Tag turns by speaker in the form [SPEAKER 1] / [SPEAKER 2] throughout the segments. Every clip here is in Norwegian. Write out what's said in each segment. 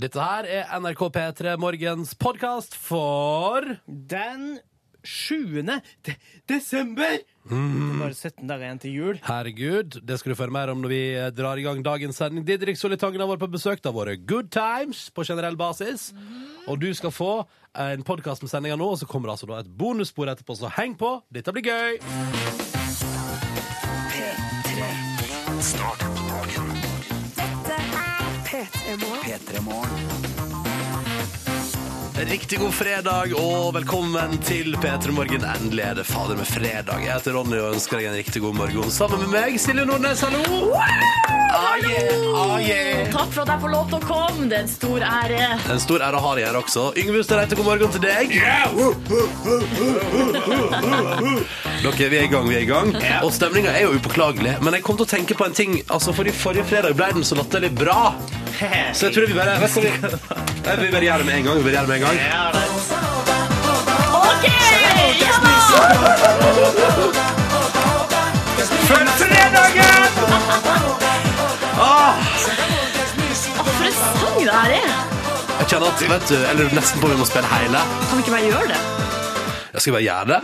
[SPEAKER 1] Dette her er NRK P3 Morgens podkast for
[SPEAKER 2] Den 7. de desember! Det er bare 17 dager igjen til jul.
[SPEAKER 1] Herregud, det skal du få høre mer om når vi eh, drar i gang dagens sending. Didrik Solitangen har vært på besøk. Det har vært good times på generell basis. Og du skal få en podkast med sendinga nå, og så kommer det altså da et bonusspor etterpå, så heng på. Dette blir gøy. Riktig god fredag og velkommen til P3 Morgen. Endelig er det fader med fredag. Jeg heter Ronny og ønsker deg en riktig god morgen. Sammen med meg, Silje Nordnes, hallo! Ah, yeah, ah, yeah.
[SPEAKER 3] Takk for at jeg får lov til å komme. Det er en stor ære.
[SPEAKER 1] En stor ære har jeg her også. Yngve Ustadreite, god morgen til deg. Dere, vi er i gang, vi er i gang. Og stemninga er jo upåklagelig. Men jeg kom til å tenke på en ting. Altså, fordi Forrige fredag ble den så latterlig bra. Så jeg tror vi bare Vet du hva vi- Jeg vil bare gjøre det med en gang. Vi bare gjør det med en gang.
[SPEAKER 3] OK! Ja da! Å, For en sang det her er.
[SPEAKER 1] Jeg kjenner at, vet du, eller nesten på vi må spille hele.
[SPEAKER 3] Kan vi ikke bare gjøre det?
[SPEAKER 1] Jeg skal bare gjøre det.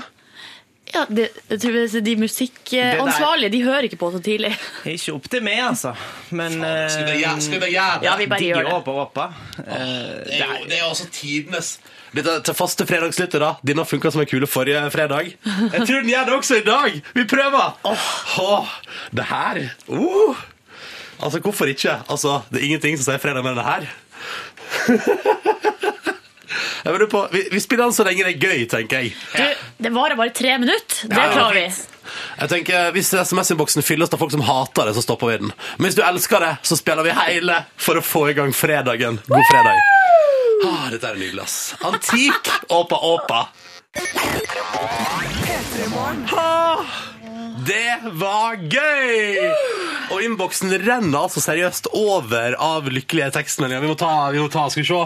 [SPEAKER 3] Ja, det, jeg tror det- De musikkansvarlige de hører ikke på så tidlig.
[SPEAKER 2] Ikke opp til meg, altså. Men
[SPEAKER 1] Skal vi
[SPEAKER 2] eh,
[SPEAKER 1] gjøre, skal vi gjøre det?
[SPEAKER 3] Ja, vi bare
[SPEAKER 2] digger
[SPEAKER 3] gjør det.
[SPEAKER 2] Åpa, åpa. Eh,
[SPEAKER 1] Det er jo det er også tidenes Dette er til faste fredagslytter, da. Denne funka som en kule forrige fredag. Jeg tror den gjør det også i dag! Vi prøver! Åh, det her uh. Altså, hvorfor ikke? Altså, Det er ingenting som sier fredag mer enn det her. Jeg lurer på, vi, vi spiller den så lenge det er gøy, tenker jeg.
[SPEAKER 3] Du, det varer bare tre minutter. Det
[SPEAKER 1] ja.
[SPEAKER 3] klarer vi.
[SPEAKER 1] Jeg tenker, Hvis SMS-innboksen fylles av folk som hater det, så stopper vi den. Men hvis du elsker det, så spiller vi hele for å få i gang fredagen. God fredag. Ah, dette er nydelig, ass. Antik åpa åpa. Ah, det var gøy! Og innboksen renner altså seriøst over av lykkelige tekstmeldinger. Vi må ta, vi må ta, skal vi se.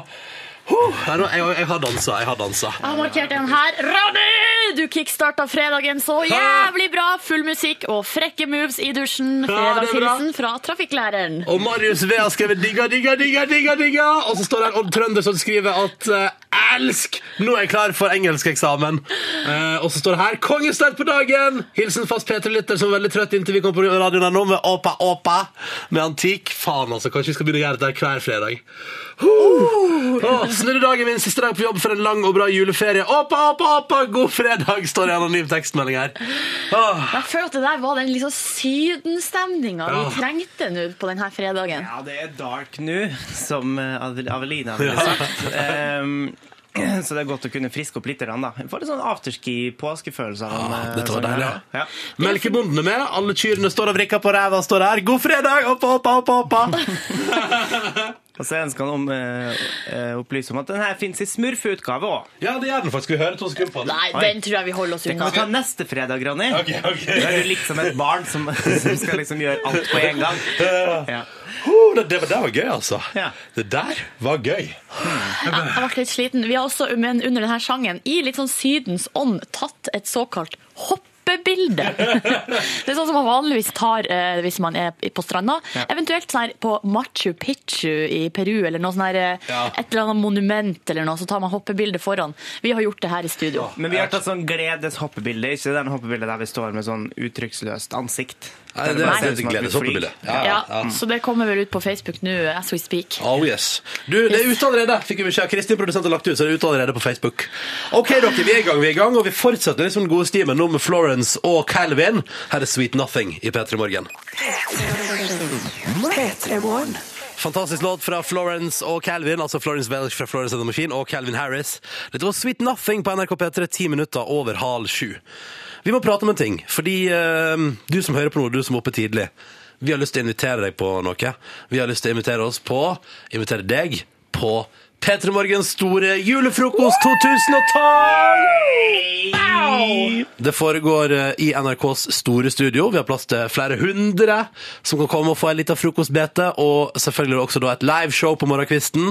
[SPEAKER 1] Huh, nei, nå- jeg, jeg har dansa, jeg har dansa.
[SPEAKER 3] Jeg har markert en her. Ronny! Du kickstarta fredagen så jævlig bra. Full musikk og frekke moves i dusjen.
[SPEAKER 1] Ja, det er bra.
[SPEAKER 3] Fredagshilsen fra trafikklæreren.
[SPEAKER 1] Og Marius V har skrevet 'digga, digga, digga', digga, digga Og så står det en Odd Trønder som skriver at eh, 'elsk', nå er jeg klar for engelskeksamen. Eh, og så står det her 'kongestart på dagen'. Hilsen fast P3-lytter som er veldig trøtt inntil vi kommer på radioen her nå med Åpa Åpa med antikk. Faen, altså. Kanskje vi skal begynne å gjøre dette her hver fredag. Oh, snurre dagen min, siste dag på jobb for en lang og bra juleferie. Åpa, åpa, åpa, god fredag, står det i anonym tekstmelding her. Åh.
[SPEAKER 3] Jeg føler at det der var den liksom sydenstemninga
[SPEAKER 1] Ja.
[SPEAKER 3] vi trengte nå på denne fredagen.
[SPEAKER 2] Ja, det er dark nå, som eh, Ave- Avelina ville sagt. Ehm, så det er godt å kunne friske opp litt, grann, da. Jeg får litt sånn afterski-påskefølelse av den.
[SPEAKER 1] Ah,
[SPEAKER 2] eh,
[SPEAKER 1] dette var
[SPEAKER 2] sangen
[SPEAKER 1] deilig,
[SPEAKER 2] her.
[SPEAKER 1] ja.
[SPEAKER 2] Ja.
[SPEAKER 1] Melkebonden er med. Alle kyrne står og vrikker på ræva og står her. God fredag! Oppa, oppa, oppa, oppa.
[SPEAKER 2] Og så ønsker han om, eh, eh, opplyse om at den her fins i smurfeutgave òg.
[SPEAKER 1] Ja, det gjør den faktisk. Skal vi høre to sekunder på den?
[SPEAKER 3] Nei, den tror jeg vi holder oss
[SPEAKER 2] Den kan vi ta
[SPEAKER 3] unna.
[SPEAKER 2] neste fredag, Ronny.
[SPEAKER 1] Ok, ok.
[SPEAKER 2] Da er du litt
[SPEAKER 1] sånn-
[SPEAKER 2] som et barn som, som skal liksom gjøre alt på en gang. Ja.
[SPEAKER 1] Oh, det, det, det var gøy, altså.
[SPEAKER 2] Ja.
[SPEAKER 1] Det der var gøy.
[SPEAKER 3] Jeg ble litt sliten. Vi har også men under denne sangen, i litt sånn Sydens ånd, tatt et såkalt hoppebilde. Det er sånn som man vanligvis tar eh, hvis man er på stranda.
[SPEAKER 2] Ja.
[SPEAKER 3] Eventuelt sånn her på Machu Picchu i Peru, eller noe sånn her, eh,
[SPEAKER 1] Ja.
[SPEAKER 3] et eller annet monument eller noe, så tar man hoppebilde foran. Vi har gjort det her i studio.
[SPEAKER 2] Men vi har tatt sånn gledes hoppebilde, ikke den hoppebildet der vi står med sånn uttrykksløst ansikt.
[SPEAKER 1] Nei,
[SPEAKER 2] Der
[SPEAKER 1] det
[SPEAKER 2] bare
[SPEAKER 1] er et
[SPEAKER 2] ser ut som at vi
[SPEAKER 1] gledes
[SPEAKER 2] flyr.
[SPEAKER 1] hoppebilde. Ja,
[SPEAKER 3] Ja, Så det kommer vel ut på Facebook nå, eh, as we speak.
[SPEAKER 1] Oh yes. Du, det er ute allerede, fikk jeg beskjed. av. Kristin produsent har lagt ut, så det er ute allerede på Facebook. Ok, dere, vi er i gang, vi er i gang, og vi fortsetter liksom den gode stimen nå med Florence og Calvin. Her er Sweet Nothing i P3 Morgen. Fantastisk låt fra Florence og Calvin, altså Florence Welch fra Florence and the Machine og Calvin Harris. Dette var Sweet Nothing på NRK P3, ti minutter over halv sju. Vi må prate om en ting, fordi eh, du som hører på noe, du som er oppe tidlig, vi har lyst til å invitere deg på noe. Vi har lyst til å invitere oss på, invitere deg på P3 Morgens store julefrokost 2012! Det foregår eh, i NRKs store studio. Vi har plass til flere hundre som kan komme og få en liten frokostbete, og selvfølgelig også da et liveshow på morgenkvisten.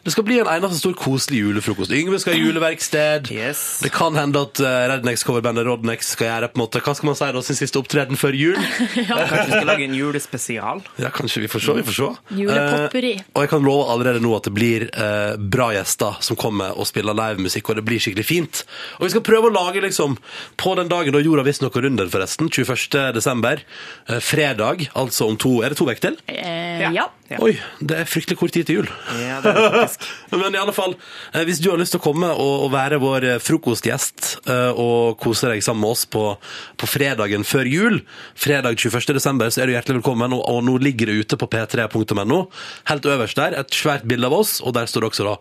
[SPEAKER 1] Det skal bli en eneste stor koselig julefrokost. Yngve skal ha juleverksted.
[SPEAKER 2] Yes.
[SPEAKER 1] Det kan hende at eh, Rednex-coverbandet Rodnex skal gjøre på en måte Hva skal man si da, sin siste opptreden før jul?
[SPEAKER 2] Kanskje vi skal lage en julespesial?
[SPEAKER 1] Ja, kanskje. Vi får se. Vi får se.
[SPEAKER 3] Julepotpurri.
[SPEAKER 1] Eh, og jeg kan love allerede nå at det blir eh, bra gjester som kommer og spiller livemusikk, og det blir skikkelig fint. Og vi skal prøve å lage, liksom, på den dagen da jorda visstnok går under, forresten, 21. desember, eh, fredag, altså om to Er det to uker til?
[SPEAKER 3] Eh, ja.
[SPEAKER 2] Ja.
[SPEAKER 1] Oi, det er fryktelig kort tid til jul.
[SPEAKER 2] Ja, det er det faktisk.
[SPEAKER 1] Men i alle fall, eh, hvis du har lyst til å komme og, og være vår eh, frokostgjest eh, og kose deg sammen med oss på, på fredagen før jul, fredag 21. desember, så er du hjertelig velkommen. Og, og nå ligger det ute på p3.no, helt øverst der, et svært bilde av oss, og der står det også da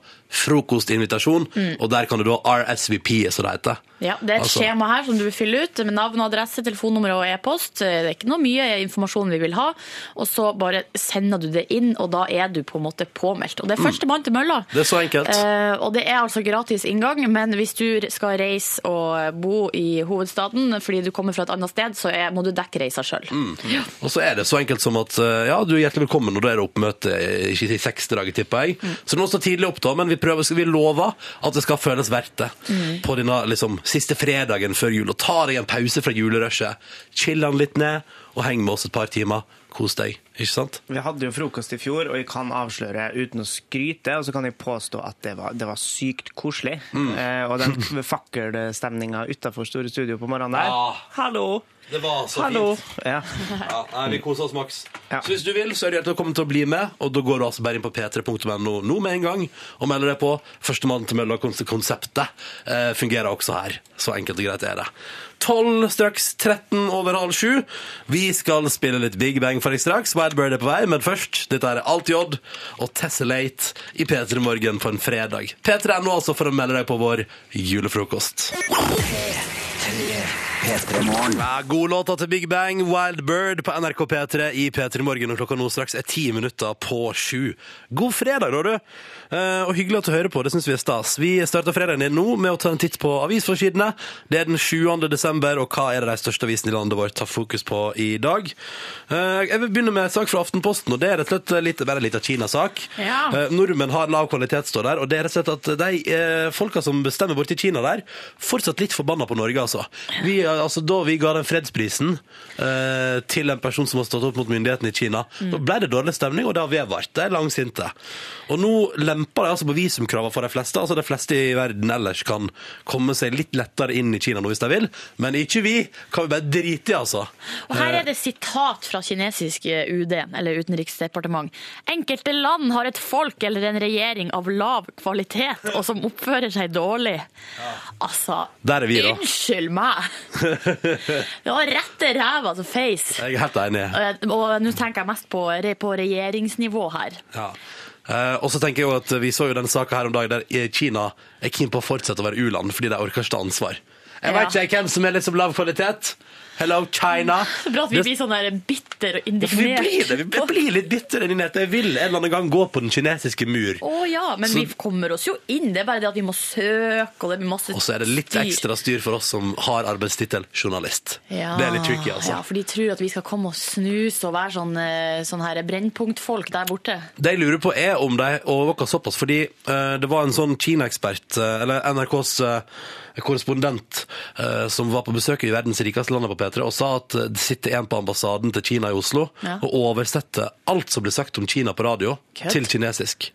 [SPEAKER 1] frokostinvitasjon,
[SPEAKER 2] Mm.
[SPEAKER 1] og der kan du da RSVP, som det heter.
[SPEAKER 3] Ja, det er et
[SPEAKER 1] Altså-
[SPEAKER 3] skjema her som du vil fylle ut med navn, adresse, telefonnummer og e-post. Det er ikke noe mye informasjon vi vil ha. Og så bare sender du det inn, og da er du på en måte påmeldt. Og det er førstemann til mølla.
[SPEAKER 1] Mm. Det er så enkelt.
[SPEAKER 3] Eh, og det er altså gratis inngang, men hvis du skal reise og bo i hovedstaden fordi du kommer fra et annet sted, så er, må du dekke reisa sjøl.
[SPEAKER 1] Mm. Og så er det så enkelt som at eh, ja, du er hjertelig velkommen, og da er det oppmøte eh, ikke i seks dager, tipper jeg. Så nå står tidlig opp, da, men vi, prøver, vi lover at det skal føles verdt det på denne liksom, siste fredagen før jul. Og ta deg en pause fra julerushet. Chill den litt ned, og heng med oss et par timer. Kos deg, ikke sant?
[SPEAKER 2] Vi hadde jo frokost i fjor, og jeg kan avsløre uten å skryte, og så kan jeg påstå at det var, det var sykt koselig.
[SPEAKER 1] Mm.
[SPEAKER 2] Eh, og den fakkelstemninga utafor Store Studio på morgenen der
[SPEAKER 1] Ah.
[SPEAKER 2] Hallo!
[SPEAKER 1] Det var så
[SPEAKER 2] Hallo! Ja.
[SPEAKER 1] Ja, nei, vi koser oss maks.
[SPEAKER 2] Ja.
[SPEAKER 1] Så hvis du vil, så er du hjertelig velkommen til å bli med. Og da går du altså bare inn på p3.no nå med en gang og melder deg på. Førstemann til mølla-konseptet eh, fungerer også her. Så enkelt og greit er det. 12 straks 13 over halv sju. Vi skal spille litt Big Bang for deg straks. Wildbird er på vei, men først, dette er Alt J og Tessellate i P3 Morgen for en fredag. P3.no altså for å melde deg på vår julefrokost. Ja, god låta til Big Bang, Wild Bird på NRK P3 i P3 Morgen. Og klokka nå straks er ti minutter på sju. God fredag, da, du. Eh, og hyggelig at du hører på. Det syns vi er stas. Vi starter fredagen din nå med å ta en titt på avisforsidene. Det er den 7. desember, og hva er det de største avisene i landet vårt tar fokus på i dag? Eh, jeg vil begynne med en sak fra Aftenposten, og det er rett og slett litt, bare en liten Kina-sak.
[SPEAKER 3] Ja.
[SPEAKER 1] Eh, nordmenn har lav kvalitet, står der. Og det er rett og slett at de eh, folka som bestemmer borti Kina der, fortsatt litt forbanna på Norge, altså. Vi, eh, altså da vi ga den fredsprisen eh, til en person som har stått opp mot myndighetene i Kina, da ble det dårlig stemning, og det har vedvart. De er langsinte. Og nå lemper de altså på visumkravene for de fleste. Altså de fleste i verden ellers kan komme seg litt lettere inn i Kina nå hvis de vil, men ikke vi. Kan vi bare drite i, altså.
[SPEAKER 3] Og her er det sitat fra kinesisk UD, eller utenriksdepartement. Enkelte land har et folk eller en regjering av lav kvalitet, og som oppfører seg dårlig. Altså,
[SPEAKER 1] Der er vi, da.
[SPEAKER 3] unnskyld meg! Det var rette ræva som feis.
[SPEAKER 1] Jeg er helt enig.
[SPEAKER 3] Eh, Og nå tenker jeg mest på, re- på regjeringsnivå her.
[SPEAKER 1] Ja. Eh, og så tenker jeg jo at Vi så jo den saka her om dagen der eh, Kina er keen på å fortsette å være u-land fordi de orker ikke ta ansvar. Jeg
[SPEAKER 3] Ja.
[SPEAKER 1] vet ikke jeg, hvem som er liksom lav kvalitet. Hello, China.
[SPEAKER 3] Det er bra at vi blir sånn der bitter og
[SPEAKER 1] Vi blir,
[SPEAKER 3] indignert.
[SPEAKER 1] det. Vi blir litt bitre inni nettet. Jeg vil en eller annen gang gå på den kinesiske mur.
[SPEAKER 3] Å ja, men vi kommer oss jo inn. Det er bare det at vi må søke, og det blir masse
[SPEAKER 1] Og så er det litt
[SPEAKER 3] styr.
[SPEAKER 1] ekstra styr for oss som har arbeidstittel journalist.
[SPEAKER 3] Ja,
[SPEAKER 1] Det er litt tricky, altså.
[SPEAKER 3] Ja, for de tror at vi skal komme og snuse og være sånn, eh, sånn her brennpunktfolk der borte.
[SPEAKER 1] Det jeg lurer på er om de overvåker såpass, fordi eh, det var en sånn Kina-ekspert, eh, eller NRKs eh, korrespondent, eh, som var på besøk i verdens rikeste land på P3, og sa at eh, det sitter en på ambassaden til Kina i Oslo
[SPEAKER 3] Ja.
[SPEAKER 1] og oversetter alt som blir sagt om Kina på radio,
[SPEAKER 3] Kødd.
[SPEAKER 1] til kinesisk.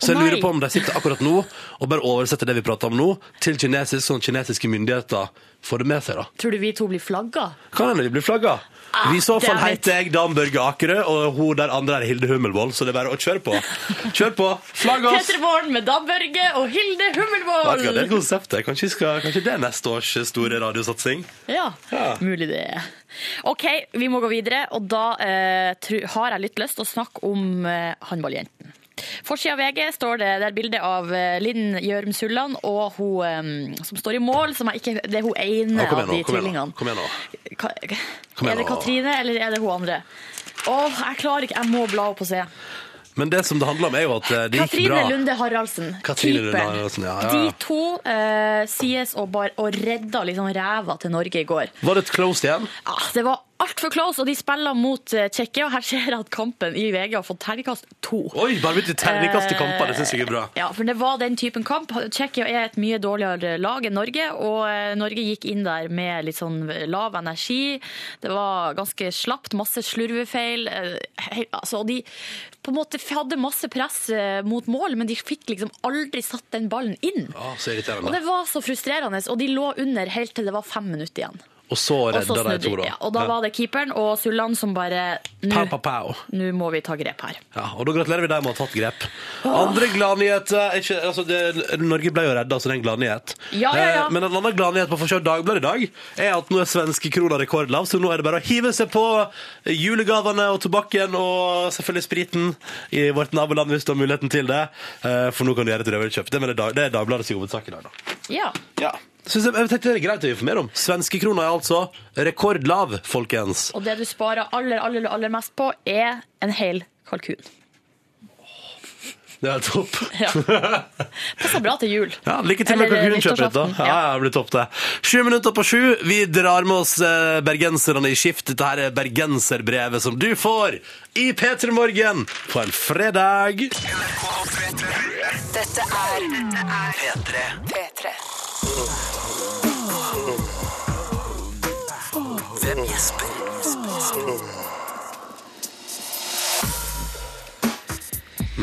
[SPEAKER 1] Så
[SPEAKER 3] Å,
[SPEAKER 1] jeg lurer
[SPEAKER 3] nei.
[SPEAKER 1] på om de sitter akkurat nå og bare oversetter det vi prater om nå, til kinesisk, sånn at kinesiske myndigheter får det med seg, da.
[SPEAKER 3] Tror du vi to blir flagga?
[SPEAKER 1] Kan hende de blir flagga.
[SPEAKER 3] Ah,
[SPEAKER 1] I så fall
[SPEAKER 3] damn it.
[SPEAKER 1] heter jeg Dan Børge Akerø, og hun der andre er Hilde Hummelvold, så det er bare å kjøre på. Kjør på! Flagg oss!
[SPEAKER 3] Petter Morgen med Dan Børge og Hilde
[SPEAKER 1] Vet du hva, Det er et
[SPEAKER 3] Hummelvold!
[SPEAKER 1] konsept. det. Kanskje, skal, kanskje det er neste års store radiosatsing?
[SPEAKER 3] Ja,
[SPEAKER 1] Ja.
[SPEAKER 3] mulig det. er. OK, vi må gå videre, og da eh, tru, har jeg litt lyst til å snakke om eh, håndballjenten. Forsida av VG står det der bildet av eh, Linn Gjørm Sulland og hun eh, som står i mål, som jeg ikke Det er hun ene
[SPEAKER 1] Ja, kom igjen
[SPEAKER 3] av
[SPEAKER 1] nå.
[SPEAKER 3] de
[SPEAKER 1] Kom igjen, nå,
[SPEAKER 3] tvillingene.
[SPEAKER 1] kom igjen nå.
[SPEAKER 3] Ka
[SPEAKER 1] Kom igjen
[SPEAKER 3] er det
[SPEAKER 1] nå.
[SPEAKER 3] Katrine, eller er det hun andre? Åh, jeg klarer ikke. Jeg må bla opp og se.
[SPEAKER 1] Men det som det handler om, er jo at eh, det gikk
[SPEAKER 3] Katrine
[SPEAKER 1] bra.
[SPEAKER 3] Lunde Haraldsen,
[SPEAKER 1] Katrine Lunde
[SPEAKER 3] keeperen.
[SPEAKER 1] Haraldsen, ja, ja, ja.
[SPEAKER 3] De to eh, sies å bare å redda liksom ræva til Norge i går.
[SPEAKER 1] Var det et close igjen?
[SPEAKER 3] Ja, det var altfor close, og de spiller mot eh, Tsjekkia. Her ser jeg at kampen i VG har fått terningkast to.
[SPEAKER 1] Oi, bare bytt til terningkast til kamper. Det syns jeg er bra.
[SPEAKER 3] Eh, Ja, for det var den typen kamp. Tsjekkia er et mye dårligere lag enn Norge, og eh, Norge gikk inn der med litt sånn lav energi. Det var ganske slapt, masse slurvefeil. eh, he- Altså, og de på en måte hadde masse press eh, mot mål, men de fikk liksom aldri satt den ballen inn.
[SPEAKER 1] Å, så
[SPEAKER 3] Og
[SPEAKER 1] irriterende.
[SPEAKER 3] det var så frustrerende, og de lå under helt til det var fem minutter igjen.
[SPEAKER 1] Og så
[SPEAKER 3] Og så
[SPEAKER 1] redda de
[SPEAKER 3] snudde
[SPEAKER 1] to,
[SPEAKER 3] de.
[SPEAKER 1] da.
[SPEAKER 3] Ja, og da var det keeperen og Sulland som bare
[SPEAKER 1] Pow,
[SPEAKER 3] Nå
[SPEAKER 1] pow, pow.
[SPEAKER 3] nå må vi ta grep her.
[SPEAKER 1] Ja, og da gratulerer vi deg med å ha tatt grep. Andre gladnyheter er ikke- altså, det- Norge ble jo redda, så det er en gladnyhet.
[SPEAKER 3] Ja, ja, ja.
[SPEAKER 1] Eh, Men en annen gladnyhet på Forsøk Dagbladet i dag er at nå er svenske krona rekordlav, så nå er det bare å hive seg på julegavene og tobakken og selvfølgelig spriten i vårt naboland hvis du har muligheten til det. Eh, For nå kan du gjøre et røverkjøp. Det, mener Dag- det er Dagbladets hovedsak i dag, da.
[SPEAKER 3] Ja.
[SPEAKER 1] Ja. Synes jeg, jeg tenkte det er greit å informere om. Svenske krona er altså rekordlav, folkens.
[SPEAKER 3] Og det du sparer aller, aller, aller mest på, er en hel kalkun.
[SPEAKER 1] Det er topp.
[SPEAKER 3] Ja. Passer bra til jul.
[SPEAKER 1] Ja, Lykke til med
[SPEAKER 3] Eller eh,
[SPEAKER 1] kalkunkjøpet ditt, da.
[SPEAKER 3] nyttårsaften,
[SPEAKER 1] Ja,
[SPEAKER 3] ja.
[SPEAKER 1] ja, det blir topp, det. Sju minutter på sju. Vi drar med oss eh, bergenserne i skift. Dette her er bergenserbrevet som du får i P3 Morgen på en fredag.
[SPEAKER 4] Dette er P3. P3. Hvem gjesper?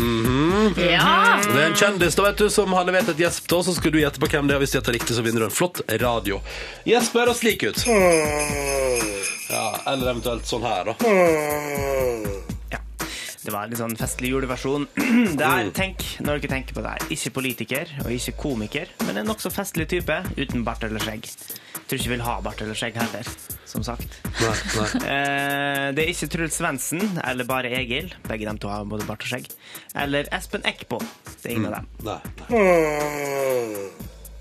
[SPEAKER 3] Ja.
[SPEAKER 1] Det er en kjendis da, vet du, som har levert et gjesp til oss, så skulle du gjette på hvem det er. og Hvis du gjetter riktig, så vinner du en flott radio. Gjesp høres slik ut. Ja, eller eventuelt sånn her, da.
[SPEAKER 2] Ja. Det var en litt sånn festlig juleversjon. Det er, tenk, når dere tenker på det her, ikke politiker og ikke komiker, men en nokså festlig type uten bart eller skjegg. Tror ikke vil ha bart eller skjegg heller, som sagt.
[SPEAKER 1] Nei, nei.
[SPEAKER 2] Eh, det er ikke Truls Svendsen eller bare Egil. Begge dem to har både bart og skjegg. Eller Espen Eckbo. Det er ingen av dem.
[SPEAKER 1] Nei.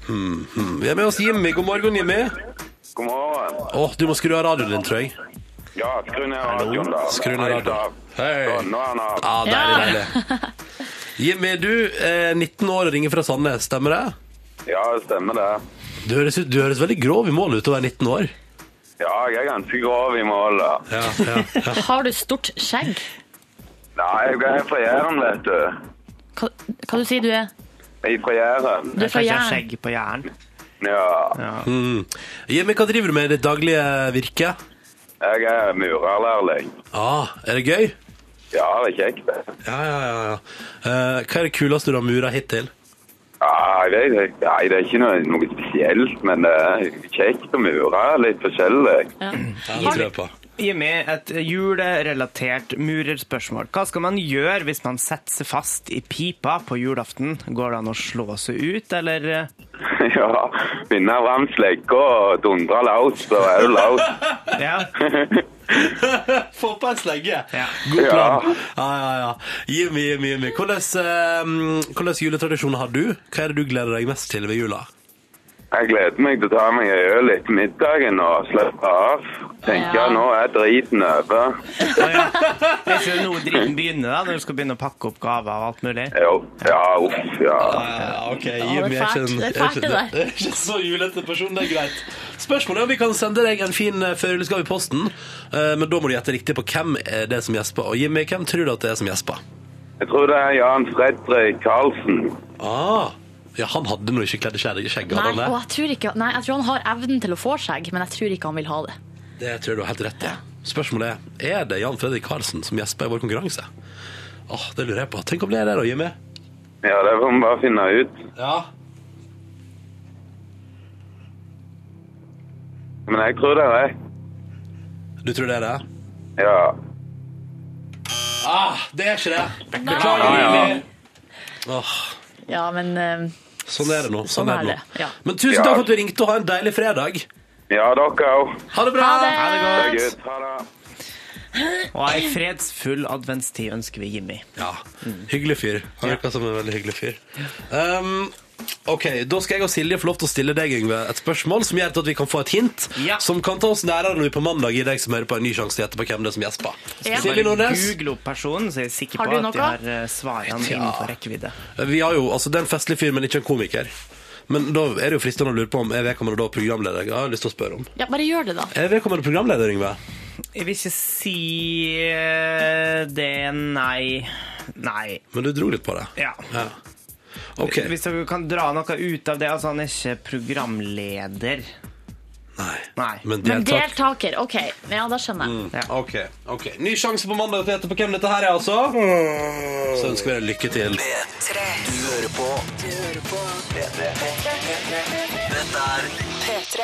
[SPEAKER 1] Hmm, hmm. Vi er med oss Jimmy. God morgen, Jimmy.
[SPEAKER 5] God morgen.
[SPEAKER 1] Åh, du må skru av radioen din, tror jeg.
[SPEAKER 5] Ja, skru ned radioen, da.
[SPEAKER 1] Skru ned
[SPEAKER 5] Nei,
[SPEAKER 1] radioen.
[SPEAKER 5] da.
[SPEAKER 1] Hei. Ah.
[SPEAKER 5] Sånn, nå er han av.
[SPEAKER 1] Ja,
[SPEAKER 3] Ja.
[SPEAKER 1] deilig, deilig. Jimmy, du er 19 år og ringer fra Sandnes, stemmer det?
[SPEAKER 5] Ja, det stemmer det.
[SPEAKER 1] Du høres, ut- du høres veldig grov i målet ut til å være 19 år.
[SPEAKER 5] Ja, jeg er ganske grov i mål, da.
[SPEAKER 1] Ja, ja.
[SPEAKER 3] Har du stort skjegg?
[SPEAKER 5] Nei, jeg er fra Jæren, vet du.
[SPEAKER 3] Hva, hva du sier du er?
[SPEAKER 5] Jeg er fra Jæren.
[SPEAKER 3] Du er
[SPEAKER 2] Kanskje
[SPEAKER 3] fra
[SPEAKER 2] jeg har
[SPEAKER 3] Jæren.
[SPEAKER 2] skjegg på Jæren.
[SPEAKER 5] Ja,
[SPEAKER 1] Mm. Jimmy, hva driver du med i ditt daglige virke?
[SPEAKER 5] jeg er murerlærling.
[SPEAKER 1] Ah, er det gøy?
[SPEAKER 5] Ja, det er kjekt, det.
[SPEAKER 1] Ja, ja, ja. ja. Eh, hva er det kuleste du har mura hittil?
[SPEAKER 5] Nei, det er, nei, det er ikke noe, noe spesielt, men det er kjekt å mure. Litt forskjellig.
[SPEAKER 1] Ja, det tror jeg på.
[SPEAKER 2] Jimmy, et julerelatert murerspørsmål. Hva skal man gjøre hvis man setter seg fast i pipa på julaften? Går det an å slå seg ut, eller eh,
[SPEAKER 5] Ja, finne fram slegga og dundre løs, så er du løs.
[SPEAKER 2] Ja.
[SPEAKER 1] Få på en slegge.
[SPEAKER 2] Ja.
[SPEAKER 1] God plan.
[SPEAKER 5] Ja.
[SPEAKER 1] Ja, ja, ja. Jimmy, Jimmy, Jimmy. Hvordan, eh, hvordan juletradisjoner har du? Hva er det du gleder deg mest til ved jula?
[SPEAKER 5] Jeg gleder meg til å ta meg en øl etter middagen og slappe av. Tenker
[SPEAKER 3] Ja.
[SPEAKER 5] nå er driten over.
[SPEAKER 2] Det er ikke noe dritten begynner, da, når du skal begynne å pakke opp gaver og alt mulig.
[SPEAKER 5] Jo, ja, uff, ja.
[SPEAKER 1] Ja, ok,
[SPEAKER 3] Ja,
[SPEAKER 1] Jimmy
[SPEAKER 3] det
[SPEAKER 1] er
[SPEAKER 3] er
[SPEAKER 1] ikke
[SPEAKER 3] fælt.
[SPEAKER 1] en-
[SPEAKER 3] Det er
[SPEAKER 1] er
[SPEAKER 3] fælt,
[SPEAKER 1] ikke-
[SPEAKER 3] det der.
[SPEAKER 1] det er ikke så julete person, det er greit. Spørsmålet er om vi kan sende deg en fin eh, førjulesgave i posten, eh, men da må du gjette riktig på hvem er det som gjesper. Og Jimmy, hvem tror du at det er som gjesper?
[SPEAKER 5] Jeg tror det er Jan Fredrik Karlsen.
[SPEAKER 1] Ah, ja, han hadde nå ikke kledd skjegg, skjegg
[SPEAKER 3] Nei,
[SPEAKER 1] hadde han
[SPEAKER 3] og
[SPEAKER 1] det?
[SPEAKER 3] jeg tror, ikke, nei, jeg tror han har evnen til å få skjegg, men jeg tror ikke han vil ha det.
[SPEAKER 1] Det tror jeg du har helt rett i. Spørsmålet er, er det Jan Fredrik Karlsen som gjesper i vår konkurranse? Åh, det lurer jeg på. Tenk om det er det da, Jimmy.
[SPEAKER 5] Ja, det får vi bare finne ut.
[SPEAKER 1] Ja.
[SPEAKER 5] Men jeg tror det er det.
[SPEAKER 1] Du tror det er det?
[SPEAKER 5] Ja.
[SPEAKER 1] Ah, det er ikke det. Beklager,
[SPEAKER 5] Ja, ja.
[SPEAKER 1] Jimmy. Åh.
[SPEAKER 3] Ja, men eh,
[SPEAKER 1] Sånn er det nå. Sånn,
[SPEAKER 3] Sånn
[SPEAKER 1] er det
[SPEAKER 3] er
[SPEAKER 1] nå.
[SPEAKER 3] det, ja.
[SPEAKER 1] Men tusen
[SPEAKER 5] Ja.
[SPEAKER 1] takk for at du ringte, og ha en deilig fredag.
[SPEAKER 5] Ja, dere òg.
[SPEAKER 1] Ha det bra!
[SPEAKER 3] ha det!
[SPEAKER 5] Ha det godt. Ha det.
[SPEAKER 2] Og ei fredsfull adventstid ønsker vi Jimmy.
[SPEAKER 1] Ja, Hyggelig fyr. Han virker som en veldig hyggelig fyr. Um, ok, Da skal jeg og Silje få lov til å stille deg Yngve, et spørsmål som gjør at vi kan få et hint
[SPEAKER 2] Ja.
[SPEAKER 1] som kan ta oss nærere når vi på mandag gir deg som hører på en ny sjanse til å gjette på hvem det er som gjesper.
[SPEAKER 3] Ja.
[SPEAKER 1] Silje
[SPEAKER 2] Bare
[SPEAKER 1] Nordnes,
[SPEAKER 2] google opp personen, så er jeg sikker
[SPEAKER 3] Har
[SPEAKER 2] på
[SPEAKER 3] du
[SPEAKER 2] at de
[SPEAKER 3] noe?
[SPEAKER 2] har eh, svarene innenfor rekkevidde.
[SPEAKER 1] vi har jo, altså, det er en festlig fyr, men ikke en komiker. Men da er det jo fristende å lure på om er vedkommende da programleder. Jeg har lyst til å spørre om.
[SPEAKER 3] Ja, bare gjør det, da.
[SPEAKER 1] Er vedkommende programleder, Yngve?
[SPEAKER 2] Jeg vil ikke si eh, det, nei. Nei.
[SPEAKER 1] Men du dro litt på det.
[SPEAKER 2] Ja.
[SPEAKER 1] Ja. OK.
[SPEAKER 2] Hvis du kan dra noe ut av det. Altså, han er ikke programleder.
[SPEAKER 1] Nei.
[SPEAKER 2] Nei.
[SPEAKER 1] Men
[SPEAKER 3] Men
[SPEAKER 1] deltak.
[SPEAKER 3] deltaker, OK. Ja, da skjønner
[SPEAKER 1] Mm.
[SPEAKER 3] jeg.
[SPEAKER 1] OK. ok. Ny sjanse på mandag til å gjette på hvem dette her er, altså. Så ønsker vi deg lykke til.
[SPEAKER 4] P3. Du hører på. Du hører på. P3. Dette er P3.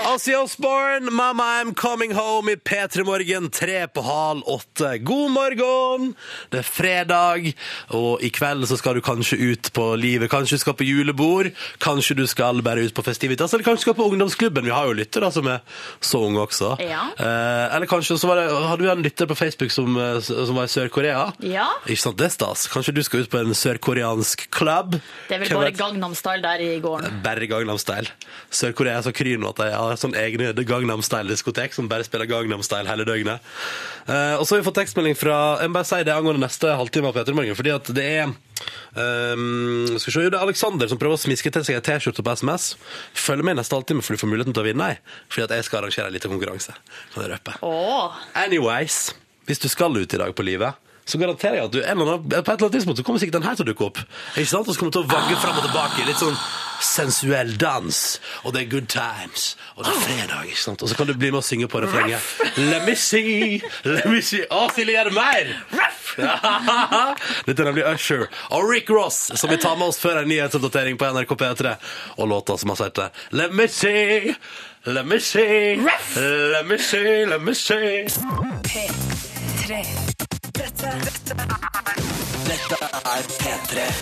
[SPEAKER 1] Ozzy Osbourne, 'Mama I'm Coming Home' i P3 Morgen, tre på hal åtte. God morgen! Det er fredag, og i kveld så skal du kanskje ut på livet. Kanskje du skal på julebord, kanskje du skal bare ut på festivitas, eller kanskje du skal på ungdomsklubben. Vi har jo lyttere altså, som er så unge også.
[SPEAKER 3] Ja.
[SPEAKER 1] Eh, eller kanskje så var det, hadde vi en lytter på Facebook som, eh, som var i Sør-Korea.
[SPEAKER 3] Ja.
[SPEAKER 1] Ikke sant, det er stas. Kanskje du skal ut på en sørkoreansk club.
[SPEAKER 3] Det er vel
[SPEAKER 1] Hvem
[SPEAKER 3] bare
[SPEAKER 1] vet?
[SPEAKER 3] Gangnam Style der i gården.
[SPEAKER 1] Bare Gangnam Style. Sør-Korea er så kry nå at de har sånn egne Gangnam Style-diskotek som bare spiller Gangnam Style hele døgnet. Eh, og så har vi fått tekstmelding fra Jeg må bare si det angående neste halvtime av Peter Morgen, fordi at det er ehm, skal vi se, jo, det er Alexander som prøver å smiske til seg en T-skjorte på SMS. Følg med i neste halvtime, for du får muligheten til å vinne ei. Fordi at jeg skal arrangere en liten konkurranse. Kan jeg røpe.
[SPEAKER 3] Åh,
[SPEAKER 1] Anyways, hvis du skal ut i dag på livet, så garanterer jeg at du en eller annen, på et eller annet tidspunkt så kommer sikkert den her til å dukke opp. Ikke sant? Og så kommer den til å vagge fram og tilbake. i Litt sånn sensuell dans. Og det er good times. Og det er fredag, ikke sant? Og så kan du bli med og synge på refrenget. Let me see, let me see. Å, Silje, gjør det mer! Dette er nemlig Usher og Rick Ross, som vi tar med oss før en nyhetsoppdatering på NRK P3. Og låta som har sett det. Let me see, let me see,
[SPEAKER 3] Ruff!
[SPEAKER 1] let me see, let me see.
[SPEAKER 4] P3. Dette, dette er Dette er P3.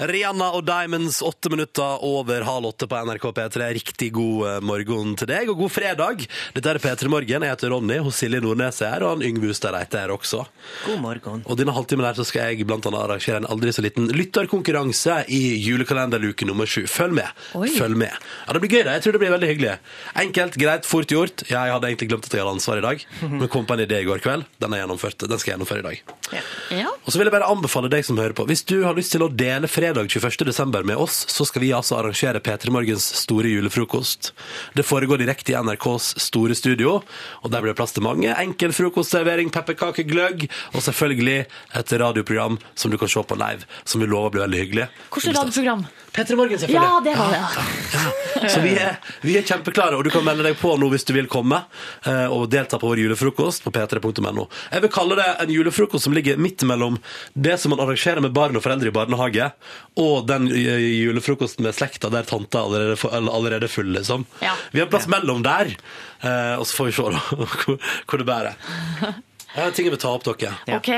[SPEAKER 1] Rihanna og Diamonds, åtte minutter over halv åtte på NRK P3. Riktig god eh, morgen til deg, og god fredag. Dette er P3 Morgen. Jeg heter Ronny, hos Silje Nordnes er her, og han Yngve Hustad Reite er her også.
[SPEAKER 2] God morgen.
[SPEAKER 1] Og denne halvtimen her så skal jeg blant annet arrangere en aldri så liten lytterkonkurranse i julekalenderluke nummer sju. Følg med.
[SPEAKER 3] Oi.
[SPEAKER 1] Følg med. Ja, det blir gøy, da. Jeg tror det blir veldig hyggelig. Enkelt, greit, fort gjort. Jeg hadde egentlig glemt at jeg hadde ansvar i dag, men kom på en idé i går kveld. Den er gjennomført. Den skal jeg gjennomføre i dag.
[SPEAKER 3] ja.
[SPEAKER 1] Og så vil jeg bare anbefale deg som hører på Hvis du har lyst til å dele fredag 21. desember med oss Så skal vi altså arrangere P3 Morgens store julefrokost Det foregår direkte i NRKs store studio Og der blir det plass til mange Enkel frokostservering, pepperkake, gløgg Og selvfølgelig et radioprogram som du kan se på live Som vi lover blir veldig hyggelig
[SPEAKER 3] Hvilket radioprogram?
[SPEAKER 1] P3 Morgen selvfølgelig
[SPEAKER 3] Ja, det var det. ja.
[SPEAKER 1] så vi er, vi er kjempeklare, og du kan melde deg på nå hvis du vil komme eh, og delta på vår julefrokost på p3.no. Jeg vil kalle det en julefrokost som ligger midt mellom det som man arrangerer med barn og foreldre i barnehage, og den eh, julefrokosten med slekta der tanta allerede, er fu- eller allerede er full, liksom.
[SPEAKER 3] Ja.
[SPEAKER 1] Vi har en plass mellom der, eh, og så får vi se da, hvor, hvor det bærer. Jeg har ting jeg vil ta opp dere.
[SPEAKER 3] OK,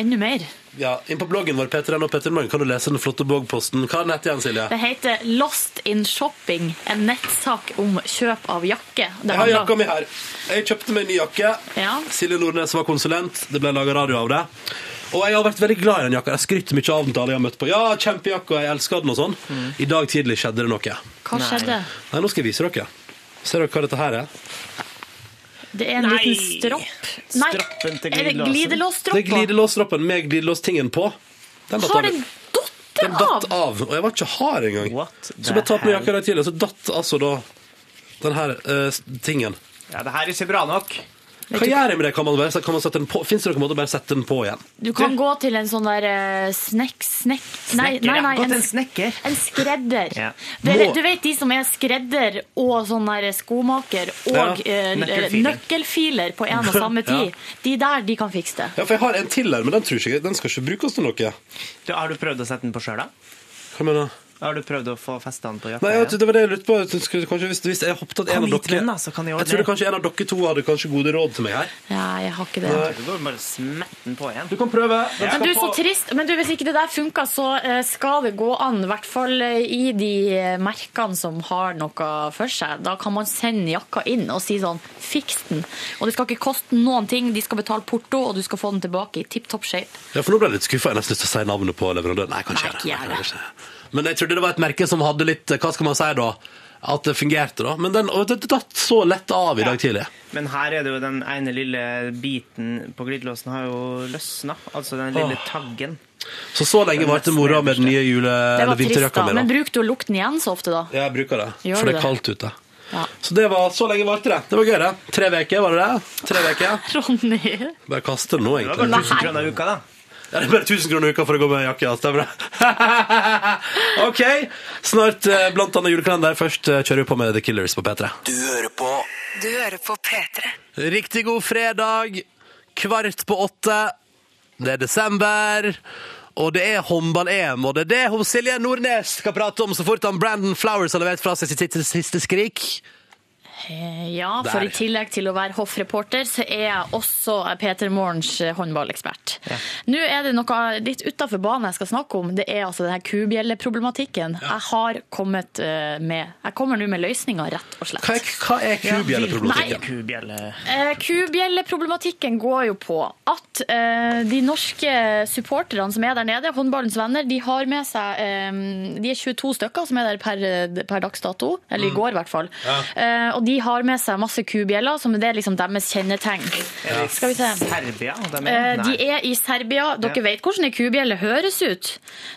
[SPEAKER 3] enda mer.
[SPEAKER 1] Ja, inn på bloggen vår, P3N og P3Morgen, kan du lese den flotte bloggposten. Hva er nett igjen, Silje?
[SPEAKER 3] Det heter Lost in Shopping, en nettsak om kjøp av jakke. Det
[SPEAKER 1] Jeg har
[SPEAKER 3] handler-
[SPEAKER 1] jakka mi her. Jeg kjøpte meg en ny jakke.
[SPEAKER 3] Ja.
[SPEAKER 1] Silje Nordnes var konsulent. Det ble laga radio av det. Og jeg har vært veldig glad i den jakka. Jeg skryter mye av den til alle jeg har møtt på. Ja, kjempejakke, og jeg elsker den og sånn.
[SPEAKER 3] Mm.
[SPEAKER 1] I dag tidlig skjedde det noe.
[SPEAKER 3] Hva skjedde?
[SPEAKER 1] Nei, nå skal jeg vise dere. Ser dere hva dette her er?
[SPEAKER 3] Det er en
[SPEAKER 2] Nei.
[SPEAKER 3] liten stropp. Nei,
[SPEAKER 2] Stroppen til
[SPEAKER 3] er det
[SPEAKER 2] glidelåsen?
[SPEAKER 1] Det er
[SPEAKER 3] glidelåsstroppa?
[SPEAKER 1] glidelåsdroppen med glidelåstingen på. Den datt
[SPEAKER 3] Har
[SPEAKER 1] av.
[SPEAKER 3] den
[SPEAKER 1] Den
[SPEAKER 3] datt
[SPEAKER 1] datt
[SPEAKER 3] av?
[SPEAKER 1] av, og jeg var ikke hard engang.
[SPEAKER 2] What
[SPEAKER 1] Så ble jeg tatt på
[SPEAKER 2] the
[SPEAKER 1] jakka der tidlig, og så datt altså da den her eh, tingen.
[SPEAKER 2] Ja, det her er ikke bra nok.
[SPEAKER 1] Hva gjør jeg med det? Kan man, bare- kan man sette den på? Finnes det noen måte å bare sette den på igjen?
[SPEAKER 3] Du kan gå til en sånn der eh, snekk... Snekk... Nei,
[SPEAKER 2] Snekker,
[SPEAKER 3] nei,
[SPEAKER 2] ja.
[SPEAKER 3] nei.
[SPEAKER 2] Gå til
[SPEAKER 3] En,
[SPEAKER 2] en snekker.
[SPEAKER 3] en skredder.
[SPEAKER 2] Ja.
[SPEAKER 3] Dere,
[SPEAKER 1] Må-
[SPEAKER 3] du vet de som er skredder og sånn der skomaker
[SPEAKER 1] Ja,
[SPEAKER 3] og eh,
[SPEAKER 2] nøkkelfiler.
[SPEAKER 3] nøkkelfiler på en og samme tid. De der, de kan fikse det.
[SPEAKER 1] Ja, for jeg har en til her, men den tror ikke jeg Den skal ikke brukes til noe.
[SPEAKER 2] Du, har du prøvd å sette den på sjøl, da?
[SPEAKER 1] Hva mener du?
[SPEAKER 2] Har du prøvd å få festet den på jakka?
[SPEAKER 1] Nei, jeg,
[SPEAKER 2] ja?
[SPEAKER 1] det var det jeg lurte på. Jeg skulle Kanskje, hvis, hvis jeg håpet at en
[SPEAKER 2] Kom
[SPEAKER 1] av
[SPEAKER 2] hit
[SPEAKER 1] dere
[SPEAKER 2] med den, da, så kan jeg
[SPEAKER 1] Jeg
[SPEAKER 2] ordne
[SPEAKER 1] trodde
[SPEAKER 2] det.
[SPEAKER 1] kanskje en av dere to hadde kanskje gode råd til meg her.
[SPEAKER 3] Ja, jeg har ikke det.
[SPEAKER 2] Du går bare og smetter den på igjen.
[SPEAKER 1] Du kan prøve. Den
[SPEAKER 3] Men
[SPEAKER 1] skal
[SPEAKER 3] du, så
[SPEAKER 1] på-
[SPEAKER 3] trist. Men du, hvis ikke det der funker, så eh, skal det gå an. I hvert fall eh, i de eh, merkene som har noe for seg. Da kan man sende jakka inn og si sånn Fiks den. Og det skal ikke koste noen ting. De skal betale porto, og du skal få den tilbake i tipp topp shape.
[SPEAKER 1] Ja, for nå ble jeg litt skuffa. Jeg har nesten lyst til å si navnet på leverandøren. Nei, kanskje
[SPEAKER 3] Nei, ikke gjør det.
[SPEAKER 1] Men jeg trodde det var et merke som hadde litt Hva skal man si da? at det fungerte, da. Men den og det det datt så lett av i dag tidlig.
[SPEAKER 2] Men her er det jo den ene lille biten på glidelåsen har jo løsna. Altså den lille
[SPEAKER 1] Åh.
[SPEAKER 2] taggen.
[SPEAKER 1] Så så lenge varte mora med den nye jule-
[SPEAKER 3] Det
[SPEAKER 1] eller
[SPEAKER 3] var trist,
[SPEAKER 1] vinterjakka
[SPEAKER 3] da.
[SPEAKER 1] mi. da.
[SPEAKER 3] Men bruker du lukten igjen så ofte, da?
[SPEAKER 1] Ja, Jeg bruker det,
[SPEAKER 3] Gjør
[SPEAKER 1] for
[SPEAKER 3] du
[SPEAKER 1] det er
[SPEAKER 3] det?
[SPEAKER 1] kaldt ute.
[SPEAKER 3] Ja.
[SPEAKER 1] Så det var så lenge varte det. Det var gøy, det. Tre uker, var det det? Tre veker.
[SPEAKER 3] Ronny.
[SPEAKER 1] Bare kaste det nå,
[SPEAKER 2] Det var
[SPEAKER 1] egentlig.
[SPEAKER 2] bare 1000
[SPEAKER 3] Nei.
[SPEAKER 2] kroner i uka, da.
[SPEAKER 1] Ja, det er bare 1000 kroner i uka for å gå med jakke, ja. Stemmer det? OK. Snart eh, blant annet julekalender. Først eh, kjører vi på med The Killers på P3.
[SPEAKER 6] Du hører på
[SPEAKER 4] Du hører på P3.
[SPEAKER 1] Riktig god fredag. Kvart på åtte. Det er desember. Og det er håndball-EM, og det er det hun Silje Nordnes skal prate om så fort han Brandon Flowers har levert fra seg sitt siste, siste skrik.
[SPEAKER 3] Eh, Ja, for
[SPEAKER 1] Der.
[SPEAKER 3] i tillegg til å være hoffreporter, så er jeg også Peter Morgens håndballekspert. Nå er det noe litt utafor banen jeg skal snakke om. Det er altså denne kubjelleproblematikken. Jeg har kommet eh, med Jeg kommer nå med løsninger, rett og slett.
[SPEAKER 1] Hva er, hva er
[SPEAKER 3] Nei.
[SPEAKER 1] kubjelleproblematikken?
[SPEAKER 2] Kubjelle.
[SPEAKER 3] Eh, Kubjelleproblematikken går jo på at eh, de norske supporterne som er der nede, håndballens venner, de har med seg eh, De er 22 stykker som er der per, per dags dato. Eller
[SPEAKER 2] Mm.
[SPEAKER 3] i går, i hvert fall. Eh, og de har med seg masse kubjeller, som det er liksom deres kjennetegn. Skal vi se.
[SPEAKER 2] Serbia? De er,
[SPEAKER 3] Eh,
[SPEAKER 2] Nei.
[SPEAKER 3] De er i Serbia. Dere
[SPEAKER 2] Ja.
[SPEAKER 3] vet hvordan ei kubjelle høres ut.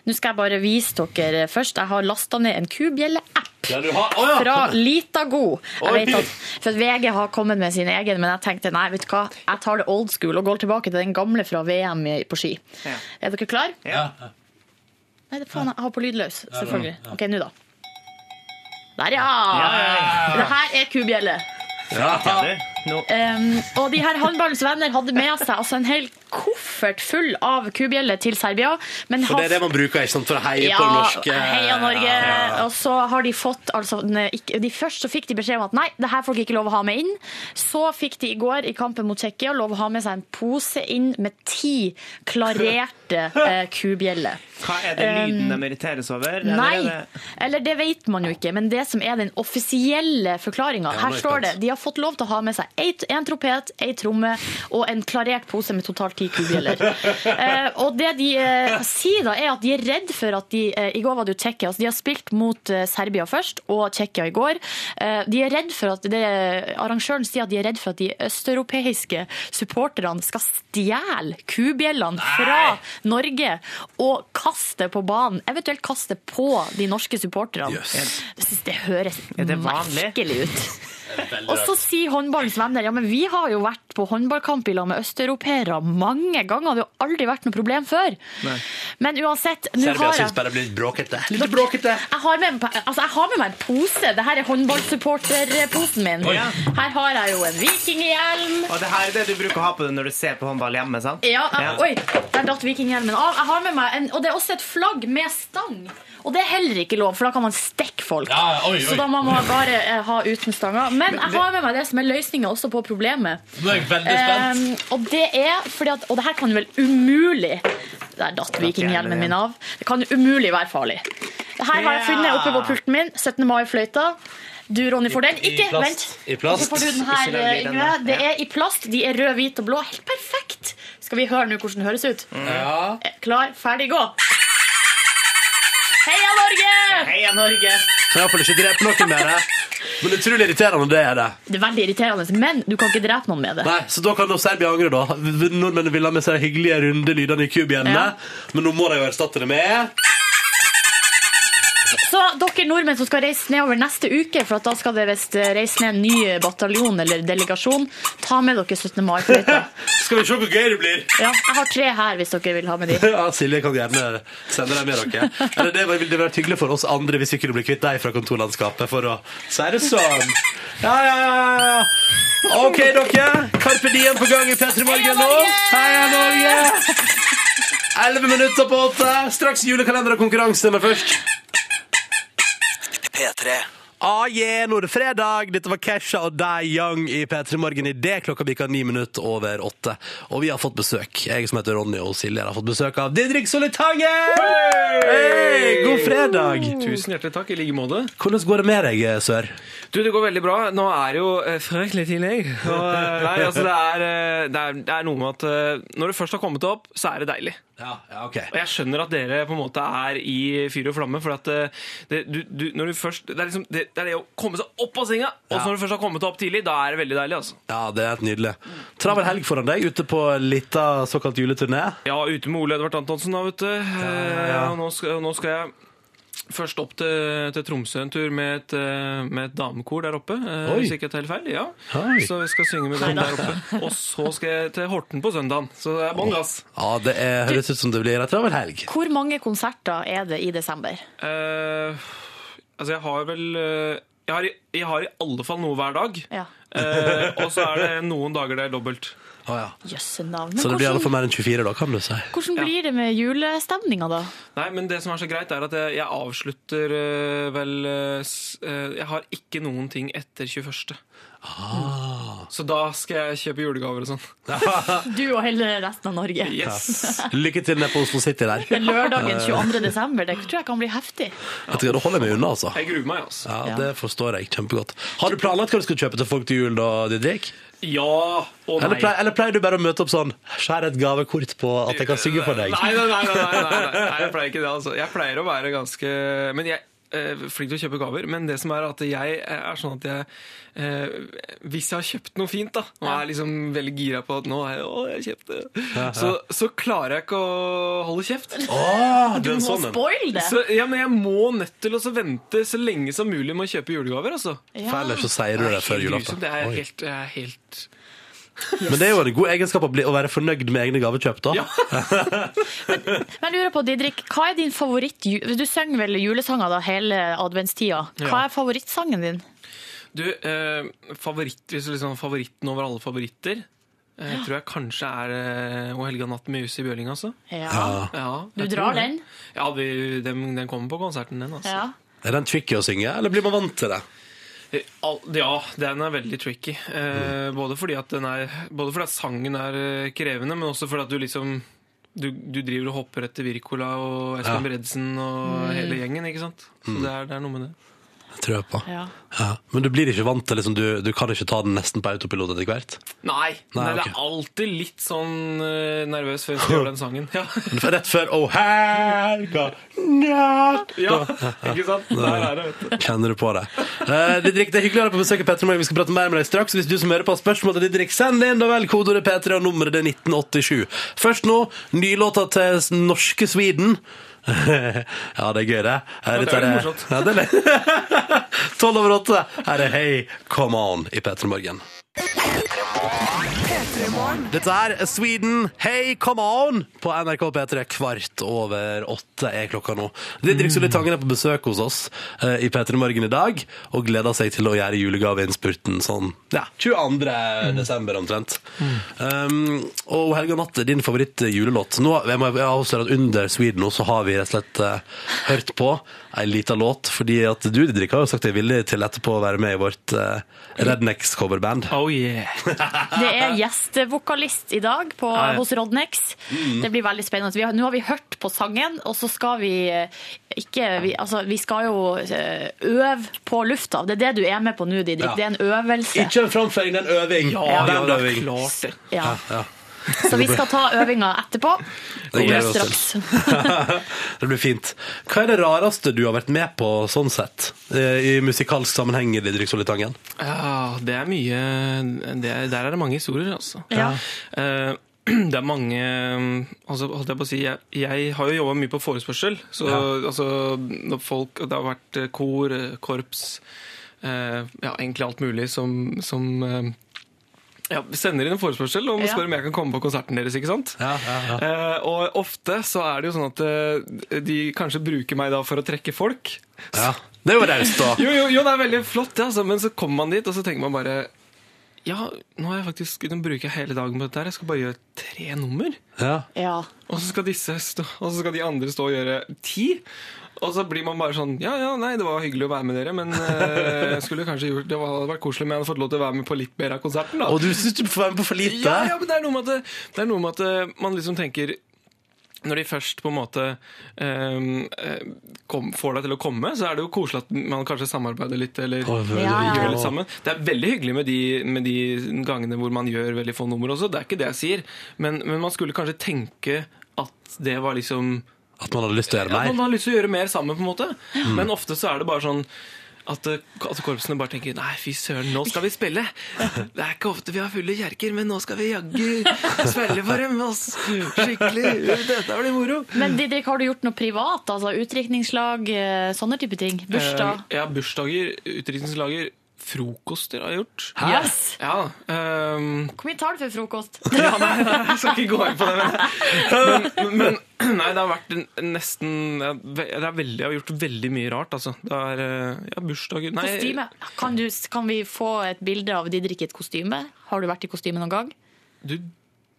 [SPEAKER 3] Nå skal jeg bare vise dere først. Jeg har lasta ned en kubjelle-app
[SPEAKER 1] Ja, du har- Å, ja.
[SPEAKER 3] fra Litago. Jeg
[SPEAKER 1] Oi.
[SPEAKER 3] vet at, for at VG har kommet med sin egen, men jeg tenkte nei, vet du hva, jeg tar det old school og går tilbake til den gamle fra VM i- på ski.
[SPEAKER 2] Ja.
[SPEAKER 3] Er dere klar?
[SPEAKER 2] Ja.
[SPEAKER 3] Nei, det faen, jeg har på lydløs, selvfølgelig. Ok, nå da. Der,
[SPEAKER 2] Ja,
[SPEAKER 3] ja! Det her er kubjelle.
[SPEAKER 1] Ja.
[SPEAKER 2] Du, Nå,
[SPEAKER 3] Um, og de her håndballens venner hadde med seg altså en hel koffert full av kubjeller til Serbia. Men
[SPEAKER 1] For det
[SPEAKER 3] har
[SPEAKER 1] er det man bruker ikke sant, for å heie
[SPEAKER 3] ja,
[SPEAKER 1] på det norske.
[SPEAKER 3] Heia Norge.
[SPEAKER 1] Ja.
[SPEAKER 3] Og så har de fått altså, ne- ikk- de Først så fikk de beskjed om at nei, det her får dere ikke lov å ha med inn. Så fikk de i går i kampen mot Tsjekkia lov å ha med seg en pose inn med ti klarerte eh, kubjeller.
[SPEAKER 2] hva er det lyden de irriteres over? eller er
[SPEAKER 3] Eh, Nei,
[SPEAKER 2] det-
[SPEAKER 3] eller det vet man jo ikke, men det som er den offisielle forklaringa
[SPEAKER 1] nå er
[SPEAKER 3] Her
[SPEAKER 1] jeg
[SPEAKER 3] står det
[SPEAKER 1] spent.
[SPEAKER 3] de har fått lov til å ha med seg ei- en trompet, ei tromme og en klarert pose med totalt ti kubjeller. eh, og det de eh, sier da, er at de er redd for at de eh, I går var det jo Tsjekkia, altså de har spilt mot eh, Serbia først, og Tsjekkia i går. Eh, de er redd for at det, Arrangøren sier at de er redd for at de østeuropeiske supporterne skal stjele kubjellene fra Norge og kaste det på banen, eventuelt kaste det på de norske supporterne.
[SPEAKER 1] Jøss.
[SPEAKER 3] Jeg synes det høres
[SPEAKER 2] Er det vanlig?
[SPEAKER 3] merkelig ut. Og så sier håndballens venner ja, men vi har jo vært på håndballkamp i lag med østeuropeere mange ganger. Det har jo aldri vært noe problem før. Men uansett, nå
[SPEAKER 1] Serbia
[SPEAKER 3] har
[SPEAKER 1] syns
[SPEAKER 3] jeg
[SPEAKER 1] bare det blir litt bråkete. Litt bråkete.
[SPEAKER 3] jeg har, med, meg- altså jeg har med meg en pose. Dette er håndballsupporterposen min.
[SPEAKER 2] Oi.
[SPEAKER 3] Her har jeg jo en vikinghjelm.
[SPEAKER 2] Og det her er det du bruker å ha på deg når du ser på håndball hjemme, sant?
[SPEAKER 3] Ja, jeg, Oi, der datt vikinghjelmen av. Jeg har med meg en, og det er også et flagg med stang. Og det er heller ikke lov, for da kan man stikke folk.
[SPEAKER 1] Ja, oi, oi.
[SPEAKER 3] Så da må man bare eh, ha uten stanger. Men jeg har med meg det som er løsninga også på problemet.
[SPEAKER 1] Nå er jeg veldig spent.
[SPEAKER 3] Um, og det er fordi at Og det her kan vel umulig Der datt vikinghjelmen min av. Det kan umulig være farlig. Det her har jeg funnet oppe på pulten min. 17. mai-fløyta. Du, Ronny, får den. Ikke,
[SPEAKER 1] I plast.
[SPEAKER 3] vent.
[SPEAKER 1] I plast.
[SPEAKER 3] Så får du den
[SPEAKER 2] Ikke
[SPEAKER 3] her, eh,
[SPEAKER 2] lag lyd ennå.
[SPEAKER 3] Yngve. Det er i plast. De er rød, hvit og blå. Helt perfekt. Skal vi høre nå hvordan det høres ut?
[SPEAKER 1] Mm.
[SPEAKER 3] Eh,
[SPEAKER 1] Ja.
[SPEAKER 3] Klar, ferdig, gå. Heia Norge!
[SPEAKER 2] Heia Norge!
[SPEAKER 1] Kan iallfall ikke drepe noen med det. Men utrolig irriterende, det er det.
[SPEAKER 3] Det er veldig irriterende, men du kan ikke drepe noen med det.
[SPEAKER 1] Nei, Så da kan da Serbia angre, da. Nordmennene ville ha med seg de hyggelige, runde lydene i kubjellene.
[SPEAKER 3] Ja.
[SPEAKER 1] Men nå må de jo erstatte det med
[SPEAKER 3] Så dere nordmenn som skal reise nedover neste uke, for at da skal det visst reise ned en ny bataljon eller delegasjon, ta med dere 17. mai-fløyta.
[SPEAKER 1] Skal vi se hvor gøy det blir!
[SPEAKER 3] Ja, jeg har tre her hvis dere vil ha med de.
[SPEAKER 1] Ja, Silje kan gjerne sende dem med dere. Eller det ville det vært hyggelig for oss andre hvis vi kunne bli kvitt deg fra kontorlandskapet, for å si det sånn. Ja, ja, ja, ja. OK, dere. Carpe Diem på gang i P3 Morgen nå. Heia Norge! Elleve minutter på åtte. Straks julekalender og konkurranse, men først
[SPEAKER 6] P3
[SPEAKER 1] Ah, yeah, nå er det fredag. Dette var Kesha og Die Young i P3 Morgen idet klokka bikka ni minutter over åtte. Og vi har fått besøk. Jeg som heter Ronny og Silje har fått besøk av Didrik Solitangen! Hei! God fredag!
[SPEAKER 7] Tusen hjertelig takk, i like måte.
[SPEAKER 1] Hvordan går det med deg, eh, sør?
[SPEAKER 7] Du, det går veldig bra. Nå er det jo eh, fryktelig tidlig. Og, eh, nei, altså, det er, eh, det, er, det er noe med at eh, når det først har kommet opp, så er det deilig.
[SPEAKER 1] Ja, ja, ok.
[SPEAKER 7] Og jeg skjønner at dere på en måte er i fyr og flamme, for at eh, det, du, du, når du først det er liksom, det,
[SPEAKER 8] eller det er det å komme seg opp av senga. Og så når du først har kommet opp tidlig, da er det veldig deilig. altså.
[SPEAKER 1] Ja, det er helt nydelig. Travel helg foran deg, ute på lita såkalt juleturné.
[SPEAKER 8] Ja, ute med Ole Edvard Antonsen da, vet du. Eh,
[SPEAKER 1] ja.
[SPEAKER 8] og Nå, skal, nå skal jeg først opp til, til Tromsø en tur med et, eh, med et damekor der oppe. eh,
[SPEAKER 1] Oi.
[SPEAKER 8] Hvis ikke jeg tar helt feil. ja.
[SPEAKER 1] Hei.
[SPEAKER 8] Så vi skal synge med dem der oppe. Og så skal jeg til Horten på søndagen. Så det er bånn gass.
[SPEAKER 1] Ja, det er, høres ut som det blir ei travel helg.
[SPEAKER 9] Hvor mange konserter er det i desember?
[SPEAKER 8] Eh, altså, jeg har vel eh, jeg, har, i- jeg har i alle fall noe hver dag.
[SPEAKER 9] Ja.
[SPEAKER 8] Eh, og så er det noen dager det er dobbelt.
[SPEAKER 1] Å, ja.
[SPEAKER 9] Jøsse navn.
[SPEAKER 1] Så
[SPEAKER 9] Men
[SPEAKER 1] det blir i alle fall
[SPEAKER 9] hvordan,
[SPEAKER 1] mer enn 24, da, kan du si.
[SPEAKER 9] hvordan blir det med julestemninga, da?
[SPEAKER 8] Nei, men det som er så greit, er at jeg, jeg avslutter eh, vel eh, s- eh, Jeg har ikke noen ting etter 21.
[SPEAKER 1] Ah.
[SPEAKER 8] Så da skal jeg kjøpe julegaver og sånn.
[SPEAKER 9] Du og hele resten av Norge.
[SPEAKER 8] Yes!
[SPEAKER 1] Lykke til nede på Oslo City der.
[SPEAKER 9] Men lørdagen 22. desember, det tror jeg kan bli heftig.
[SPEAKER 1] Vet du hva, Da holder jeg meg unna, altså.
[SPEAKER 8] Jeg gruer meg, altså.
[SPEAKER 1] Ja,
[SPEAKER 9] Ja.
[SPEAKER 1] Det forstår jeg kjempegodt. Har du planlagt hva du skal kjøpe til folk til jul, da, Didrik?
[SPEAKER 8] Ja og nei.
[SPEAKER 1] Eller, pleier, eller pleier du bare å møte opp sånn Skjær et gavekort på at jeg kan synge for deg?
[SPEAKER 8] Nei, nei, nei, nei, nei, nei, nei, jeg pleier ikke det. altså. Jeg pleier å være ganske Men jeg er flink til å kjøpe gaver, men det som er at jeg er sånn at jeg eh, Hvis jeg har kjøpt noe fint, da, og er liksom veldig gira på at nå er jeg, å, jeg kjøpte det», så, så klarer jeg ikke å holde kjeft.
[SPEAKER 1] Åh, du
[SPEAKER 9] Du
[SPEAKER 1] er en
[SPEAKER 9] må
[SPEAKER 1] sånn en.
[SPEAKER 9] spoil det!
[SPEAKER 8] Så, ja, men jeg må nødt til å så vente så lenge som mulig med å kjøpe julegaver. altså.
[SPEAKER 1] For ellers så sier du det før
[SPEAKER 8] Helt
[SPEAKER 1] julaften.
[SPEAKER 8] grusomt, Det er
[SPEAKER 1] Oi.
[SPEAKER 8] helt, det er helt
[SPEAKER 1] Men det er jo en god egenskap å, bli, å være fornøyd med egne gavekjøp, da.
[SPEAKER 8] Ja.
[SPEAKER 9] Men jeg lurer på, Didrik, hva er din favoritt... ju- Du synger vel julesanger da hele adventstida. Hva
[SPEAKER 8] Ja.
[SPEAKER 9] er favorittsangen din?
[SPEAKER 8] Du, eh, favoritt, hvis du liksom favoritten over alle favoritter, eh, tror jeg kanskje er eh, O helga natt med Jussi Bjørling, altså.
[SPEAKER 9] Ja.
[SPEAKER 8] Ja,
[SPEAKER 9] Du
[SPEAKER 8] jeg tror
[SPEAKER 9] drar
[SPEAKER 8] det.
[SPEAKER 9] den?
[SPEAKER 8] Ja, vi, den, den kommer på konserten, den. altså.
[SPEAKER 9] Ja.
[SPEAKER 1] Er den tricky å synge, eller blir man vant til det?
[SPEAKER 8] Eh, al- Ja, den er veldig tricky. Eh, både, fordi at den er, både fordi at sangen er eh, krevende, men også fordi at du liksom du, du driver og hopper etter Wirkola og Espen Bredesen og
[SPEAKER 9] Mm.
[SPEAKER 8] hele gjengen, ikke sant? Så det er, det er noe med det.
[SPEAKER 1] Det Tror jeg på.
[SPEAKER 9] Ja.
[SPEAKER 1] Ja. Men du blir ikke vant til liksom, du, du kan ikke ta den nesten på autopilot etter hvert?
[SPEAKER 8] Nei,
[SPEAKER 1] Nei,
[SPEAKER 8] det
[SPEAKER 1] ok.
[SPEAKER 8] er alltid litt sånn eh, nervøs før vi skal gjøre den sangen. Ja,
[SPEAKER 1] Men for- Rett før Oh helga natt
[SPEAKER 8] ja ikke sant? Der er det, vet du.
[SPEAKER 1] Kjenner du på det? Eh, Didrik, det er hyggelig å ha deg på besøk i Petter Morgen. Vi skal prate mer med deg straks. Hvis du som hører på har spørsmål til Didrik, send det inn da vel. Kodeordet P3 og nummeret det er 1987. Først nå, nylåta til s- norske Sweden. ja, det er gøy, det. Her,
[SPEAKER 8] det er litt morsomt.
[SPEAKER 1] ja, det er litt- 12 over 8. Her er Hey Come On i P3 Morgen. Dette er Sweden, Hey Come On på NRK P3. Kvart over åtte er klokka nå. Didrik Solli Tangen er på besøk hos oss eh, i P3 Morgen i dag og gleder seg til å gjøre julegaveinnspurten sånn ja, 22. desember omtrent. Um, og Helga Natt er din favoritt-julelåt. Nå jeg må jeg avsløre at under Sweden nå så har vi rett og slett eh, hørt på ei lita låt, fordi at du, Didrik, har jo sagt deg villig til etterpå å være med i vårt eh, Rednecks-coverband.
[SPEAKER 8] Oh yeah.
[SPEAKER 9] Det er gjestevokalist i dag på, hos Rodnex. Det blir veldig spennende. Vi har, nå har vi hørt på sangen, og så skal vi eh, ikke vi, altså, vi skal jo eh, øve på lufta. Det er det du er med på nå, Didrik.
[SPEAKER 1] Ja.
[SPEAKER 9] Det er en øvelse.
[SPEAKER 1] Ikke en framføring, det er en øving.
[SPEAKER 8] Ja, det er
[SPEAKER 1] Bandøving.
[SPEAKER 8] klart det.
[SPEAKER 9] Ja. Så vi skal ta øvinga etterpå.
[SPEAKER 1] Det gleder vi oss
[SPEAKER 9] straks.
[SPEAKER 1] til. det blir fint. Hva er det rareste du har vært med på sånn sett, eh, i musikalsk sammenheng, Didrik Solitangen?
[SPEAKER 8] Ja, det er mye det er, Der er det mange historier, altså.
[SPEAKER 9] Ja.
[SPEAKER 8] Eh, det er mange altså, holdt jeg, på å si, jeg, jeg har jo jobba mye på forespørsel. Så altså, når folk Det har vært eh, kor, eh, korps eh, Ja, egentlig alt mulig som, som eh, ja, sender inn en forespørsel og
[SPEAKER 9] Ja.
[SPEAKER 8] spør om jeg kan komme på konserten deres. ikke sant?
[SPEAKER 1] Ja, ja,
[SPEAKER 8] Eh, og ofte så er det jo sånn at eh, de kanskje bruker meg da for å trekke folk.
[SPEAKER 1] ja. Det er jo raust, da.
[SPEAKER 8] Jo, jo, jo, det er veldig flott, det, altså. men så kommer man dit, og så tenker man bare Ja, nå har jeg faktisk nå bruker jeg hele dagen på dette her. Jeg skal bare gjøre tre nummer.
[SPEAKER 1] Ja.
[SPEAKER 9] Ja.
[SPEAKER 8] Og så skal disse stå, og så skal de andre stå og gjøre ti. Og så blir man bare sånn Ja, ja, nei, det var hyggelig å være med dere, men eh, jeg skulle kanskje gjort Det var- hadde vært koselig om jeg hadde fått lov til å være med på litt mer av konserten, da.
[SPEAKER 1] Og du syns du får være med på for lite?
[SPEAKER 8] Ja, ja, men det er noe med at, det, det er noe med at eh, man liksom tenker når de først på en måte ehm, eh, kom, får deg til å komme, så er det jo koselig at man kanskje samarbeider litt. eller
[SPEAKER 1] Å, det er
[SPEAKER 9] Ja, ja, ja.
[SPEAKER 8] gjør litt sammen. Det er veldig hyggelig med de, med de gangene hvor man gjør veldig få nummer også. Det er ikke det jeg sier, men, men man skulle kanskje tenke at det var liksom
[SPEAKER 1] At man hadde lyst til å gjøre
[SPEAKER 8] ja, man
[SPEAKER 1] mer?
[SPEAKER 8] har lyst til å gjøre mer sammen, på en måte. Men ofte så er det bare sånn At, eh, at korpsene bare tenker Nei, fy søren, nå skal vi spille! Det er ikke ofte vi har fulle kjerker, men nå skal vi jaggu spille for dem! Ass. Skikkelig! Dette blir moro!
[SPEAKER 3] Men Didrik, har du gjort noe privat? Altså Utdrikningslag, eh, sånne type ting? Bursdag?
[SPEAKER 8] Eh, Ja, bursdager, utdrikningslager, frokoster har jeg gjort.
[SPEAKER 3] Yes!
[SPEAKER 8] Ja, ehm,
[SPEAKER 3] Hvor mye tar du for frokost?
[SPEAKER 8] ja nei, nei, jeg skal ikke gå inn på det. Men, men, men nei, det har vært en- nesten Det er veldig, Jeg har gjort veldig mye rart, altså. Det er eh, ja, bursdager nei,
[SPEAKER 3] Kostyme. Kan, du, kan vi få et bilde av Didrik i et kostyme? Har du vært i kostyme noen gang?
[SPEAKER 8] Du,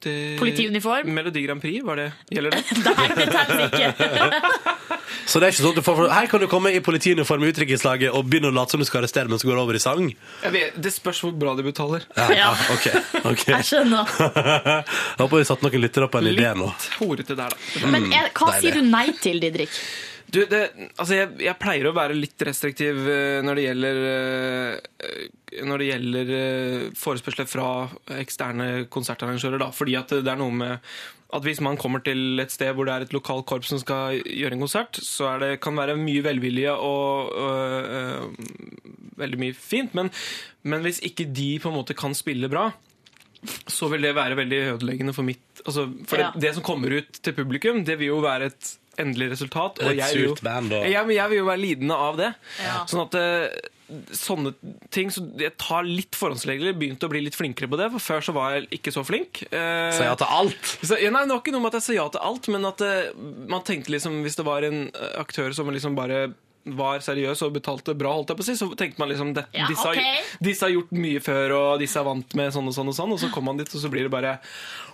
[SPEAKER 8] det,
[SPEAKER 3] Politiuniform?
[SPEAKER 8] Melodi Grand Prix, var det gjelder det?
[SPEAKER 3] Nei, det teller ikke!
[SPEAKER 1] Så det er ikke sånn at du får, her kan du komme i politiuniform i utdrikningslaget og begynne å late som du skal arrestere mens du går over i sang. Ah,
[SPEAKER 8] Jeg vet, det spørs hvor bra de betaler.
[SPEAKER 3] Ja,
[SPEAKER 1] Ok, ok.
[SPEAKER 3] jeg skjønner.
[SPEAKER 1] Jeg håper vi satt noen lyttere på en idé nå.
[SPEAKER 8] Litt horete der, da.
[SPEAKER 3] Men er, hva
[SPEAKER 1] deilig.
[SPEAKER 3] sier du nei til, Didrik?
[SPEAKER 8] Du, det, altså jeg, jeg pleier å være litt restriktiv eh, når det gjelder, eh, når det gjelder eh, forespørsler fra eksterne konsertarrangører. Da, fordi at det er noe med at hvis man kommer til et sted hvor det er et lokal korps som skal gjøre en konsert, så er det, kan det være mye velvilje og øh, øh, veldig mye fint. Men, men hvis ikke de på en måte kan spille bra, så vil det være veldig ødeleggende for mitt altså, For
[SPEAKER 3] Ja.
[SPEAKER 8] det, det som kommer ut til publikum, det vil jo være et endelig resultat.
[SPEAKER 1] Et
[SPEAKER 8] jeg vil jo-
[SPEAKER 1] surt band, da.
[SPEAKER 8] Ja, men jeg vil jo være lidende av det.
[SPEAKER 3] Ja.
[SPEAKER 8] Sånn at eh, sånne ting Så jeg tar litt forhåndsregler, begynte å bli litt flinkere på det, for før så var jeg ikke så flink. Eh,
[SPEAKER 1] Så ja til alt.
[SPEAKER 8] så, ja, nei, det var ikke noe med at jeg sa ja til alt, men at eh, man tenkte liksom Hvis det var en eh, aktør som liksom bare var seriøs og betalte bra, holdt jeg på å si, så tenkte man liksom det,
[SPEAKER 3] Ja,
[SPEAKER 8] disse, har-
[SPEAKER 3] ok.
[SPEAKER 8] disse har gjort mye før, og disse er vant med sånn og sånn, og sånn, og så kommer man dit, og så blir det bare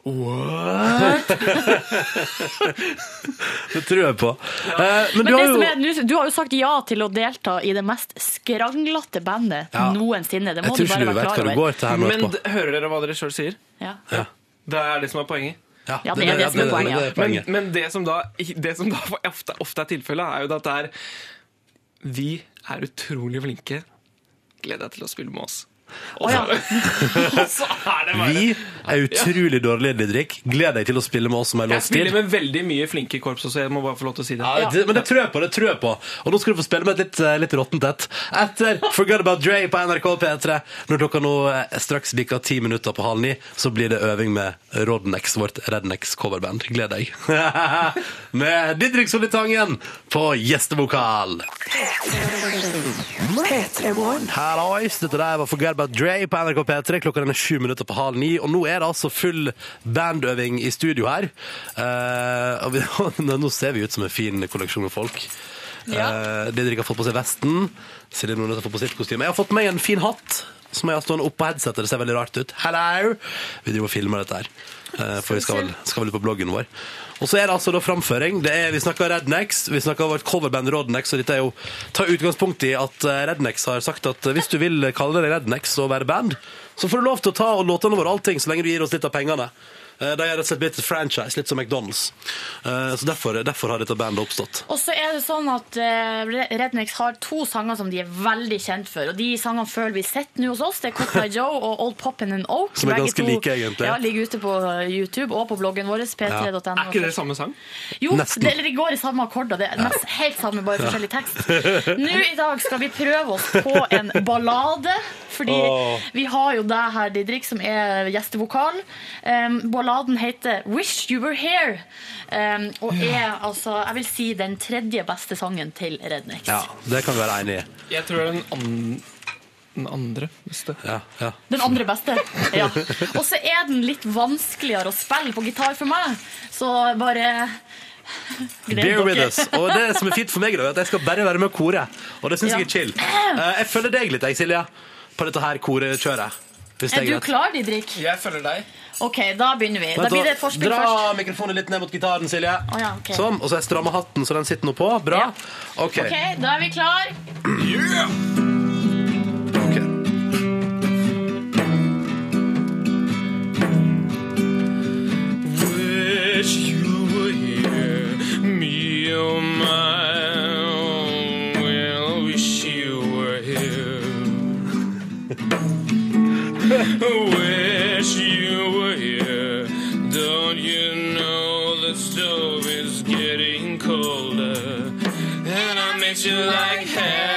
[SPEAKER 8] What?
[SPEAKER 1] Det tror jeg på. Eh, men du
[SPEAKER 3] Men det
[SPEAKER 1] har jo
[SPEAKER 3] som er, nå- du har jo sagt ja til å delta i det mest skranglete bandet
[SPEAKER 1] Ja.
[SPEAKER 3] noensinne. Det
[SPEAKER 1] Jeg
[SPEAKER 3] må
[SPEAKER 1] tror
[SPEAKER 3] du
[SPEAKER 1] ikke du
[SPEAKER 3] bare være
[SPEAKER 1] vet hva
[SPEAKER 3] klar
[SPEAKER 1] du
[SPEAKER 3] over.
[SPEAKER 1] går til her nå
[SPEAKER 8] Men
[SPEAKER 1] etterpå.
[SPEAKER 8] d- hører dere hva dere sjøl sier?
[SPEAKER 3] Ja.
[SPEAKER 8] Det er det som er poenget.
[SPEAKER 3] Ja, det er det som er poenget, ja.
[SPEAKER 1] det er
[SPEAKER 8] Men,
[SPEAKER 1] poenget.
[SPEAKER 8] men det som da, det som da ofte, ofte er tilfellet, er jo det at det er Vi er utrolig flinke. Gleder deg til å spille med oss. Og så, og så er det bare
[SPEAKER 1] Vi er utrolig dårlige, Didrik. Gleder deg til å spille med oss som er
[SPEAKER 8] Jeg
[SPEAKER 1] låst til.
[SPEAKER 8] spiller med veldig mye flinke korps også, jeg må bare få lov til å si det.
[SPEAKER 1] Ja, det, men det tror jeg på. det tror jeg på Og nå skal du få spille med et litt, eh, litt råttent et. Etter Forgot About Dre på NRK P3. Når klokka nå eh, straks bikker ti minutter på halv ni, så blir det øving med Rodnex, vårt Rednex coverband. Gled deg. med Didrik Solitangen på gjestevokal. Hallois, dette der var for Gerba Dre på NRK P3. Klokka den er sju minutter på halv ni, og nå er det altså full bandøving i studio her. Eh, og vi, nå ser vi ut som en fin kolleksjon med folk.
[SPEAKER 3] Ja.
[SPEAKER 1] Eh, Didrik har fått på seg vesten. Silje Nordnes har fått på sitt kostyme. Jeg har fått meg en fin hatt. Som jeg har stående oppå headsetet. Det ser veldig rart ut. Hello! Vi driver og filmer dette her. eh, For vi skal vel, skal vel ut på bloggen vår. Og så er det altså da framføring. Det er, vi snakker Rednex, vi snakker vårt coverband Rodnex, og dette er jo ta utgangspunkt i at eh, Rednex har sagt at eh, hvis du vil kalle deg Rednex og være band, så får du lov til å ta og låtene våre allting, så lenge du gir oss litt av pengene. Eh, De har rett og slett blitt et franchise, litt som McDonald's. Eh, Så derfor, derfor har dette bandet oppstått.
[SPEAKER 3] Og så er det sånn at eh, Rednex har to sanger som de er veldig kjent for. Og de sangene føler vi sitter nå hos oss. Det er Cotton Eye Joe og Old Poppin' and Oak.
[SPEAKER 1] Som er
[SPEAKER 3] Begge
[SPEAKER 1] ganske like, egentlig.
[SPEAKER 3] Ja, ligger ute på eh, YouTube og på bloggen vår, p3.no.
[SPEAKER 8] Er ikke det samme sang?
[SPEAKER 3] Jo,
[SPEAKER 1] Nesten.
[SPEAKER 3] det, eller det går i samme akkorder. Det er nest, helt samme, bare forskjellig tekst. Nå i dag skal vi prøve oss på en ballade. Fordi
[SPEAKER 1] Åh.
[SPEAKER 3] vi har jo deg her, Didrik, som er gjestevokal. Um, balladen heter 'Wish You Were Here'. Um, og er altså, jeg vil si, den tredje beste sangen til Rednex.
[SPEAKER 1] Ja, det kan vi være enige i.
[SPEAKER 8] Jeg tror det er den, an den andre. beste.
[SPEAKER 1] Ja, ja.
[SPEAKER 3] Den andre beste. Ja. Og så er den litt vanskeligere å spille på gitar for meg, så bare gled
[SPEAKER 1] Bear
[SPEAKER 3] dere.
[SPEAKER 1] with us. Og det som er fint for meg, da, er at jeg skal bare være med og kore. Og det syns
[SPEAKER 3] Ja.
[SPEAKER 1] jeg er chill. Eh, Jeg følger deg litt, jeg, Silje, på dette her korekjøret. Hvis
[SPEAKER 3] Er
[SPEAKER 1] det
[SPEAKER 3] du
[SPEAKER 1] er greit.
[SPEAKER 3] klar, Didrik?
[SPEAKER 8] Jeg følger deg.
[SPEAKER 3] Ok, da begynner vi. Da
[SPEAKER 1] Vent
[SPEAKER 3] blir det
[SPEAKER 1] da.
[SPEAKER 3] et forspill
[SPEAKER 1] Dra
[SPEAKER 3] først.
[SPEAKER 1] mikrofonen litt ned mot gitaren, Silje.
[SPEAKER 3] Å ja, ok.
[SPEAKER 1] Sånn. Og så har jeg stramma hatten, så den sitter nå på. Bra.
[SPEAKER 3] Ja.
[SPEAKER 1] Ok.
[SPEAKER 3] Ok, da er vi klar.
[SPEAKER 1] Ok.
[SPEAKER 8] Wish you were here, me oh my. Well, wish you were here. wish you were here. Don't you know the stove is getting colder? And I miss you like hell.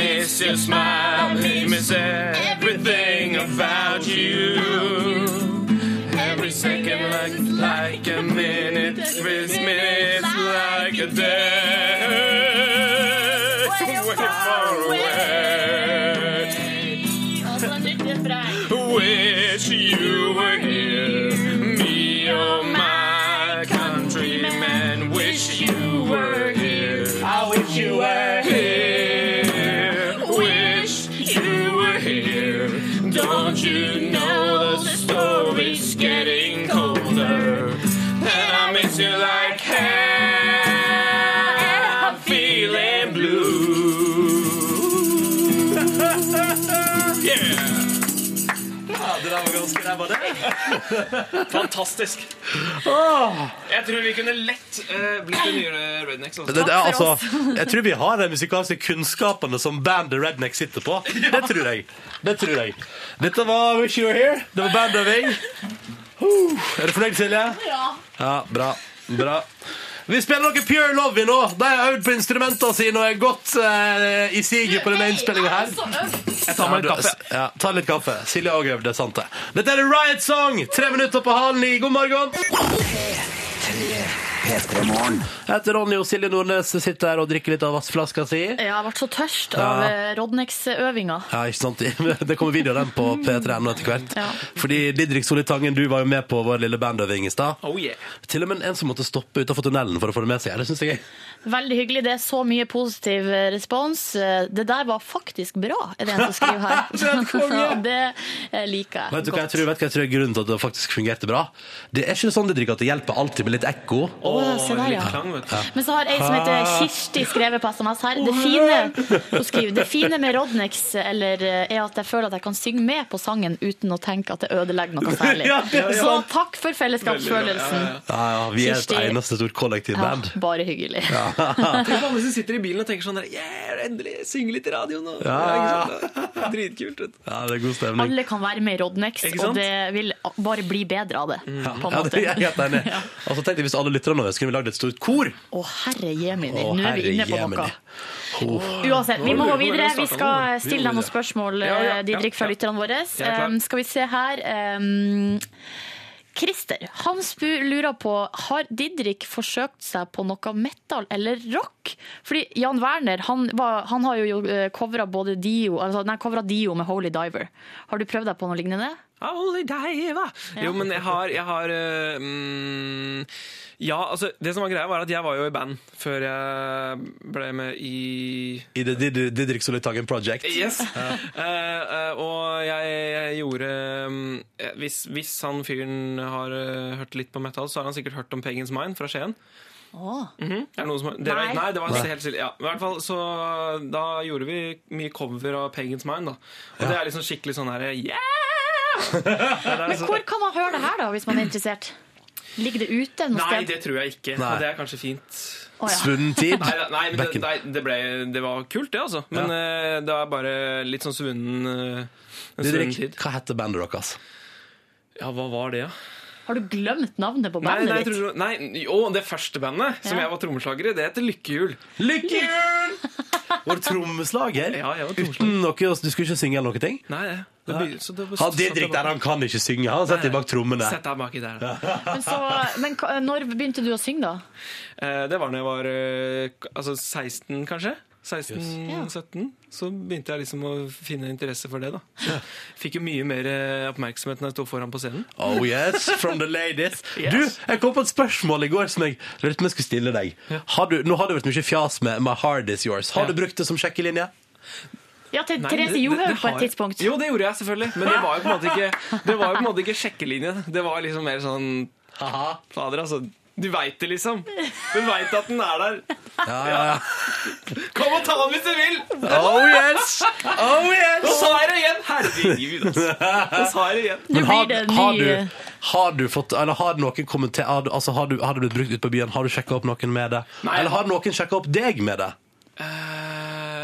[SPEAKER 10] kiss, your smile, we miss everything about you. Every second, like, like a minute, this minutes like a day. Way far away. Wish you were here, me or my countrymen. Wish you were here. I wish you were here. Wish you were here. Don't you know the story's getting colder? And I miss you like hell. I'm feeling blue. Yeah.
[SPEAKER 8] Fantastisk. Jeg tror vi kunne lett eh, blitt de nye rednecks. Altså.
[SPEAKER 1] Det, det, er altså, jeg tror vi har de musikalske kunnskapene som bandet Redneck sitter på. Det tror jeg. Det tror jeg. Dette var Wish You Were Here. Det var Band Øving. Uh, Er du fornøyd, Silje? Ja. ja bra. bra. Vi spiller noe Pure Love i nå. De har øvd på instrumentene sine og er godt eh, i siget på denne innspillinga her. Jeg tar meg litt kaffe. Ja, ta litt kaffe. Silje har også øvd, det er sant det. Dette er The Riot Song. Tre minutter på halen i God morgen. Jeg heter Ronny, og Silje Nordnes sitter her og drikker litt av vassflaska si.
[SPEAKER 3] Ja, jeg ble så tørst av
[SPEAKER 1] Ja.
[SPEAKER 3] eh, Rodnex-øvinga.
[SPEAKER 1] Ja, ikke sant? Det kommer video av den på P3 nå etter hvert.
[SPEAKER 3] Ja.
[SPEAKER 1] Fordi Didrik Solli Tangen, du var jo med på vår lille bandøving i stad.
[SPEAKER 8] Oh yeah.
[SPEAKER 1] Til og med en som måtte stoppe utenfor tunnelen for å få det med seg. Det synes jeg er
[SPEAKER 3] Veldig hyggelig. Det er så mye positiv eh, respons. Eh, Det der var faktisk bra, er det en som skriver her.
[SPEAKER 1] Det er helt konge.
[SPEAKER 3] Og det eh, liker jeg.
[SPEAKER 1] Vet du hva jeg tror, vet du hva jeg tror er grunnen til at det faktisk fungerte bra? Det er ikke sånn Didrik, at det hjelper alltid med litt ekko.
[SPEAKER 3] Å, se der, ja.
[SPEAKER 8] Klang, vet du.
[SPEAKER 3] Men så har ei som heter
[SPEAKER 1] Ah.
[SPEAKER 3] Kirsti skrevet på SMS her. Det fine, hun skriver, det fine med Rodnex eller, eh, er at jeg føler at jeg kan synge med på sangen uten å tenke at det ødelegger noe særlig.
[SPEAKER 1] Ja, det er
[SPEAKER 3] Så takk for fellesskapsfølelsen.
[SPEAKER 1] Ja, ja, vi er et
[SPEAKER 3] Kirsti-
[SPEAKER 1] eneste stort
[SPEAKER 3] Ja,
[SPEAKER 1] kollektivband.
[SPEAKER 3] bare hyggelig.
[SPEAKER 8] Tenk på alle som sitter i bilen og tenker sånn der Yeah, endelig! Synge litt i radioen og
[SPEAKER 1] Ja,
[SPEAKER 8] Det er ikke sant? Dritkult. Vet du.
[SPEAKER 1] Ja, det er god stemning.
[SPEAKER 3] Alle kan være med i Rodnex,
[SPEAKER 8] Ikke
[SPEAKER 3] og
[SPEAKER 8] sant?
[SPEAKER 3] det vil bare bli bedre av det. På en
[SPEAKER 1] Mm. Ja, det
[SPEAKER 3] måte.
[SPEAKER 1] er jeg helt enig. Altså, tenk deg hvis alle lytterne våre skulle vi lagd et stort kor.
[SPEAKER 3] Å, herre jemini,
[SPEAKER 1] Å,
[SPEAKER 3] nå er vi
[SPEAKER 1] herre
[SPEAKER 3] inne på noe.
[SPEAKER 1] jemini. Åh.
[SPEAKER 3] Uansett, vi må gå videre. Vi skal
[SPEAKER 1] Vi må
[SPEAKER 3] stille deg noen
[SPEAKER 1] videre.
[SPEAKER 3] spørsmål, eh,
[SPEAKER 8] Ja, ja, ja,
[SPEAKER 3] Didrik, fra
[SPEAKER 8] ja.
[SPEAKER 3] lytterne våre.
[SPEAKER 8] Jeg er klar.
[SPEAKER 3] Um, skal vi se her um, Christer han spu- lurer på har Didrik forsøkt seg på noe metal eller rock. Fordi Jan Werner han, var, han har jo eh, covra både Dio altså, Nei, covra Dio med Holy Diver. Har du prøvd deg på noe lignende?
[SPEAKER 8] I only die, hva? Jo, men jeg har, jeg har eh, mm, Ja, altså, det som var greia, var at jeg var jo i band før jeg ble med i
[SPEAKER 1] I det Did- Didrik Solli Tangen Project.
[SPEAKER 8] Yes. Eh, eh, og jeg, jeg gjorde mm, eh, hvis, hvis han fyren har eh, hørt litt på metal, så har han sikkert hørt om Pagans Mind fra Skien.
[SPEAKER 3] Åh.
[SPEAKER 8] Mhm. Er det noen som har, dere,
[SPEAKER 3] Nei.
[SPEAKER 8] nei. det var helt stille. Ja, men i hvert fall, så Da gjorde vi mye cover av Pagans Mind. Da. Og det er liksom skikkelig sånn her yeah! Altså,
[SPEAKER 3] Men hvor kan man høre det her, da, hvis man er interessert? Ligger det ute noe
[SPEAKER 8] Nei,
[SPEAKER 3] sted?
[SPEAKER 8] det tror jeg ikke.
[SPEAKER 1] Nei.
[SPEAKER 8] Og det er kanskje fint.
[SPEAKER 3] Å, ja.
[SPEAKER 1] Svunnen tid.
[SPEAKER 8] Nei, da- nei men
[SPEAKER 1] Bekken.
[SPEAKER 8] det, nei, det, ble, det var kult, det, altså. Men eh, det er bare litt sånn svunnen eh, en svunnen
[SPEAKER 1] Didrik,
[SPEAKER 8] tid.
[SPEAKER 1] hva heter bandet deres?
[SPEAKER 8] Ja, hva var det, da?
[SPEAKER 3] Har du glemt navnet på
[SPEAKER 8] Nei,
[SPEAKER 3] bandet
[SPEAKER 8] nei, jeg
[SPEAKER 3] ditt?
[SPEAKER 8] tror, nei, jo, det første bandet som
[SPEAKER 3] Ja.
[SPEAKER 8] jeg var trommeslager i, det heter Lykkehjul.
[SPEAKER 1] Lykkehjul! Vår trommeslager?
[SPEAKER 8] Ja, jeg var trommeslager.
[SPEAKER 1] Uten noe, altså, du skulle ikke synge eller noen ting?
[SPEAKER 8] Nei, det, det blir- så det-
[SPEAKER 1] Han Didrik der, han kan ikke synge. Han setter bak trommene.
[SPEAKER 8] Sett deg baki der. da.
[SPEAKER 3] Men, så, men ka- når begynte du å synge, da?
[SPEAKER 8] Eh, Det var når jeg var eh, k- altså 16, kanskje. 16-17. Så begynte jeg liksom å finne interesse for det. da Fikk jo mye mer eh, oppmerksomhet når jeg sto foran på scenen.
[SPEAKER 1] Oh yes, from the ladies.
[SPEAKER 8] Yes.
[SPEAKER 1] Du, jeg kom på et spørsmål i går som jeg lurte om jeg skulle stille deg. Har du, nå har det vært mye fjas med 'My heart is yours'. Har
[SPEAKER 8] Ja.
[SPEAKER 1] du brukt det som sjekkelinje?
[SPEAKER 3] Ja, til
[SPEAKER 8] Nei, det-
[SPEAKER 3] Therese
[SPEAKER 8] det-
[SPEAKER 3] Johaug
[SPEAKER 8] det
[SPEAKER 3] på et
[SPEAKER 8] har-
[SPEAKER 3] tidspunkt.
[SPEAKER 8] Jo, det gjorde jeg selvfølgelig. Men det var jo på en måte ikke, det var jo på en måte ikke sjekkelinje. Det var liksom mer sånn
[SPEAKER 1] Haha.
[SPEAKER 8] Fader, altså. Du veit det, liksom. Du veit at den er der.
[SPEAKER 1] Ja, ja, ja.
[SPEAKER 8] Kom og ta den hvis du vil!
[SPEAKER 1] Oh yes! Oh
[SPEAKER 8] Nå
[SPEAKER 1] yes!
[SPEAKER 8] sa jeg det igjen! Herregud, altså. Nå sa jeg det igjen.
[SPEAKER 3] Nå
[SPEAKER 1] Men har,
[SPEAKER 3] blir det
[SPEAKER 1] har,
[SPEAKER 3] ny
[SPEAKER 1] du, har du fått Eller har noen kommenter har, du- altså, har, du, har det blitt brukt ute på byen? Har du sjekka opp noen med det?
[SPEAKER 8] Nei. Eh,
[SPEAKER 1] eller har noen sjekka opp deg med det? Det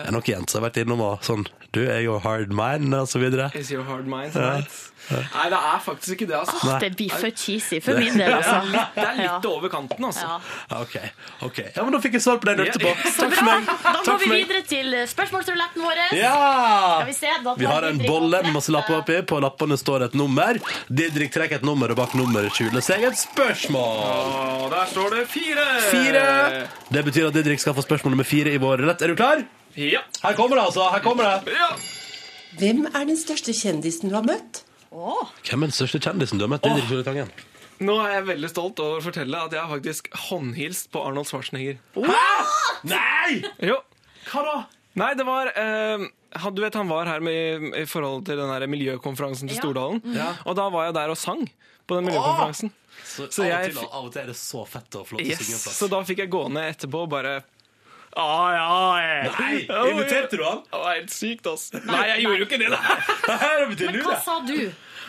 [SPEAKER 1] er noen jenter som har vært innom og sånn Du er jo hard mine, og så videre.
[SPEAKER 8] Is your hard mind tonight? Nei, det er faktisk ikke det, altså.
[SPEAKER 1] Nei.
[SPEAKER 9] Det blir for cheesy for min del,
[SPEAKER 8] Det er
[SPEAKER 9] altså.
[SPEAKER 8] litt, det er litt
[SPEAKER 9] Ja.
[SPEAKER 8] over kanten, altså.
[SPEAKER 9] Ja.
[SPEAKER 1] Ja, OK. ok. Ja, men Da fikk jeg svar på det jeg lurte på.
[SPEAKER 9] Så
[SPEAKER 1] Takk for
[SPEAKER 9] bra!
[SPEAKER 1] meg.
[SPEAKER 9] Da går
[SPEAKER 1] Takk
[SPEAKER 9] vi
[SPEAKER 1] for meg.
[SPEAKER 9] videre til spørsmålsruletten vår.
[SPEAKER 1] Ja!
[SPEAKER 9] Skal vi se, da tar
[SPEAKER 1] Vi har en
[SPEAKER 9] Didrik
[SPEAKER 1] bolle
[SPEAKER 9] opp
[SPEAKER 1] med masse lapper
[SPEAKER 9] dette.
[SPEAKER 1] oppi. På lappene står et nummer. Didrik trekker et nummer, og bak nummeret skjuler seg et spørsmål.
[SPEAKER 8] Og der står det fire.
[SPEAKER 1] Fire. Det betyr at Didrik skal få spørsmål nummer fire i vår rett. Er du klar?
[SPEAKER 8] Ja.
[SPEAKER 1] Her kommer det, altså. Her kommer det.
[SPEAKER 8] ja.
[SPEAKER 11] Hvem er den største kjendisen du har møtt?
[SPEAKER 1] Hvem er den største kjendisen du har møtt? Didrik Tore Tangen.
[SPEAKER 8] Nå er jeg veldig stolt over å fortelle at jeg har faktisk håndhilst på Arnold Schwarzenegger.
[SPEAKER 1] Nei!
[SPEAKER 8] Jo. Hva da? Nei, det var eh, han- Du vet han var her med, i forhold til den her miljøkonferansen til
[SPEAKER 9] Ja.
[SPEAKER 8] Stordalen.
[SPEAKER 1] Ja.
[SPEAKER 8] Og da var jeg der og sang på den miljøkonferansen.
[SPEAKER 1] Så,
[SPEAKER 8] Så
[SPEAKER 1] av, og
[SPEAKER 8] jeg
[SPEAKER 1] til, av og til er det så fett og flott å synge
[SPEAKER 8] Yes.
[SPEAKER 1] en plass.
[SPEAKER 8] Så da fikk jeg gå ned etterpå og bare Ai, ai.
[SPEAKER 1] Nei!
[SPEAKER 8] Ja, ja.
[SPEAKER 1] Inviterte du han?
[SPEAKER 8] Det var helt sykt, ass. Nei, jeg gjorde jo ikke det, da.
[SPEAKER 1] Det betyr
[SPEAKER 9] Men
[SPEAKER 1] du,
[SPEAKER 9] eh, hva
[SPEAKER 1] det.
[SPEAKER 9] sa du?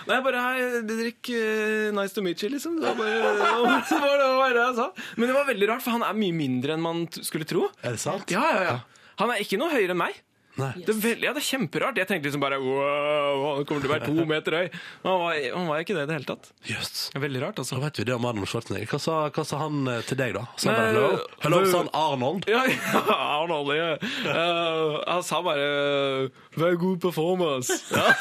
[SPEAKER 8] Nei, jeg bare Hei, Didrik. eh, Nice to meet you, liksom. Det var bare, det var det, var det jeg sa. Men det var veldig rart, for han er mye mindre enn man t- skulle tro.
[SPEAKER 1] Er det sant?
[SPEAKER 8] Ja, ja, ja. Han er ikke noe høyere enn meg.
[SPEAKER 1] Nei.
[SPEAKER 8] Det, er veldig, ja, det er kjemperart. Jeg tenkte liksom bare wow, han kommer til å være to meter høy. Men han var, han var ikke det i det hele tatt.
[SPEAKER 1] Jøss.
[SPEAKER 8] Veldig rart,
[SPEAKER 1] Da
[SPEAKER 8] altså.
[SPEAKER 1] vet vi det om Arnold Schwarzenegger. Hva sa, hva sa han eh, til deg, da? Sa han
[SPEAKER 8] Nei,
[SPEAKER 1] bare hello? Hello,
[SPEAKER 8] du-
[SPEAKER 1] sa han Arnold?
[SPEAKER 8] Ja, ja, Arnold, ja. Eh, han sa bare 'vær god performance'. Ja.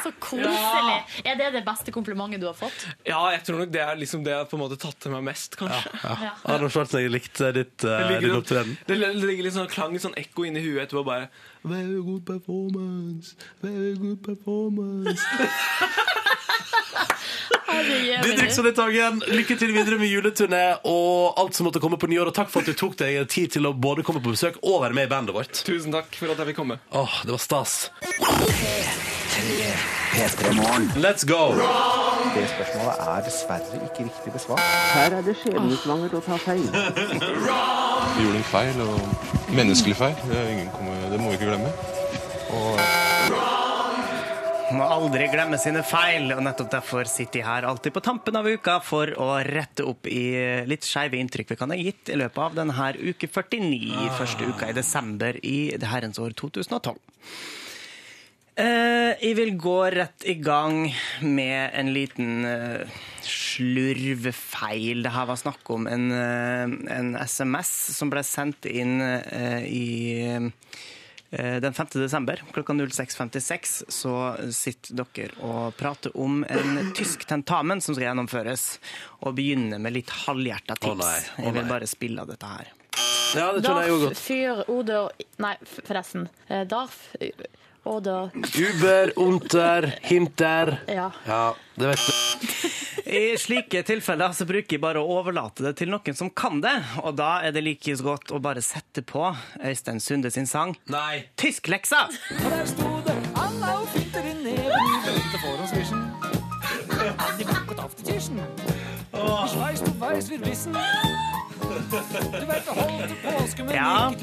[SPEAKER 9] Så koselig. Er det det beste komplimentet du har fått?
[SPEAKER 8] ja, jeg tror nok det er liksom det jeg på en måte tatt til meg mest, kanskje.
[SPEAKER 9] Ja.
[SPEAKER 1] Arnold Schwarzenegger likte ditt, eh,
[SPEAKER 8] Det
[SPEAKER 1] din
[SPEAKER 8] ligger,
[SPEAKER 1] opptreden.
[SPEAKER 8] det ligger litt sånn klang, sånn ekko inni huet etterpå bare Very good performance, very good performance.
[SPEAKER 1] Didrik Sonnetangen, lykke til videre med juleturné og alt som måtte komme på nyår. Og takk for at du tok deg tid til å både komme på besøk og være med i bandet vårt.
[SPEAKER 8] Tusen takk for at jeg fikk komme.
[SPEAKER 1] Åh, det var stas.
[SPEAKER 4] P3 Morgen.
[SPEAKER 1] Let's go!
[SPEAKER 12] Vi gjorde en feil, og menneskelig feil. Det, er ingen kommer, det må vi ikke glemme.
[SPEAKER 2] Må aldri glemme sine feil, og nettopp derfor sitter jeg her alltid på tampen av uka for å rette opp i litt skeive inntrykk vi kan ha gitt i løpet av denne uke 49,
[SPEAKER 8] Ah.
[SPEAKER 2] første uka i desember i det herrens år 2012. Eh, jeg vil gå rett i gang med en liten eh, slurvfeil. Det her var snakk om en, eh, en SMS som ble sendt inn eh, i Eh, Den 5. desember klokka 06.56 så sitter dere og prater om en tysk tentamen som skal gjennomføres, og begynner med litt halvhjerta tips.
[SPEAKER 1] Å nei, å
[SPEAKER 2] Jeg
[SPEAKER 1] nei.
[SPEAKER 2] vil bare spille av dette her.
[SPEAKER 1] Ja, det skjønner jeg jo
[SPEAKER 9] Darf,
[SPEAKER 1] godt.
[SPEAKER 9] fyr, oder Nei, f- forresten. Eh, Darf, oder
[SPEAKER 1] Uber, unter, hinter.
[SPEAKER 9] Ja.
[SPEAKER 1] Ja, det vet du.
[SPEAKER 2] I slike tilfeller så bruker jeg bare å overlate det til noen som kan det, og da er det like så godt å bare sette på Øystein Sunde sin sang
[SPEAKER 1] Nei.
[SPEAKER 2] Tyskleksa! Ja. Ja,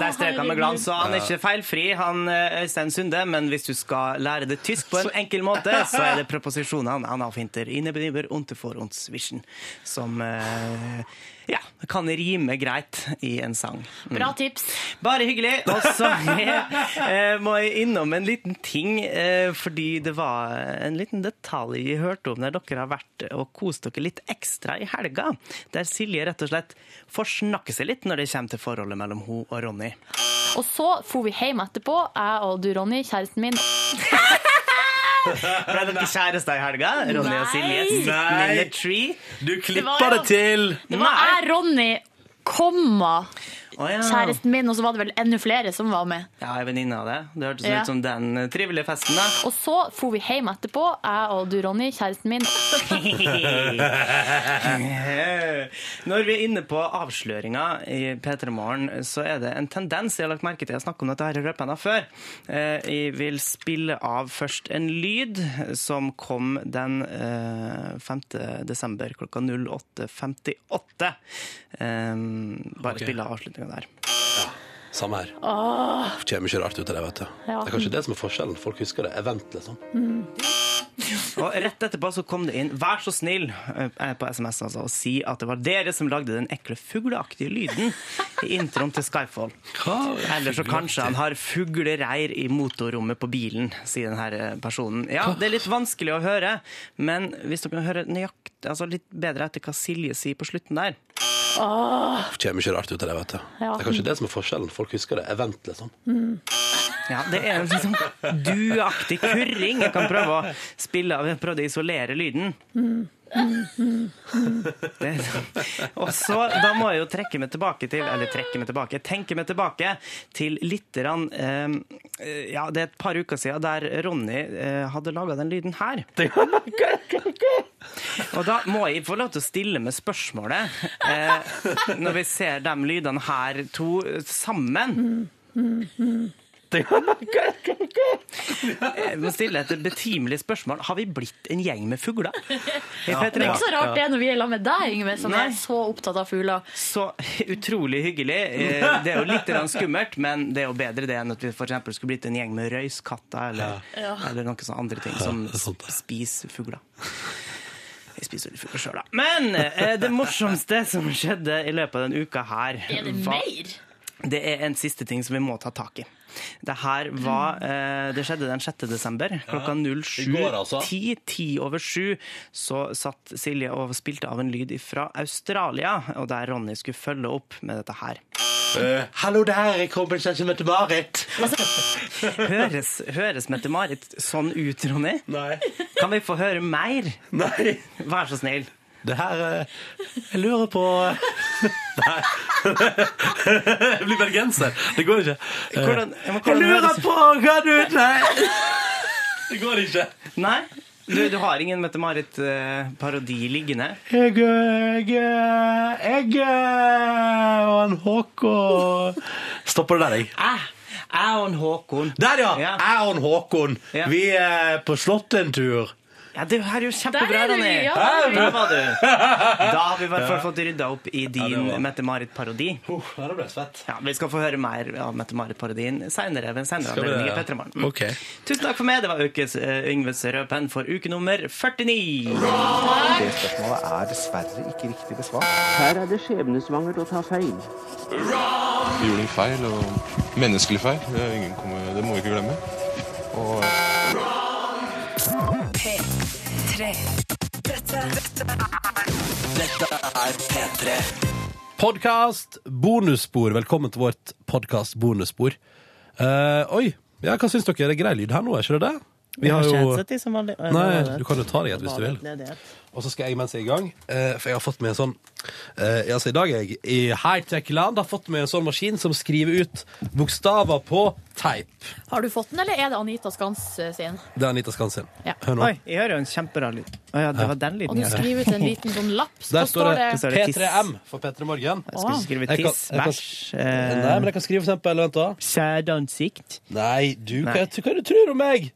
[SPEAKER 2] der strøk han med glans, så han er ikke feilfri, han eh, Øystein Sunde. Men hvis du skal lære det tysk på en enkel måte, så er det preposisjonene analfinter, innebinibber, unterfor und zwischen, som eh, ja, kan rime greit i en sang.
[SPEAKER 9] Bra tips.
[SPEAKER 2] Bare hyggelig. Og så eh, må jeg innom en liten ting, eh, fordi det var en liten detalj jeg hørte om der dere har vært og kost dere litt ekstra i helga. Der Silje rett og slett forsnakker seg litt når det kommer til forholdet mellom hun og Ronny.
[SPEAKER 9] Og så for vi hjem etterpå, jeg og du, Ronny, kjæresten min.
[SPEAKER 2] Ble dere kjærester i helga? Ronny og Silje?
[SPEAKER 9] Nei.
[SPEAKER 2] Sitting in the tree?
[SPEAKER 1] Du
[SPEAKER 9] Det
[SPEAKER 1] klippa
[SPEAKER 9] var
[SPEAKER 1] det
[SPEAKER 9] jo-
[SPEAKER 1] til!
[SPEAKER 9] Det var
[SPEAKER 2] Nei.
[SPEAKER 9] jeg, Ronny, komma
[SPEAKER 2] Å ja.
[SPEAKER 9] kjæresten min, og så var det vel enda flere som var med.
[SPEAKER 2] Ja, ei venninne av det. Det hørtes
[SPEAKER 9] Ja.
[SPEAKER 2] ut som den eh, trivelige festen, da.
[SPEAKER 9] Og så for vi hjem etterpå, jeg og du, Ronny, kjæresten min.
[SPEAKER 2] Eh, Når vi er inne på avsløringer i P3 Morgen, så er det en tendens jeg har lagt merke til. Jeg har snakket om dette her i røpene før. Eh, Jeg vil spille av først en lyd som kom den eh, 5. desember klokka 08.58. Eh, Bare spille av avslutninga der.
[SPEAKER 1] Samme her. Det kommer ikke rart ut av det, vet du. Det er kanskje det som er forskjellen. Folk husker det. Event, liksom.
[SPEAKER 2] Og rett etterpå så kom det inn 'vær så snill' eh, på SMS altså, og si at det var dere som lagde den ekle fugleaktige lyden i introen til Skyfall. Eller så kanskje han har fuglereir i motorrommet på bilen, sier denne eh, personen. Ja, det er litt vanskelig å høre, men hvis dere kan høre nøyakt, altså litt bedre etter hva Silje sier på slutten der
[SPEAKER 9] Åh.
[SPEAKER 1] Det kommer mye rart ut av det, vet du.
[SPEAKER 2] Ja.
[SPEAKER 1] Det er kanskje det som er forskjellen. Folk husker det. Event, liksom.
[SPEAKER 2] Ja, det er en liksom duaktig kurring. Jeg kan prøve å spille av, jeg prøvde å isolere lyden. Det, og så, da må jeg jo trekke meg tilbake til, eller trekke meg tilbake, tenke meg tilbake til litt grann, eh, ja, det er et par uker siden der Ronny eh, hadde laget den lyden her. Og da må jeg få lov til å stille med spørsmålet, eh, når vi ser de lydene her to sammen. Eh, Jeg må stille et betimelig spørsmål. Har vi blitt en gjeng med fugler?
[SPEAKER 9] Det er ikke så rart det er når vi er sammen med deg, Yngve, som
[SPEAKER 2] Nei.
[SPEAKER 9] er så opptatt av fugler.
[SPEAKER 2] Så utrolig hyggelig. Eh, Det er jo litt grann skummelt, men det er jo bedre det enn at vi for eksempel skulle blitt en gjeng med røyskatter eller,
[SPEAKER 9] Ja.
[SPEAKER 2] eller noen sånne andre ting som spiser fugler. Jeg spiser litt fugler sjøl, da. Men eh, det morsomste som skjedde i løpet av denne uka her
[SPEAKER 9] Er det
[SPEAKER 2] var-
[SPEAKER 9] mer?
[SPEAKER 2] Det er en siste ting som vi må ta tak i. Det her var eh, Det skjedde den 6. desember. Klokka
[SPEAKER 1] I går, altså.
[SPEAKER 2] 07.10, ti over sju, så satt Silje og spilte av en lyd fra Australia, og der Ronny skulle følge opp med dette her.
[SPEAKER 1] Eh, Hallo der, jeg kommer ikke med til Marit.
[SPEAKER 2] Høres, høres Mette-Marit sånn ut, Ronny?
[SPEAKER 1] Nei.
[SPEAKER 2] Kan vi få høre mer?
[SPEAKER 1] Nei.
[SPEAKER 2] Vær så snill.
[SPEAKER 1] Det her eh, Jeg lurer på Nei. Jeg blir bergenser. Det går ikke. Eh,
[SPEAKER 2] Hvordan- ja, men
[SPEAKER 1] jeg
[SPEAKER 2] hvordan
[SPEAKER 1] lurer
[SPEAKER 2] høres-
[SPEAKER 1] på hva du Nei. Det går ikke.
[SPEAKER 2] Nei? Du, du har ingen Mette-Marit-parodi liggende?
[SPEAKER 1] Jeg, eh, jeg, eh, jeg eh, og en Håkon Stopper det der, jeg.
[SPEAKER 2] Jeg og en Håkon.
[SPEAKER 1] Der, ja!
[SPEAKER 2] Ja.
[SPEAKER 1] Jeg og en Håkon.
[SPEAKER 2] Ja.
[SPEAKER 1] Vi er på Slottet en tur.
[SPEAKER 2] Ja, det her er jo kjempebra,
[SPEAKER 9] Der er du,
[SPEAKER 2] Ronny.
[SPEAKER 9] ja.
[SPEAKER 2] Hæ? Der var du. Da har vi i hvert fall fått rydda opp i din
[SPEAKER 1] det var-
[SPEAKER 2] Mette-Marit-parodi.
[SPEAKER 1] Uh, der ble det svett.
[SPEAKER 2] Ja, Vi skal få høre mer av Mette-Marit-parodien seinere.
[SPEAKER 1] Skal vi det? Ok.
[SPEAKER 2] Mm. Tusen takk for meg. Det var ukes eh, Yngves Rødpenn for uke nummer 49.
[SPEAKER 13] Det spørsmålet er dessverre ikke riktig besvart.
[SPEAKER 14] Her er det skjebnesvangert å ta feil.
[SPEAKER 12] Vi gjorde en feil, og menneskelig feil. Det, er ingen kommer, det må vi ikke glemme. Og
[SPEAKER 15] P3. Dette, dette er
[SPEAKER 4] Dette er P3.
[SPEAKER 1] Podkast bonusspor. Velkommen til vårt podkast bonusspor. Eh, oi, ja, hva syns dere? Er det grei lyd her nå, er ikke det det? Vi har jo Nei, du kan jo ta deg et hvis du vil. Og så skal jeg mens jeg er i gang, eh, for jeg har fått med en sånn eh, Altså, i dag er jeg i high-tech-land, har fått med en sånn maskin som skriver ut bokstaver på teip.
[SPEAKER 9] Har du fått den, eller er det Anita Skans eh, sin?
[SPEAKER 1] Det er Anita Skansin.
[SPEAKER 9] Ja.
[SPEAKER 1] Hør nå.
[SPEAKER 2] Oi, jeg hører jo en kjemperar lyd. Å ja, det var den
[SPEAKER 9] Og
[SPEAKER 2] lyden.
[SPEAKER 9] du skriver ut en liten sånn lapp. Da
[SPEAKER 1] Der står det, P3M for P3 Morgen.
[SPEAKER 2] Jeg skulle skrive
[SPEAKER 1] Jeg kan-
[SPEAKER 2] tiss,
[SPEAKER 1] jeg kan-
[SPEAKER 2] bæsj, eh,
[SPEAKER 1] Nei, men jeg kan skrive for eksempel Vent, da.
[SPEAKER 2] Sæd ansikt.
[SPEAKER 1] Nei, du,
[SPEAKER 2] Nei.
[SPEAKER 1] Hva, hva du tror om meg?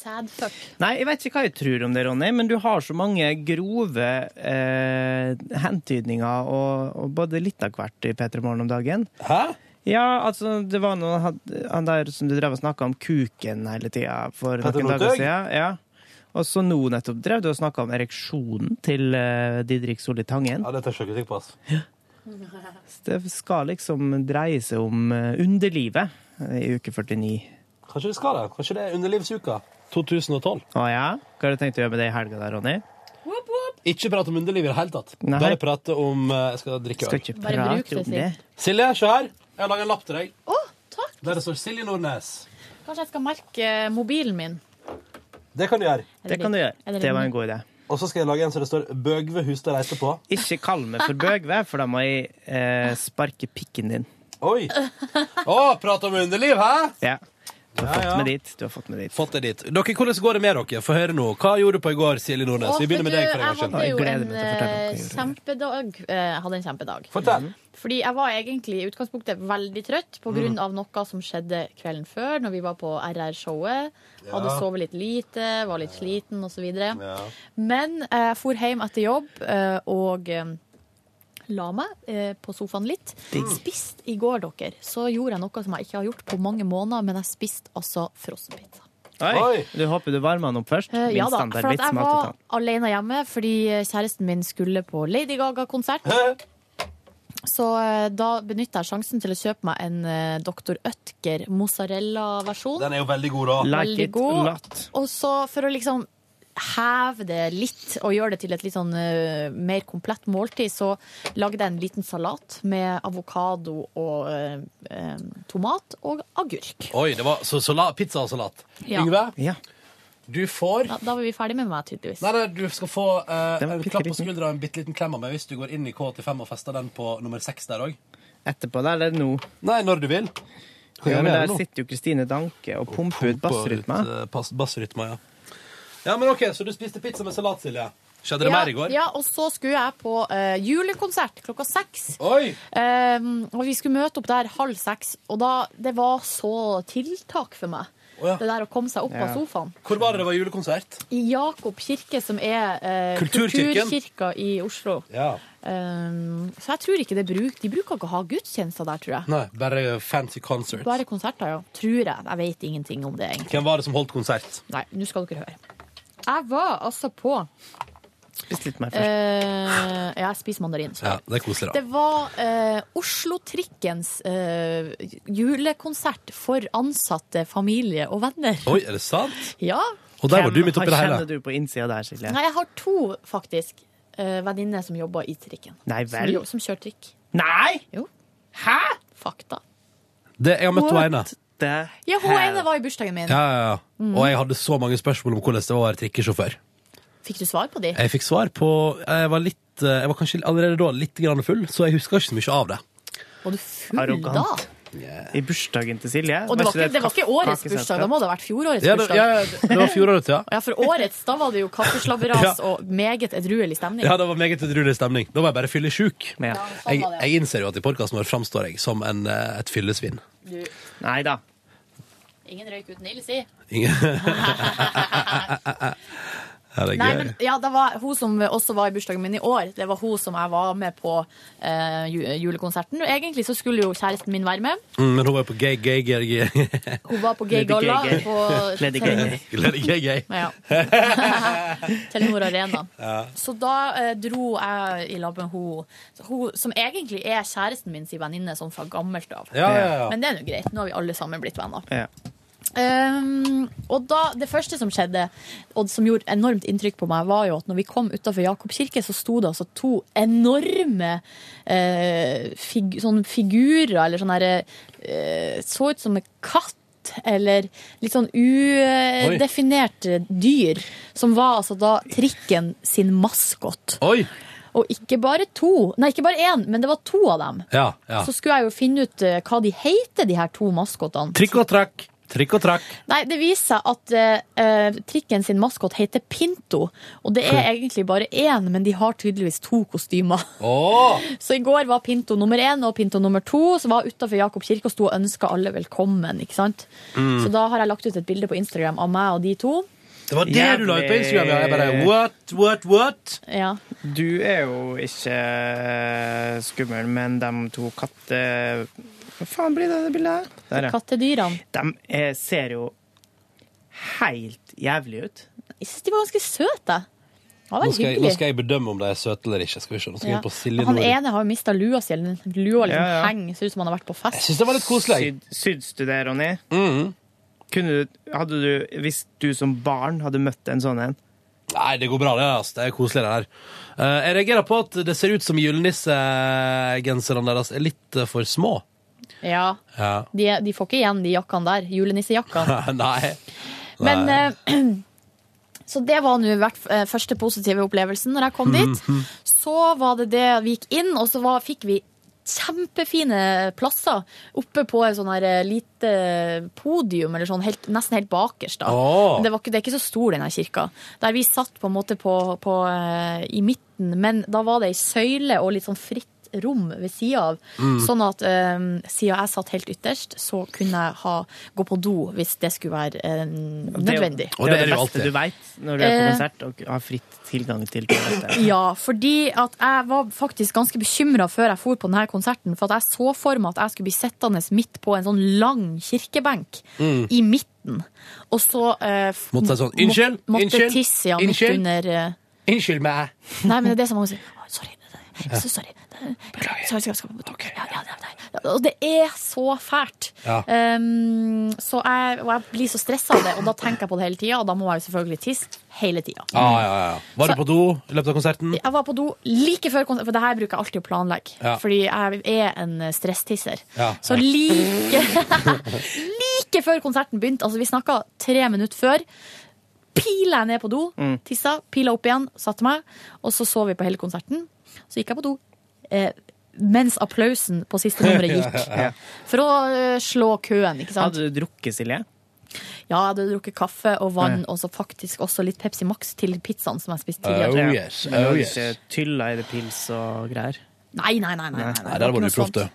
[SPEAKER 9] Sad fuck.
[SPEAKER 2] Nei, jeg vet ikke hva jeg tror om det, Ronny, men du har så mange grove eh, hentydninger og, og både litt av hvert i P3 Morgen om dagen.
[SPEAKER 1] Hæ?
[SPEAKER 2] Ja, altså, det var noe han han der som du drev og snakka om kuken hele tida for
[SPEAKER 1] Petter
[SPEAKER 2] noen dager
[SPEAKER 1] Northug?
[SPEAKER 2] siden. Ja. Og så nå nettopp drev du og snakka om ereksjonen til eh, Didrik Solli Tangen.
[SPEAKER 1] Ja, det tør jeg ikke tenke på, ass.
[SPEAKER 2] Det skal liksom dreie seg om eh, underlivet eh, i uke 49.
[SPEAKER 1] Kanskje det skal det? Kanskje det er underlivsuka 2012?
[SPEAKER 2] Å ja? Hva har du tenkt å gjøre med det i helga der, Ronny?
[SPEAKER 1] Ikke prate om underliv i det hele tatt.
[SPEAKER 2] Nei.
[SPEAKER 1] Bare prate om eh, Jeg skal drikke
[SPEAKER 2] Skal
[SPEAKER 1] øl.
[SPEAKER 2] ikke
[SPEAKER 9] Bare bruk det,
[SPEAKER 2] prate om det.
[SPEAKER 1] Silje, se her. Jeg har laga en lapp til deg.
[SPEAKER 9] Å, takk.
[SPEAKER 1] Der det står Silje Nordnes.
[SPEAKER 9] Kanskje jeg skal merke eh, mobilen min.
[SPEAKER 1] Det kan du gjøre.
[SPEAKER 2] Det kan du
[SPEAKER 9] Er
[SPEAKER 2] gjøre.
[SPEAKER 9] det
[SPEAKER 2] Det var en god idé.
[SPEAKER 1] Og så skal jeg lage en som det står Bøgve Hustad reiste på.
[SPEAKER 2] Ikke kall meg for bøgve, for da må jeg eh, sparke pikken din.
[SPEAKER 1] Oi! Å, prate om underliv, hæ?
[SPEAKER 2] Ja. Du har
[SPEAKER 1] Ja, ja.
[SPEAKER 2] fått meg dit. Du har fått meg dit.
[SPEAKER 1] Fått det dit. Dere, hvordan går det med dere? Få høre nå. Hva gjorde du på i går, Silje Nordnes?
[SPEAKER 9] Å,
[SPEAKER 1] Vi begynner med
[SPEAKER 9] vet
[SPEAKER 1] deg.
[SPEAKER 9] du,
[SPEAKER 1] for en gangs
[SPEAKER 9] Jeg
[SPEAKER 1] skyld.
[SPEAKER 9] hadde jo
[SPEAKER 2] Jeg gleder
[SPEAKER 9] en
[SPEAKER 2] meg til å fortelle
[SPEAKER 9] eh,
[SPEAKER 2] dere hva
[SPEAKER 9] kjempedag. Eh, Jeg hadde en kjempedag.
[SPEAKER 1] Fortell.
[SPEAKER 9] Fordi jeg var egentlig i utgangspunktet veldig trøtt pga. av noe som skjedde kvelden før, når vi var på RR-showet. Hadde sovet litt lite, var litt sliten osv.
[SPEAKER 1] Ja.
[SPEAKER 9] Men eh, jeg for hjem etter jobb eh, og eh, la meg eh, på sofaen litt. Spist i går, dere, så gjorde jeg noe som jeg ikke har gjort på mange måneder, men jeg spiste altså frossenpizza.
[SPEAKER 2] Oi. Du håper du varmer den opp først?
[SPEAKER 3] Eh,
[SPEAKER 2] Min
[SPEAKER 3] ja da,
[SPEAKER 2] standard
[SPEAKER 3] for at
[SPEAKER 2] vits
[SPEAKER 3] jeg
[SPEAKER 2] med
[SPEAKER 3] var
[SPEAKER 2] attetan.
[SPEAKER 3] alene hjemme fordi
[SPEAKER 9] eh,
[SPEAKER 3] kjæresten min skulle på Lady Gaga-konsert. Så eh, da benytta jeg sjansen til å kjøpe meg en eh, Dr. Ødger mozzarella-versjon.
[SPEAKER 1] Den er jo veldig god, da.
[SPEAKER 3] Veldig god. Og så for å liksom heve det litt og gjøre det til et litt sånn eh, mer komplett måltid, så lagde jeg en liten salat med avokado og eh, eh, tomat og agurk.
[SPEAKER 1] Oi, det var så, sala- pizza og salat.
[SPEAKER 3] Ja.
[SPEAKER 1] Yngve, du får
[SPEAKER 3] Da, da var vi ferdig med meg, tydeligvis.
[SPEAKER 1] Nei, nei, du skal få eh, en klapp på skuldra og en bitte liten klem av meg hvis du går inn i K85 og fester den på nummer 6 der òg.
[SPEAKER 2] Etterpå, da, eller nå?
[SPEAKER 1] Nei, når du vil.
[SPEAKER 2] Jo, men
[SPEAKER 1] gjør
[SPEAKER 2] der
[SPEAKER 1] det nå.
[SPEAKER 2] sitter jo Kristine Danke og pumper ut bassrytmer.
[SPEAKER 3] eh,
[SPEAKER 1] Bassrytma, eh, ja. Ja, men OK, så du spiste pizza med salat, Silje. Skjedde det
[SPEAKER 3] ja,
[SPEAKER 1] mer i går?
[SPEAKER 3] Ja, og så skulle jeg på eh, julekonsert klokka seks.
[SPEAKER 1] Oi!
[SPEAKER 3] Ehm, og vi skulle møte opp der halv seks, og da, det var så tiltak for meg.
[SPEAKER 1] Å ja.
[SPEAKER 3] Det der å komme seg opp av sofaen.
[SPEAKER 1] Hvor var det det var julekonsert?
[SPEAKER 3] I Jakob kirke, som er eh,
[SPEAKER 1] Kulturkirken.
[SPEAKER 3] kulturkirka i Oslo.
[SPEAKER 1] Ja.
[SPEAKER 3] Ehm, så jeg tror ikke det bruk, de bruker ikke å ha gudstjenester der, tror jeg.
[SPEAKER 1] Nei, bare fancy concert.
[SPEAKER 3] Bare konserter, ja. Tror jeg. Jeg vet ingenting om det, egentlig.
[SPEAKER 1] Hvem var det som holdt konsert?
[SPEAKER 3] Nei, nå skal dere høre. Jeg var altså på
[SPEAKER 2] Spis litt mer først.
[SPEAKER 3] eh, Jeg spiser mandarin. så.
[SPEAKER 1] Ja, det er koselig,
[SPEAKER 3] Det
[SPEAKER 1] da.
[SPEAKER 3] var eh, Oslo-trikkens eh, julekonsert for ansatte, familie og venner.
[SPEAKER 1] Oi, er det sant?
[SPEAKER 3] Ja.
[SPEAKER 1] Og der var du midt
[SPEAKER 2] Hva
[SPEAKER 1] oppi det hele.
[SPEAKER 2] kjenner du på innsida der, Silje?
[SPEAKER 3] Nei, jeg har to, faktisk, eh, venninner som jobber i trikken.
[SPEAKER 2] Nei
[SPEAKER 3] Som,
[SPEAKER 2] vel?
[SPEAKER 3] jo- som kjører trikk.
[SPEAKER 2] Nei!
[SPEAKER 3] Jo.
[SPEAKER 2] Hæ?
[SPEAKER 3] Fakta.
[SPEAKER 1] Det, jeg har møtt
[SPEAKER 3] What
[SPEAKER 1] henne ene.
[SPEAKER 3] Ja, hun ene var i bursdagen min.
[SPEAKER 1] Ja, ja, ja.
[SPEAKER 3] Mm.
[SPEAKER 1] Og jeg hadde så mange spørsmål om hvordan det var å være trikkesjåfør.
[SPEAKER 3] Fikk du svar på de?
[SPEAKER 1] Jeg fikk svar på Jeg var, litt, eh, jeg var kanskje allerede da litt grann full, så jeg husker ikke så mye av det.
[SPEAKER 3] Var du full
[SPEAKER 2] Arrogant.
[SPEAKER 3] da?
[SPEAKER 2] I bursdagen til Silje?
[SPEAKER 3] Og det var, ikke,
[SPEAKER 2] et
[SPEAKER 3] det var ikke årets
[SPEAKER 2] kakesenter?
[SPEAKER 3] bursdag, da må det ha vært fjorårets
[SPEAKER 1] Ja, det,
[SPEAKER 3] bursdag.
[SPEAKER 1] ja, det var fjorårets, ja.
[SPEAKER 3] Ja, for årets, da var det jo kaffeslabberas
[SPEAKER 1] Ja.
[SPEAKER 3] og meget edruelig stemning.
[SPEAKER 1] Ja, det var meget edruelig stemning. Da var jeg bare fyllesjuk.
[SPEAKER 3] sånn
[SPEAKER 1] Jeg,
[SPEAKER 3] var det, ja.
[SPEAKER 1] jeg innser jo at i podkasten vår framstår jeg som en, eh, et fyllesvin.
[SPEAKER 3] Du,
[SPEAKER 2] Nei da.
[SPEAKER 3] ingen røyk uten ild, si.
[SPEAKER 1] Ingen Ja, det er
[SPEAKER 3] Nei,
[SPEAKER 1] gøy.
[SPEAKER 3] men ja, det var hun som også var i bursdagen min i år. Det var hun som jeg var med på eh, ju- julekonserten. Og egentlig så skulle jo kjæresten min være med.
[SPEAKER 1] Mm, men hun var jo på gay, gay, gay, gay.
[SPEAKER 3] Hun var på Gay Galla på
[SPEAKER 1] Lady gay, gay.
[SPEAKER 3] Ja. Telenor Arena.
[SPEAKER 1] Ja.
[SPEAKER 3] Så da eh, dro jeg i lag med hun, så hun som egentlig er kjæresten min sin venninne, sånn fra gammelt av.
[SPEAKER 2] Ja, ja, ja.
[SPEAKER 3] Men det er nå greit. Nå har vi alle sammen blitt venner.
[SPEAKER 2] Ja.
[SPEAKER 3] Um, og da, Det første som skjedde, og som gjorde enormt inntrykk på meg, var jo at når vi kom utafor Jakob kirke, så sto det altså to enorme eh, fig, sånne figurer, eller sånn herre Så ut som en katt. Eller litt sånn udefinert dyr. Som var altså da trikken sin maskot.
[SPEAKER 1] Oi!
[SPEAKER 3] Og ikke bare to, nei ikke bare én, men det var to av dem.
[SPEAKER 1] Ja, ja.
[SPEAKER 3] Så skulle jeg jo finne ut eh, hva de heter, de her to maskotene.
[SPEAKER 1] Trykk og trakk. Trykk og trakk.
[SPEAKER 3] Nei, det viser seg at eh, eh, trikken sin maskot heter Pinto. Og det
[SPEAKER 1] Hm.
[SPEAKER 3] er egentlig bare én, men de har tydeligvis to kostymer. Så i går var Pinto nummer én og Pinto nummer to, som var utafor Jakob kirke og sto og ønska alle velkommen. ikke sant?
[SPEAKER 1] Mm.
[SPEAKER 3] Så da har jeg lagt ut et bilde på Instagram av meg og de to.
[SPEAKER 1] Det var det du la ut på Instagram, ja. Jeg bare what, what, what?
[SPEAKER 3] Ja.
[SPEAKER 2] Du er jo ikke eh, skummel, men de to katte... Hva faen blir det det bildet? her? Der, ja.
[SPEAKER 3] Kattedyrene.
[SPEAKER 2] De eh, ser jo helt jævlig ut.
[SPEAKER 3] Jeg syns de var ganske søte. Det
[SPEAKER 1] Nå
[SPEAKER 3] var veldig
[SPEAKER 1] skal, jeg, nå
[SPEAKER 3] hyggelig.
[SPEAKER 1] skal jeg bedømme om de er søte eller ikke. Skal vi se. Nå skal jeg
[SPEAKER 3] Ja.
[SPEAKER 1] inn på Silje
[SPEAKER 3] Han
[SPEAKER 1] Nord.
[SPEAKER 3] ene har jo mista lua si. eller den Lua liksom
[SPEAKER 2] Ja, ja.
[SPEAKER 3] henger, ser ut som han har vært på fest.
[SPEAKER 2] Syd, syns du det, Ronny? Kunne du, hadde du, hvis du som barn hadde møtt en sånn en
[SPEAKER 1] Nei, det går bra, det. Altså. Det er koselig, det her. Eh, jeg reagerer på at det ser ut som julenissegenserne deres er litt eh, for små.
[SPEAKER 3] Ja.
[SPEAKER 1] Ja.
[SPEAKER 3] De, de får ikke igjen de jakkene der. Julenissejakkene.
[SPEAKER 1] Nei. Nei.
[SPEAKER 3] Men eh, Så det var nå i hvert fall, eh, første positive opplevelsen når jeg kom dit. Så var det det vi gikk inn, og så var, fikk vi kjempefine plasser oppe på et sånn her eh, lite podium, eller sånn helt, nesten helt bakerst. da.
[SPEAKER 16] Åh.
[SPEAKER 3] Men det, var ikke, det er ikke så stor, denne kirka. Der vi satt på en måte på, på, eh, i midten, men da var det ei søyle og litt sånn fritt rom ved sida av,
[SPEAKER 16] Mm.
[SPEAKER 3] sånn at eh, siden jeg satt helt ytterst, så kunne jeg ha, gå på do hvis det skulle være eh, nødvendig.
[SPEAKER 2] Det, det er det beste du veit når du er på
[SPEAKER 3] Eh.
[SPEAKER 2] konsert og har fritt tilgang til toalettet.
[SPEAKER 3] Ja, fordi at jeg var faktisk ganske bekymra før jeg for på denne konserten. For at jeg så for meg at jeg skulle bli sittende midt på en sånn lang kirkebenk i midten toaletten. Og så eh, f-
[SPEAKER 1] Mm. Måtte jeg sånn,
[SPEAKER 3] må-
[SPEAKER 1] «Unnskyld,
[SPEAKER 3] Måtte
[SPEAKER 1] unnskyld,
[SPEAKER 3] tisse ja, midt
[SPEAKER 1] unnskyld».
[SPEAKER 3] under eh,
[SPEAKER 1] Unnskyld meg.
[SPEAKER 3] Nei, men det er det som mange sier. «Å, Sorry.
[SPEAKER 1] Ja.
[SPEAKER 3] Så sorry. Sorry, skal- skal- Ja, ja, ja, nei. Og det er så fælt.
[SPEAKER 10] Ja.
[SPEAKER 3] Um, så jeg, og jeg blir så stressa av det, og da tenker jeg på det hele tida, og da må jeg jo selvfølgelig tisse hele tida.
[SPEAKER 1] Ah, ja, ja. Var du på do i løpet av konserten?
[SPEAKER 3] Jeg var på do like før konsert, for det her bruker jeg alltid å planlegge.
[SPEAKER 1] Ja.
[SPEAKER 3] Fordi jeg er en stresstisser.
[SPEAKER 1] Ja.
[SPEAKER 3] Så like, like før konserten begynte, altså vi snakka tre minutter før, pila jeg ned på do,
[SPEAKER 10] Mm.
[SPEAKER 3] tissa, pila opp igjen, satte meg, og så sov vi på hele konserten. Så gikk jeg på do. Eh, mens applausen på siste nummeret
[SPEAKER 2] Ja.
[SPEAKER 3] gikk. For å eh, slå køen, ikke sant.
[SPEAKER 2] Hadde du drukket, Silje?
[SPEAKER 3] Ja, jeg hadde drukket kaffe og vann,
[SPEAKER 2] Ja.
[SPEAKER 3] og så faktisk også litt Pepsi Max til pizzaen som jeg spiste
[SPEAKER 2] Ja.
[SPEAKER 3] tidligere.
[SPEAKER 2] Men du
[SPEAKER 1] oh
[SPEAKER 2] hadde
[SPEAKER 1] yes.
[SPEAKER 2] ikke tylla i det pils og greier?
[SPEAKER 3] Nei, nei, nei. nei, nei,
[SPEAKER 1] Nei, det hadde vært uproft, det.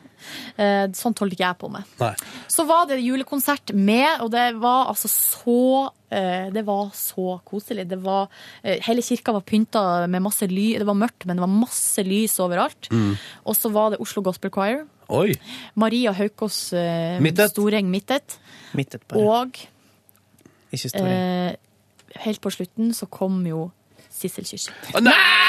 [SPEAKER 3] Eh, sånt holdt ikke jeg på med.
[SPEAKER 1] Nei.
[SPEAKER 3] Så var det julekonsert med, og det var altså så eh, Det var så koselig. Det var, eh, hele kirka var pynta med masse lys. Det var mørkt, men det var masse lys overalt.
[SPEAKER 1] Mm.
[SPEAKER 3] Og så var det Oslo Gospel Choir.
[SPEAKER 1] Oi.
[SPEAKER 3] Maria Haukås eh,
[SPEAKER 1] Midtet.
[SPEAKER 3] Storeng Midtet.
[SPEAKER 2] Midtet bare.
[SPEAKER 3] Og
[SPEAKER 2] Ikke stor.
[SPEAKER 3] eh, helt på slutten så kom jo Sissel Kyrkjebø.
[SPEAKER 1] Nei!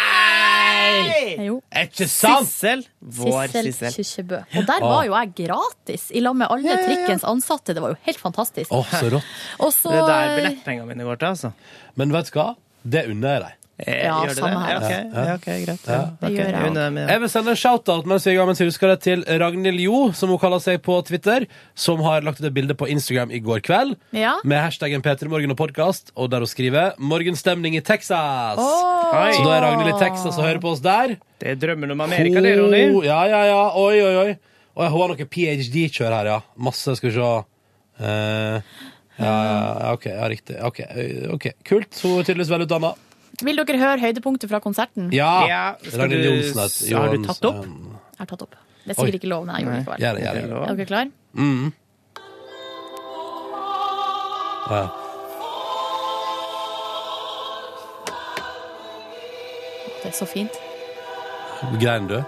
[SPEAKER 3] Jo.
[SPEAKER 2] Eh,
[SPEAKER 1] Er ikke sant?
[SPEAKER 2] Sissel. Vår Sissel.
[SPEAKER 3] Kyrkjebø. Og der var jo jeg gratis i lag med alle trikkens ansatte. Det var jo helt fantastisk.
[SPEAKER 1] Åh, så rått.
[SPEAKER 3] Og så Det er der
[SPEAKER 2] billettpengene mine går til, altså. Eh,
[SPEAKER 1] Men vet du hva? Det unner jeg deg.
[SPEAKER 3] Ja, gjør du det? samme her,
[SPEAKER 2] Ja, ok. altså. Ja, ok, greit, ja. Det Ok, gjør jeg jeg unner også. dem det.
[SPEAKER 1] Jeg vil sende en shout-out mens vi er i gang, mens jeg husker det, til Ragnhild Jo, som hun kaller seg på Twitter, som har lagt ut et bilde på Instagram i går kveld
[SPEAKER 3] Ja.
[SPEAKER 1] med hashtaggen P3morgen og podkast, og der hun skriver 'Morgenstemning i Texas'.
[SPEAKER 2] Oi.
[SPEAKER 1] Så da er Ragnhild i Texas og hører på oss der.
[SPEAKER 2] Det er drømmen om Amerika, det, Ronny.
[SPEAKER 1] Ho- Ja, ja, ja. Oi, oi, oi. Og jeg har noe PhD-kjør her, ja. Masse, skal vi se. Eh, ja, ja, OK. Ja, riktig. OK. eh, ok. Kult. Hun er tydeligvis velutdanna.
[SPEAKER 3] Vil dere høre høydepunktet fra konserten?
[SPEAKER 1] Ja!
[SPEAKER 2] skal
[SPEAKER 1] Ragnhild
[SPEAKER 2] du-
[SPEAKER 1] Johnsen het-
[SPEAKER 2] har du tatt opp?
[SPEAKER 1] Johansen.
[SPEAKER 3] Jeg har tatt opp. Det er sikkert
[SPEAKER 1] Oi.
[SPEAKER 3] ikke lov, men jeg gjorde det
[SPEAKER 1] Nei,
[SPEAKER 3] likevel.
[SPEAKER 1] gjør det, gjør det, gjør det.
[SPEAKER 3] Er dere klar?
[SPEAKER 1] Mm. Å, ja.
[SPEAKER 3] Det er så fint.
[SPEAKER 1] Grein du?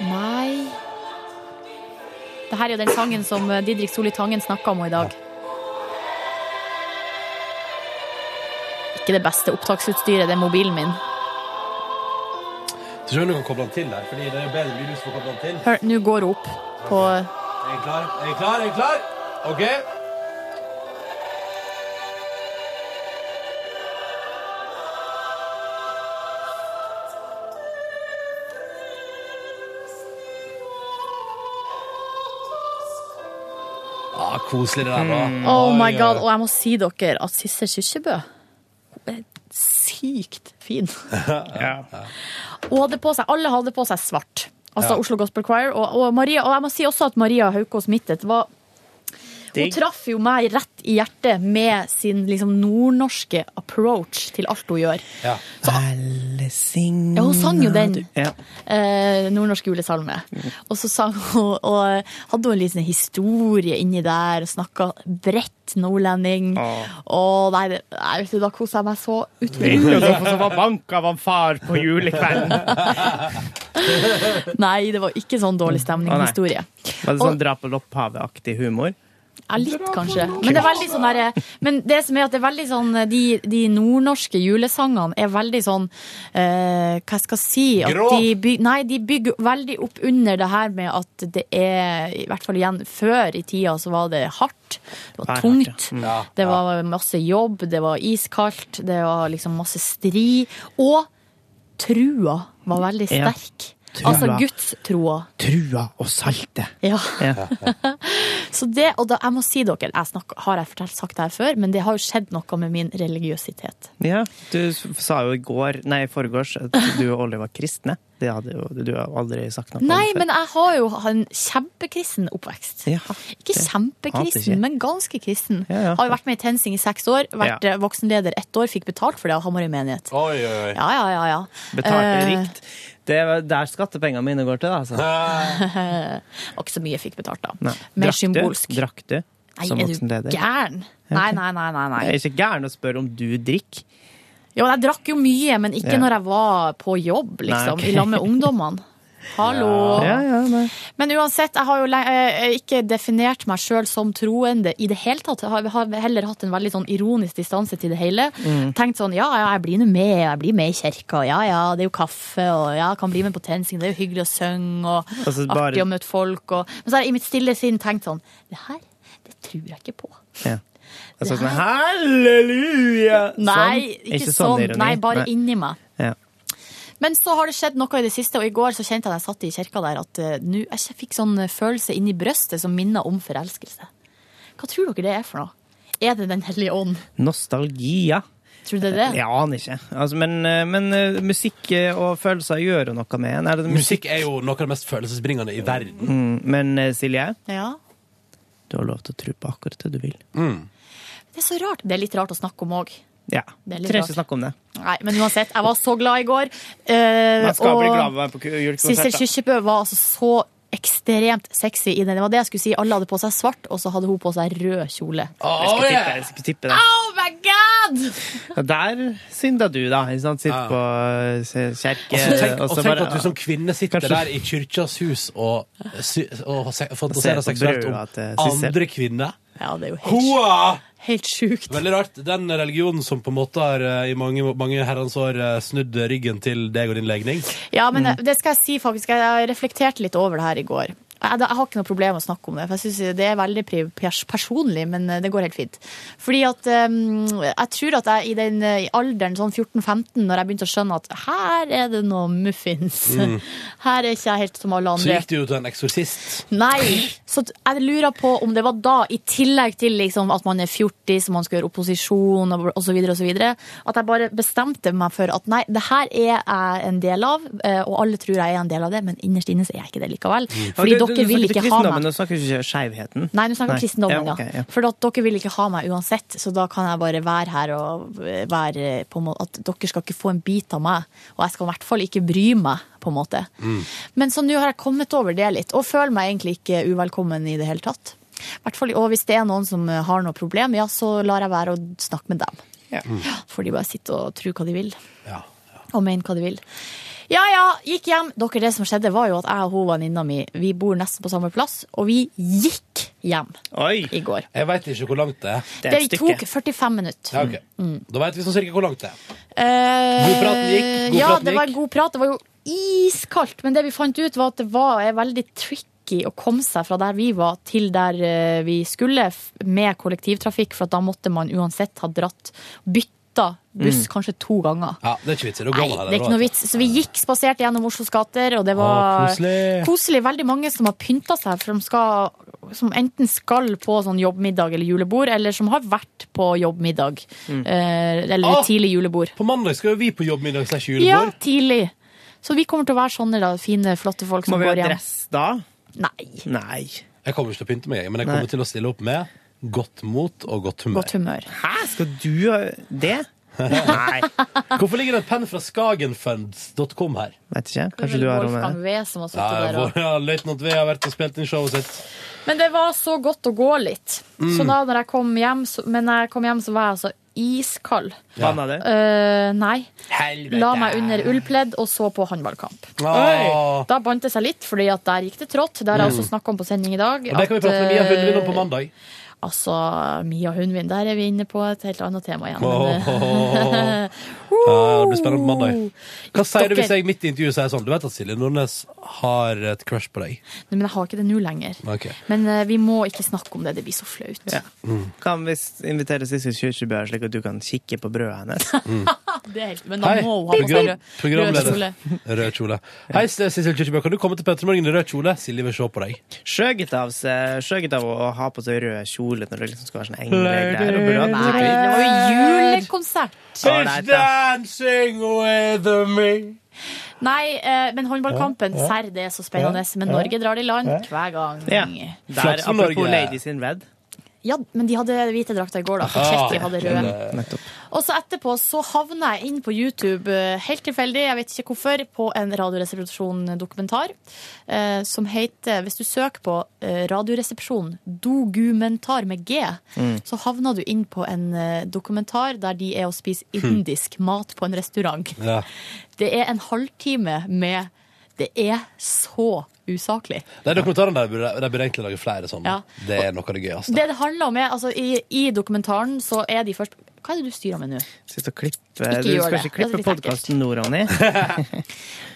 [SPEAKER 3] Nei Det her er jo den sangen som eh, Didrik Solli Tangen snakka om i dag. Ikke det beste opptaksutstyret, det er mobilen min.
[SPEAKER 1] Jeg tror ikke du kan koble den til der, Fordi det er jo bedre lyd hvis du får koble den til.
[SPEAKER 3] Hør, nå går hun opp på
[SPEAKER 1] Er jeg klar? Er jeg klar? Er jeg klar? OK. Ah, koselig det der, da.
[SPEAKER 3] Oh
[SPEAKER 1] Oi,
[SPEAKER 3] my
[SPEAKER 1] oi,
[SPEAKER 3] god,
[SPEAKER 1] oi.
[SPEAKER 3] og jeg må si dere at Sissel Kyrkjebø hun er sykt fin. Hun hadde på seg, alle hadde på seg svart. Altså
[SPEAKER 2] Ja.
[SPEAKER 3] Oslo Gospel Choir. Og, og, Maria, og jeg må si også at Maria Haukås Mittet var Hun
[SPEAKER 2] Digg.
[SPEAKER 3] traff jo meg rett i hjertet med sin liksom, nordnorske approach til alt hun gjør.
[SPEAKER 1] Ja.
[SPEAKER 2] Alle synger
[SPEAKER 3] Ja, hun sang jo den.
[SPEAKER 2] Ja.
[SPEAKER 3] Eh, nordnorsk julesalme. Og så sang hun, og hadde hun en liten historie inni der, og snakka bredt nordlending. Og nei, det- nei, vet du, da kosa jeg meg så
[SPEAKER 2] Vet du
[SPEAKER 3] utrolig.
[SPEAKER 2] hvorfor sånn som var bank av han far på julekvelden?
[SPEAKER 3] Nei, det var ikke sånn dårlig stemning
[SPEAKER 2] Å, nei.
[SPEAKER 3] historie.
[SPEAKER 2] Var det sånn dra på lopphavet-aktig humor?
[SPEAKER 3] Ja, litt kanskje. Men det er veldig sånn derre- Men det som er at det er veldig sånn De, de nordnorske julesangene er veldig sånn eh, Hva skal jeg si? At
[SPEAKER 10] Grov.
[SPEAKER 3] de byg, nei, de bygger veldig opp under det her med at det er I hvert fall igjen før i tida så var det hardt. Det var tungt. Det var masse jobb, det var iskaldt, det var liksom masse stri. Og trua var veldig
[SPEAKER 2] Ja.
[SPEAKER 3] sterk.
[SPEAKER 2] Trua.
[SPEAKER 3] Altså gudstroa.
[SPEAKER 2] Trua og saltet.
[SPEAKER 3] Ja.
[SPEAKER 2] Ja.
[SPEAKER 3] Så det, og da, jeg må si dere, jeg snakker, har jeg fortalt, sagt det her før, men det har jo skjedd noe med min religiøsitet.
[SPEAKER 2] Ja, du s- sa jo i går, nei, i forgårs, at du og Olli var kristne. Det hadde jo, du har jo aldri sagt noe om
[SPEAKER 3] Nei,
[SPEAKER 2] før.
[SPEAKER 3] men jeg har jo en kjempekristen oppvekst.
[SPEAKER 2] Jaha. Hater
[SPEAKER 3] Ikke
[SPEAKER 2] ikke.
[SPEAKER 3] kjempekristen, men ganske kristen.
[SPEAKER 2] Ja, ja.
[SPEAKER 3] Har jo vært med i TenSing i seks år, vært eh, voksenleder ett år, fikk betalt for det av Hamarøy menighet.
[SPEAKER 1] Oi, oi, oi.
[SPEAKER 3] Ja, ja, ja, ja.
[SPEAKER 2] Betalte
[SPEAKER 3] Eh,
[SPEAKER 2] rikt. Det er der skattepengene mine går til, altså.
[SPEAKER 3] var ikke så mye jeg fikk betalt, da.
[SPEAKER 2] Nei.
[SPEAKER 3] Mer
[SPEAKER 2] Drakk du?
[SPEAKER 3] symbolsk.
[SPEAKER 2] Drakk du?
[SPEAKER 3] Nei,
[SPEAKER 2] som
[SPEAKER 3] er du
[SPEAKER 2] voksenleder?
[SPEAKER 3] gæren?
[SPEAKER 2] Ja,
[SPEAKER 3] Nei,
[SPEAKER 2] ok.
[SPEAKER 3] nei, nei. nei, nei.
[SPEAKER 2] Jeg er ikke gæren å spørre om du drikker.
[SPEAKER 3] Jo, jeg drakk jo mye, men ikke
[SPEAKER 2] Ja.
[SPEAKER 3] når jeg var på jobb, liksom.
[SPEAKER 2] Nei, ok.
[SPEAKER 3] I lag med ungdommene. Hallo.
[SPEAKER 2] Ja, ja, nei.
[SPEAKER 3] Men uansett, jeg har jo le- eh, ikke definert meg sjøl som troende i det hele tatt. Jeg har- har heller hatt en veldig sånn ironisk distanse til det hele.
[SPEAKER 9] Mm.
[SPEAKER 3] Tenkt sånn ja, ja, jeg blir nå med, jeg blir med i kirka, og ja ja, det er jo kaffe, og ja, jeg kan bli med på TenSing, det er jo hyggelig å synge, og
[SPEAKER 2] Altså, bare-
[SPEAKER 3] artig å møte folk, og Men så har jeg i mitt stille sinn tenkt sånn det her, det tror jeg ikke på.
[SPEAKER 2] Ja. Jeg sa sånn halleluja!
[SPEAKER 3] Nei,
[SPEAKER 2] Sånn.
[SPEAKER 3] ikke, sånn.
[SPEAKER 2] ironi.
[SPEAKER 3] Nei, bare inni meg.
[SPEAKER 2] Ja.
[SPEAKER 3] Men så har det skjedd noe i det siste, og i går så kjente jeg da jeg satt i kirka der at eh, nå, jeg fikk sånn følelse inni brøstet som minner om forelskelse. Hva tror dere det er for noe? Er det Den hellige ånd?
[SPEAKER 2] Nostalgia.
[SPEAKER 3] Tror du det er det?
[SPEAKER 2] Jeg aner ikke. Altså, men, men eh, musikk eh, og følelser gjør jo noe med en. Er det musikk?
[SPEAKER 1] Musikk er jo noe av det mest følelsesbringende i verden.
[SPEAKER 2] Mm, men eh, Silje,
[SPEAKER 3] Ja.
[SPEAKER 2] du har lov til å tro på akkurat det du vil.
[SPEAKER 3] Det er så rart. Det er litt rart å snakke om òg.
[SPEAKER 2] Ja.
[SPEAKER 3] Det er litt
[SPEAKER 2] Trenger
[SPEAKER 3] rart.
[SPEAKER 2] ikke snakke om det.
[SPEAKER 3] Nei, men uansett, jeg var så glad i går. eh,
[SPEAKER 2] Man skal bli
[SPEAKER 3] og-
[SPEAKER 2] glad av å være på ku- julekonsert.
[SPEAKER 3] Sissel
[SPEAKER 2] da.
[SPEAKER 3] Kyrkjebø var altså så ekstremt sexy i den. Det var det jeg skulle si. Alle hadde på seg svart, og så hadde hun på seg rød kjole.
[SPEAKER 2] Jeg skulle tippe, jeg skulle tippe det.
[SPEAKER 3] Oh my god!
[SPEAKER 2] Ja, Der synda du, da. Ikke sant? Sitt på eh, se- kjerke
[SPEAKER 1] Og så Altså, tenk, og
[SPEAKER 2] og
[SPEAKER 3] altså,
[SPEAKER 2] så
[SPEAKER 1] tenk
[SPEAKER 2] bare-
[SPEAKER 1] at du som kvinne sitter
[SPEAKER 2] Kanskje-
[SPEAKER 1] der i kyrkjas hus og, sy- og se- fantaserer
[SPEAKER 2] Og ser på
[SPEAKER 1] seksuelt om
[SPEAKER 2] brødene
[SPEAKER 3] eh,
[SPEAKER 2] til Sissel.
[SPEAKER 1] andre kvinner.
[SPEAKER 3] Ja, det er jo helt,
[SPEAKER 1] Hoa!
[SPEAKER 3] helt sjukt.
[SPEAKER 1] Veldig rart. Den religionen som på en måte har eh, i mange, mange herrens år eh, snudd ryggen til deg og din legning.
[SPEAKER 3] Ja, men det skal jeg si faktisk. Jeg reflekterte litt over det her i går. Jeg, jeg har ikke noe problem med å snakke om det, for jeg synes det er veldig pri- pers- personlig, men eh, det går helt fint. Fordi at eh, jeg tror at jeg i den eh, alderen, sånn 14-15, når jeg begynte å skjønne at her er det noe muffins,
[SPEAKER 1] Mm.
[SPEAKER 3] her er ikke jeg helt som alle
[SPEAKER 1] Så
[SPEAKER 3] andre.
[SPEAKER 1] gikk du jo til en eksorsist.
[SPEAKER 3] Nei, så t- jeg lurer på om det var da, i tillegg til liksom at man er 40, så man skal gjøre opposisjon og og så videre og så videre, at jeg bare bestemte meg for at nei, det her er jeg en del av, eh, og alle tror jeg er en del av det, men innerst inne så er jeg ikke Mm. det likevel. Fordi
[SPEAKER 2] Ja, du- du-
[SPEAKER 3] dere
[SPEAKER 2] du
[SPEAKER 3] vil
[SPEAKER 2] snakker
[SPEAKER 3] ikke ha
[SPEAKER 2] kristendommen,
[SPEAKER 3] meg.
[SPEAKER 2] Du snakker ikke skjevheten.
[SPEAKER 3] Nei, nå snakker vi
[SPEAKER 2] ja.
[SPEAKER 3] kristendommen, ja.
[SPEAKER 2] ok, ja.
[SPEAKER 3] For at dere vil ikke ha meg uansett, så da kan jeg bare være her og eh, være på en måte At dere skal ikke få en bit av meg, og jeg skal i hvert fall ikke bry meg, på en måte. Men så nå har jeg kommet over det litt, og føler meg egentlig ikke uvelkommen i det hele tatt. Hvert fall, og hvis det er noen som eh, har noe problem, ja, så lar jeg være å snakke med dem. Ja, får de bare sitte og tro hva de vil. Og mene hva de vil. Ja ja, gikk hjem. Dere, det som skjedde, var jo at jeg og hun venninna mi vi bor nesten på samme plass, og vi gikk hjem. I går.
[SPEAKER 1] Jeg veit ikke hvor langt det er.
[SPEAKER 3] Det, tok 45 minutter.
[SPEAKER 1] Ja, ok.
[SPEAKER 3] Mm.
[SPEAKER 1] Da veit vi sånn cirka hvor langt det er.
[SPEAKER 3] Eh,
[SPEAKER 1] God praten gikk, god
[SPEAKER 3] ja,
[SPEAKER 1] praten
[SPEAKER 3] det var
[SPEAKER 1] gikk.
[SPEAKER 3] god prat. Det var jo iskaldt, men det vi fant ut, var at det var er veldig tricky å komme seg fra der vi var, til der eh, vi skulle f- med kollektivtrafikk, for at da måtte man uansett ha dratt bytta buss
[SPEAKER 1] Mm.
[SPEAKER 3] kanskje to ganger.
[SPEAKER 1] Ja, det er ikke vits. Da går
[SPEAKER 3] Nei,
[SPEAKER 1] man her,
[SPEAKER 3] det er ikke
[SPEAKER 1] da,
[SPEAKER 3] noe
[SPEAKER 1] vet
[SPEAKER 3] vits. Så vi gikk spasert gjennom Oslos gater, og det var
[SPEAKER 1] Å, koselig.
[SPEAKER 3] koselig. Veldig mange som har pynta seg, for de skal, som enten skal på sånn jobbmiddag eller julebord, eller som har vært på jobbmiddag.
[SPEAKER 1] Mm.
[SPEAKER 3] eh, Eller
[SPEAKER 1] Å!
[SPEAKER 3] tidlig julebord.
[SPEAKER 1] du. På mandag skal jo vi på jobbmiddag slash
[SPEAKER 3] Ja,
[SPEAKER 1] julebord.
[SPEAKER 3] tidlig. Så vi kommer til å være sånne da, fine, flotte folk som
[SPEAKER 1] Må vi ha
[SPEAKER 3] går hjem.
[SPEAKER 1] dress
[SPEAKER 2] da?
[SPEAKER 3] Nei.
[SPEAKER 2] Nei.
[SPEAKER 1] Jeg kommer ikke til å pynte meg, jeg, men jeg kommer
[SPEAKER 2] Nei.
[SPEAKER 1] til å stille opp med godt mot og godt humør.
[SPEAKER 3] Godt humør.
[SPEAKER 2] Hæ, skal du ha det? Nei.
[SPEAKER 1] Hvorfor ligger det en penn fra skagenfunds.com her?
[SPEAKER 2] Vet ikke. Kanskje du har noe med det?
[SPEAKER 3] V som har
[SPEAKER 1] Ja,
[SPEAKER 3] sittet der
[SPEAKER 1] vår-
[SPEAKER 3] også.
[SPEAKER 1] ja, Løytnant V har vært og spilt inn showet sitt.
[SPEAKER 3] Men det var så godt å gå litt.
[SPEAKER 1] Mm.
[SPEAKER 3] Så da når jeg kom hjem, så, men når jeg kom hjem, så var jeg altså iskald.
[SPEAKER 2] Ja. Banna du?
[SPEAKER 3] Eh, nei.
[SPEAKER 2] Helvete.
[SPEAKER 3] La meg under ullpledd og så på håndballkamp.
[SPEAKER 1] Oi.
[SPEAKER 3] Da bandt det seg litt, fordi at der gikk det trått. Det har jeg
[SPEAKER 1] Mm.
[SPEAKER 3] også snakka om på sending i dag.
[SPEAKER 1] Og det kan vi
[SPEAKER 3] at,
[SPEAKER 1] prate med Mia Hundvin om
[SPEAKER 3] eh,
[SPEAKER 1] på mandag.
[SPEAKER 3] Altså, Mia Hundvin, der er vi inne på et helt annet tema igjen. men, eh,
[SPEAKER 1] Åh. Ja, det blir spennende på mandag. Hva sier du hvis jeg midt i intervjuet sier sånn? Du vet at Silje Nordnes har et crush på deg?
[SPEAKER 3] Nei, Men jeg har ikke det nå lenger.
[SPEAKER 1] Ok.
[SPEAKER 3] Men eh, vi må ikke snakke om det, det blir så flaut.
[SPEAKER 2] Ja. Kan vi s- invitere Sissel Kyrkjebø, slik at du kan kikke på brødet hennes?
[SPEAKER 3] Ah, Det er helt, men da
[SPEAKER 1] Hei,
[SPEAKER 3] må hun ha på seg
[SPEAKER 1] program,
[SPEAKER 3] rød- rød
[SPEAKER 1] programleder.
[SPEAKER 3] kjole.
[SPEAKER 1] Rød kjole. Hei, Sissel Kyrkjebø, kan du komme til Petter Morgen i rød kjole? Silje vil se på deg.
[SPEAKER 2] Skjøget av, seg- skjøget av å, å ha på seg rød kjole når du liksom skal være sånn englegreier og brød.
[SPEAKER 1] Nei,
[SPEAKER 3] Nei, det var jo julekonsert.
[SPEAKER 1] She's dancing with me.
[SPEAKER 3] Nei, eh, men håndballkampen,
[SPEAKER 2] Ja, ja.
[SPEAKER 3] serr, det er så spennende. Men
[SPEAKER 2] Ja, ja.
[SPEAKER 3] Norge drar i land
[SPEAKER 2] Ja.
[SPEAKER 3] hver gang.
[SPEAKER 2] Ja. Der,
[SPEAKER 1] Flaks for
[SPEAKER 2] apropos
[SPEAKER 1] Norge.
[SPEAKER 2] Ladies in Red.
[SPEAKER 3] Ja, men de hadde hvite drakter i går, da. For
[SPEAKER 2] Ah,
[SPEAKER 3] Tsjekkia hadde røde.
[SPEAKER 2] Nettopp.
[SPEAKER 3] Og så etterpå så havna jeg inn på YouTube, eh, helt tilfeldig, jeg vet ikke hvorfor, på en Radioresepsjon-dokumentar eh, som heter Hvis du søker på eh, Radioresepsjon dogumentar med G,
[SPEAKER 9] Mm.
[SPEAKER 3] så havna du inn på en eh, dokumentar der de er og spiser indisk mat på en restaurant.
[SPEAKER 1] Ja.
[SPEAKER 3] Det er en halvtime med Det er så usaklig.
[SPEAKER 1] De dokumentarene der burde, der burde egentlig lage flere sånne.
[SPEAKER 3] Ja.
[SPEAKER 1] Det er noe av det gøyeste.
[SPEAKER 3] Det det handler om er, altså i, i dokumentaren så er de først Hva er det du styrer med nå?
[SPEAKER 2] Sitter og klipper.
[SPEAKER 3] Ikke
[SPEAKER 2] Du
[SPEAKER 3] gjør
[SPEAKER 2] skal
[SPEAKER 3] det.
[SPEAKER 2] ikke
[SPEAKER 3] Det er
[SPEAKER 2] klippe
[SPEAKER 3] litt
[SPEAKER 2] podkasten nå, Ronny.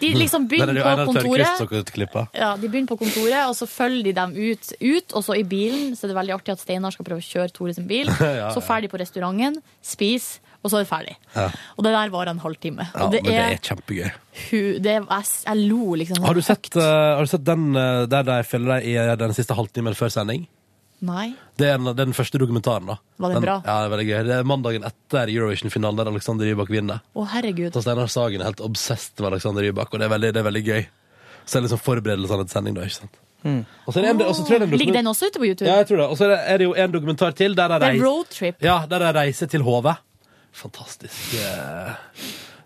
[SPEAKER 3] De
[SPEAKER 1] Mm.
[SPEAKER 3] liksom begynner på kontoret.
[SPEAKER 1] kontoret.
[SPEAKER 3] Ja, De begynner på kontoret, og så følger de dem ut, ut. Og så i bilen så er det veldig artig at Steinar skal prøve å kjøre Tore sin bil.
[SPEAKER 1] Ja,
[SPEAKER 3] Så
[SPEAKER 1] ja.
[SPEAKER 3] ferdig på restauranten, spis, og så er det ferdig.
[SPEAKER 1] Ja.
[SPEAKER 3] Og det der varer en halvtime.
[SPEAKER 1] Ja,
[SPEAKER 3] og det
[SPEAKER 1] men det
[SPEAKER 3] er,
[SPEAKER 1] er kjempegøy.
[SPEAKER 3] hu, det er jeg, jeg lo liksom.
[SPEAKER 1] Har du sett, eh, har du sett den eh, der de følger deg i eh, den siste halvtimen før sending?
[SPEAKER 3] Nei.
[SPEAKER 1] Det er den, den første dokumentaren. da
[SPEAKER 3] Var den bra?
[SPEAKER 1] Ja, det er veldig gøy. Det er mandagen etter Eurovision-finalen, der Alexander Rybak vinner.
[SPEAKER 3] Å, herregud.
[SPEAKER 1] Så Steinar Sagen er helt obsessed med Alexander Rybak, og det er veldig, det er veldig gøy. Så det er liksom forberedelsene til sending, da. ikke sant? Og så er det en, og så tror jeg det er en
[SPEAKER 3] Mm. Ligger
[SPEAKER 1] dokument-
[SPEAKER 3] den også ute på YouTube?
[SPEAKER 1] Ja, jeg tror det. Og så er det- er det jo en dokumentar til der de
[SPEAKER 3] Det er
[SPEAKER 1] reis-
[SPEAKER 3] roadtrip.
[SPEAKER 1] Ja, der de reiser til HV. Fantastisk. eh,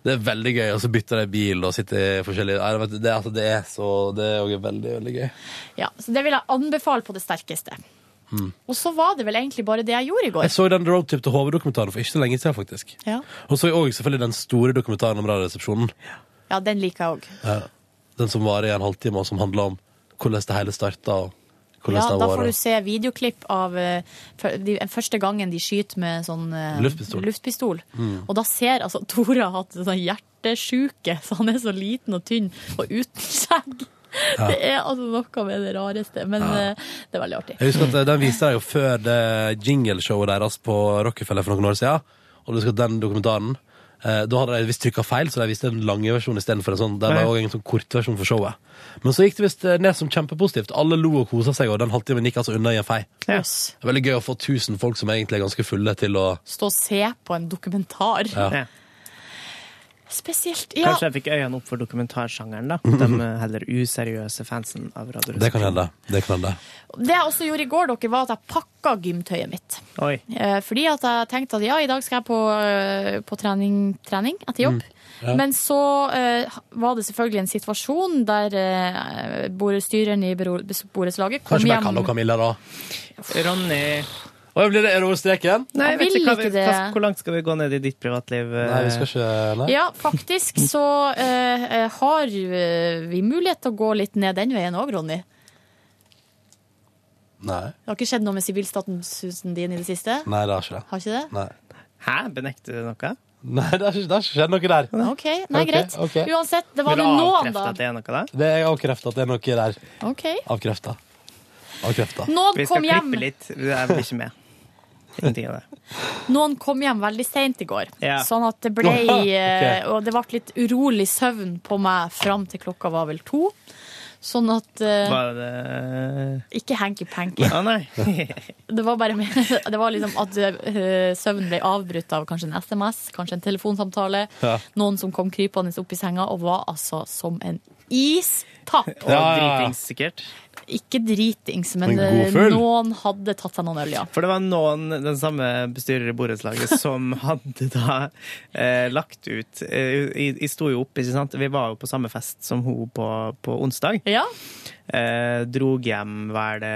[SPEAKER 1] Det er veldig gøy. Og så bytter de bil og sitter i forskjellige Nei, vet du, det, er- altså, det er så Det er også veldig, veldig gøy.
[SPEAKER 3] Ja, så det vil jeg anbefale på det sterkeste.
[SPEAKER 1] Mm.
[SPEAKER 3] Og så var det vel egentlig bare det jeg gjorde i
[SPEAKER 1] Jeg
[SPEAKER 3] går.
[SPEAKER 1] så den roadtrip til HV-dokumentaren for ikke så lenge siden, faktisk.
[SPEAKER 3] Ja,
[SPEAKER 1] Og så òg selvfølgelig den store dokumentaren om Radioresepsjonen.
[SPEAKER 3] ja den liker jeg òg.
[SPEAKER 1] Eh, Den som varer i en halvtime, og som handler om hvordan det hele starta, og hvordan
[SPEAKER 3] Ja,
[SPEAKER 1] det
[SPEAKER 3] da
[SPEAKER 1] har
[SPEAKER 3] får du
[SPEAKER 1] vært.
[SPEAKER 3] se videoklipp av eh, fø- de, første gangen de skyter med sånn eh,
[SPEAKER 1] Luftpistol.
[SPEAKER 3] luftpistol.
[SPEAKER 1] Mm.
[SPEAKER 3] Og da ser altså Tore har hatt sånn hjertesjuke, så han er så liten og tynn og uten skjegg.
[SPEAKER 1] Ja.
[SPEAKER 3] Det er altså noe med det rareste, men eh, det er veldig artig.
[SPEAKER 1] Jeg husker at eh, Den viste deg jo før det jingleshowet deres på Rockefeller for noen år siden. Og du husker at den dokumentaren eh, Da hadde de visst trykka feil, så de viste den lange versjonen istedenfor en sånn. Der var
[SPEAKER 2] Ja.
[SPEAKER 1] også en sånn kortversjon for showet. Men så gikk det visst eh, ned som kjempepositivt. Alle lo og kosa seg, og den halvtimen gikk altså unna i en fei.
[SPEAKER 3] Yes.
[SPEAKER 1] Det er veldig gøy å få 1000 folk som egentlig er ganske fulle, til å
[SPEAKER 3] Stå og se på en dokumentar.
[SPEAKER 1] Ja.
[SPEAKER 3] Spesielt. Ja,
[SPEAKER 2] Kanskje jeg fikk øynene opp for dokumentarsjangeren, da. De eh, heller useriøse fansen av Radio
[SPEAKER 1] Det kan hende. Det kan hende.
[SPEAKER 3] Det jeg også gjorde i går, dere, var at jeg pakka gymtøyet mitt.
[SPEAKER 2] Oi.
[SPEAKER 3] Eh, Fordi at jeg tenkte at ja, i dag skal jeg på, eh, på trening, trening etter jobb.
[SPEAKER 2] Mm. Ja.
[SPEAKER 3] Men så eh, var det selvfølgelig en situasjon der eh, bore- styreren i bero- borettslaget kom
[SPEAKER 1] Kanskje bare
[SPEAKER 3] hjem
[SPEAKER 1] kalle henne Camilla, da.
[SPEAKER 2] Ronny
[SPEAKER 1] Og jeg blir det, Er det over streken?
[SPEAKER 2] Nei,
[SPEAKER 3] Jeg
[SPEAKER 2] vet
[SPEAKER 3] vil
[SPEAKER 2] ikke hva vi,
[SPEAKER 3] ikke det.
[SPEAKER 2] hva- Hvor langt skal vi gå ned i ditt privatliv? eh?
[SPEAKER 1] Nei, vi skal ikke Nei.
[SPEAKER 3] Ja, faktisk så eh, eh, har eh, vi mulighet til å gå litt ned den veien òg, Ronny.
[SPEAKER 1] Nei.
[SPEAKER 3] Det har ikke skjedd noe med sivilstatusen din i det siste?
[SPEAKER 1] Nei, det har ikke det.
[SPEAKER 3] Har ikke det?
[SPEAKER 1] Nei.
[SPEAKER 2] Hæ, benekter du noe?
[SPEAKER 1] Nei, det har ikke, det har ikke skjedd noe der.
[SPEAKER 3] OK, nei,
[SPEAKER 1] Ok,
[SPEAKER 3] greit.
[SPEAKER 1] ok.
[SPEAKER 3] Uansett, det var nå noen, da.
[SPEAKER 2] det er noe der?
[SPEAKER 1] Det er avkrefta at det er noe der.
[SPEAKER 3] OK.
[SPEAKER 1] Avkrefta. Avkrefta.
[SPEAKER 3] Nåd
[SPEAKER 2] Vi
[SPEAKER 3] kom
[SPEAKER 2] skal
[SPEAKER 3] hjem.
[SPEAKER 2] klippe litt. Jeg blir ikke med. Ingenting av det.
[SPEAKER 3] Noen kom hjem veldig seint i går,
[SPEAKER 2] Ja.
[SPEAKER 3] sånn at det ble
[SPEAKER 2] Ok.
[SPEAKER 3] eh, Og det ble litt urolig søvn på meg fram til klokka var vel to. Sånn at eh,
[SPEAKER 2] Var det
[SPEAKER 3] Ikke hanky-panky.
[SPEAKER 2] Å nei.
[SPEAKER 3] Det var bare med, det var liksom at eh, søvnen ble avbrutt av kanskje en SMS, kanskje en telefonsamtale.
[SPEAKER 2] Ja.
[SPEAKER 3] Noen som kom krypende opp i senga og var altså som en istapp.
[SPEAKER 2] Og dritings, sikkert.
[SPEAKER 3] Ikke dritings, men
[SPEAKER 2] Men god
[SPEAKER 3] eh,
[SPEAKER 2] full.
[SPEAKER 3] noen hadde tatt seg noen øl, ja.
[SPEAKER 2] For det var noen, den samme bestyrer i borettslaget, som hadde da eh, lagt ut eh, jeg, jeg sto jo opp, ikke sant? Vi var jo på samme fest som hun på, på onsdag. Eh, drog hjem, var det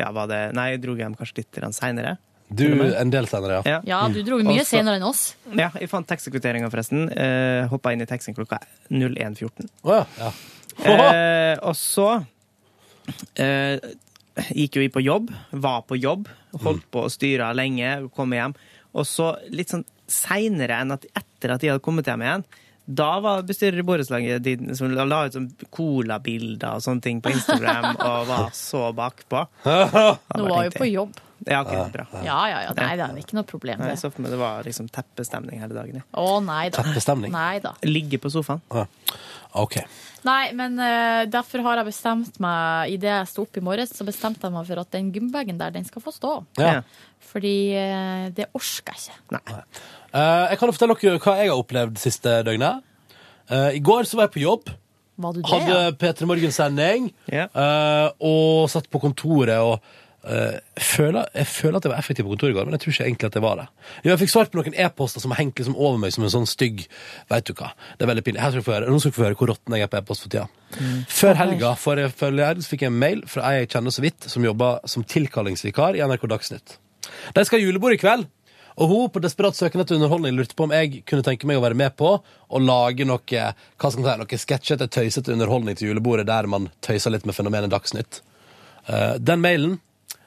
[SPEAKER 2] Ja, var det Nei, jeg drog hjem kanskje litt seinere.
[SPEAKER 1] Du, en del senere, ja.
[SPEAKER 3] Ja, du dro
[SPEAKER 2] Mm. Altså,
[SPEAKER 3] mye senere enn oss.
[SPEAKER 2] Ja, jeg fant taxikvitteringa, forresten. Eh, Hoppa inn i taxien klokka 01.14. Eh, og så eh, gikk jo jeg på jobb. Var på jobb. Holdt på å styre lenge, kom hjem. Og så litt sånn seinere enn at etter at jeg hadde kommet hjem igjen, da var bestyrer i borettslaget din som la la ut sånn colabilder og sånne ting på Instagram og var så bakpå.
[SPEAKER 3] Nå var jo på jobb.
[SPEAKER 2] Ja, ok, bra.
[SPEAKER 3] Ja, ja, ja. Nei, det er ikke noe problem.
[SPEAKER 2] Nei,
[SPEAKER 3] Det.
[SPEAKER 2] jeg så for meg det var liksom teppestemning hele dagen.
[SPEAKER 3] Å, nei da.
[SPEAKER 1] Teppestemning?
[SPEAKER 3] Nei da.
[SPEAKER 2] Ligge på sofaen.
[SPEAKER 1] OK.
[SPEAKER 3] Nei, men eh, derfor har jeg bestemt meg Idet jeg sto opp i morges, så bestemte jeg meg for at den gymbagen der, den skal få stå.
[SPEAKER 1] Ja.
[SPEAKER 3] Fordi eh, det orker jeg ikke.
[SPEAKER 1] Eh, jeg kan jo fortelle dere hva jeg har opplevd siste døgnet. Eh, I går så var jeg på jobb.
[SPEAKER 3] Var du det?
[SPEAKER 1] Hadde
[SPEAKER 3] ja?
[SPEAKER 1] P3 Morgen-sending. eh, og satt på kontoret og eh, føler, Jeg føler at jeg var effektiv på kontoret i går, men jeg tror ikke egentlig at jeg var det. Jo, jeg fikk svart på noen e-poster som har hengt liksom over meg som en sånn stygg Vet du hva, det er veldig pinlig. Her skal du få høre, Nå skal du få høre hvor råtten jeg er på e-post for tida. Før helga forrige forrige helg, så fikk jeg en mail fra ei jeg kjenner så vidt, som jobba som tilkallingsvikar i NRK Dagsnytt. De skal ha julebord i kveld. Og hun på desperat søken etter underholdning lurte på om jeg kunne tenke meg å være med på å lage noe hva skal man si, noe sketsjete, tøysete underholdning til julebordet der man tøyser litt med fenomenet Dagsnytt. Eh, den mailen,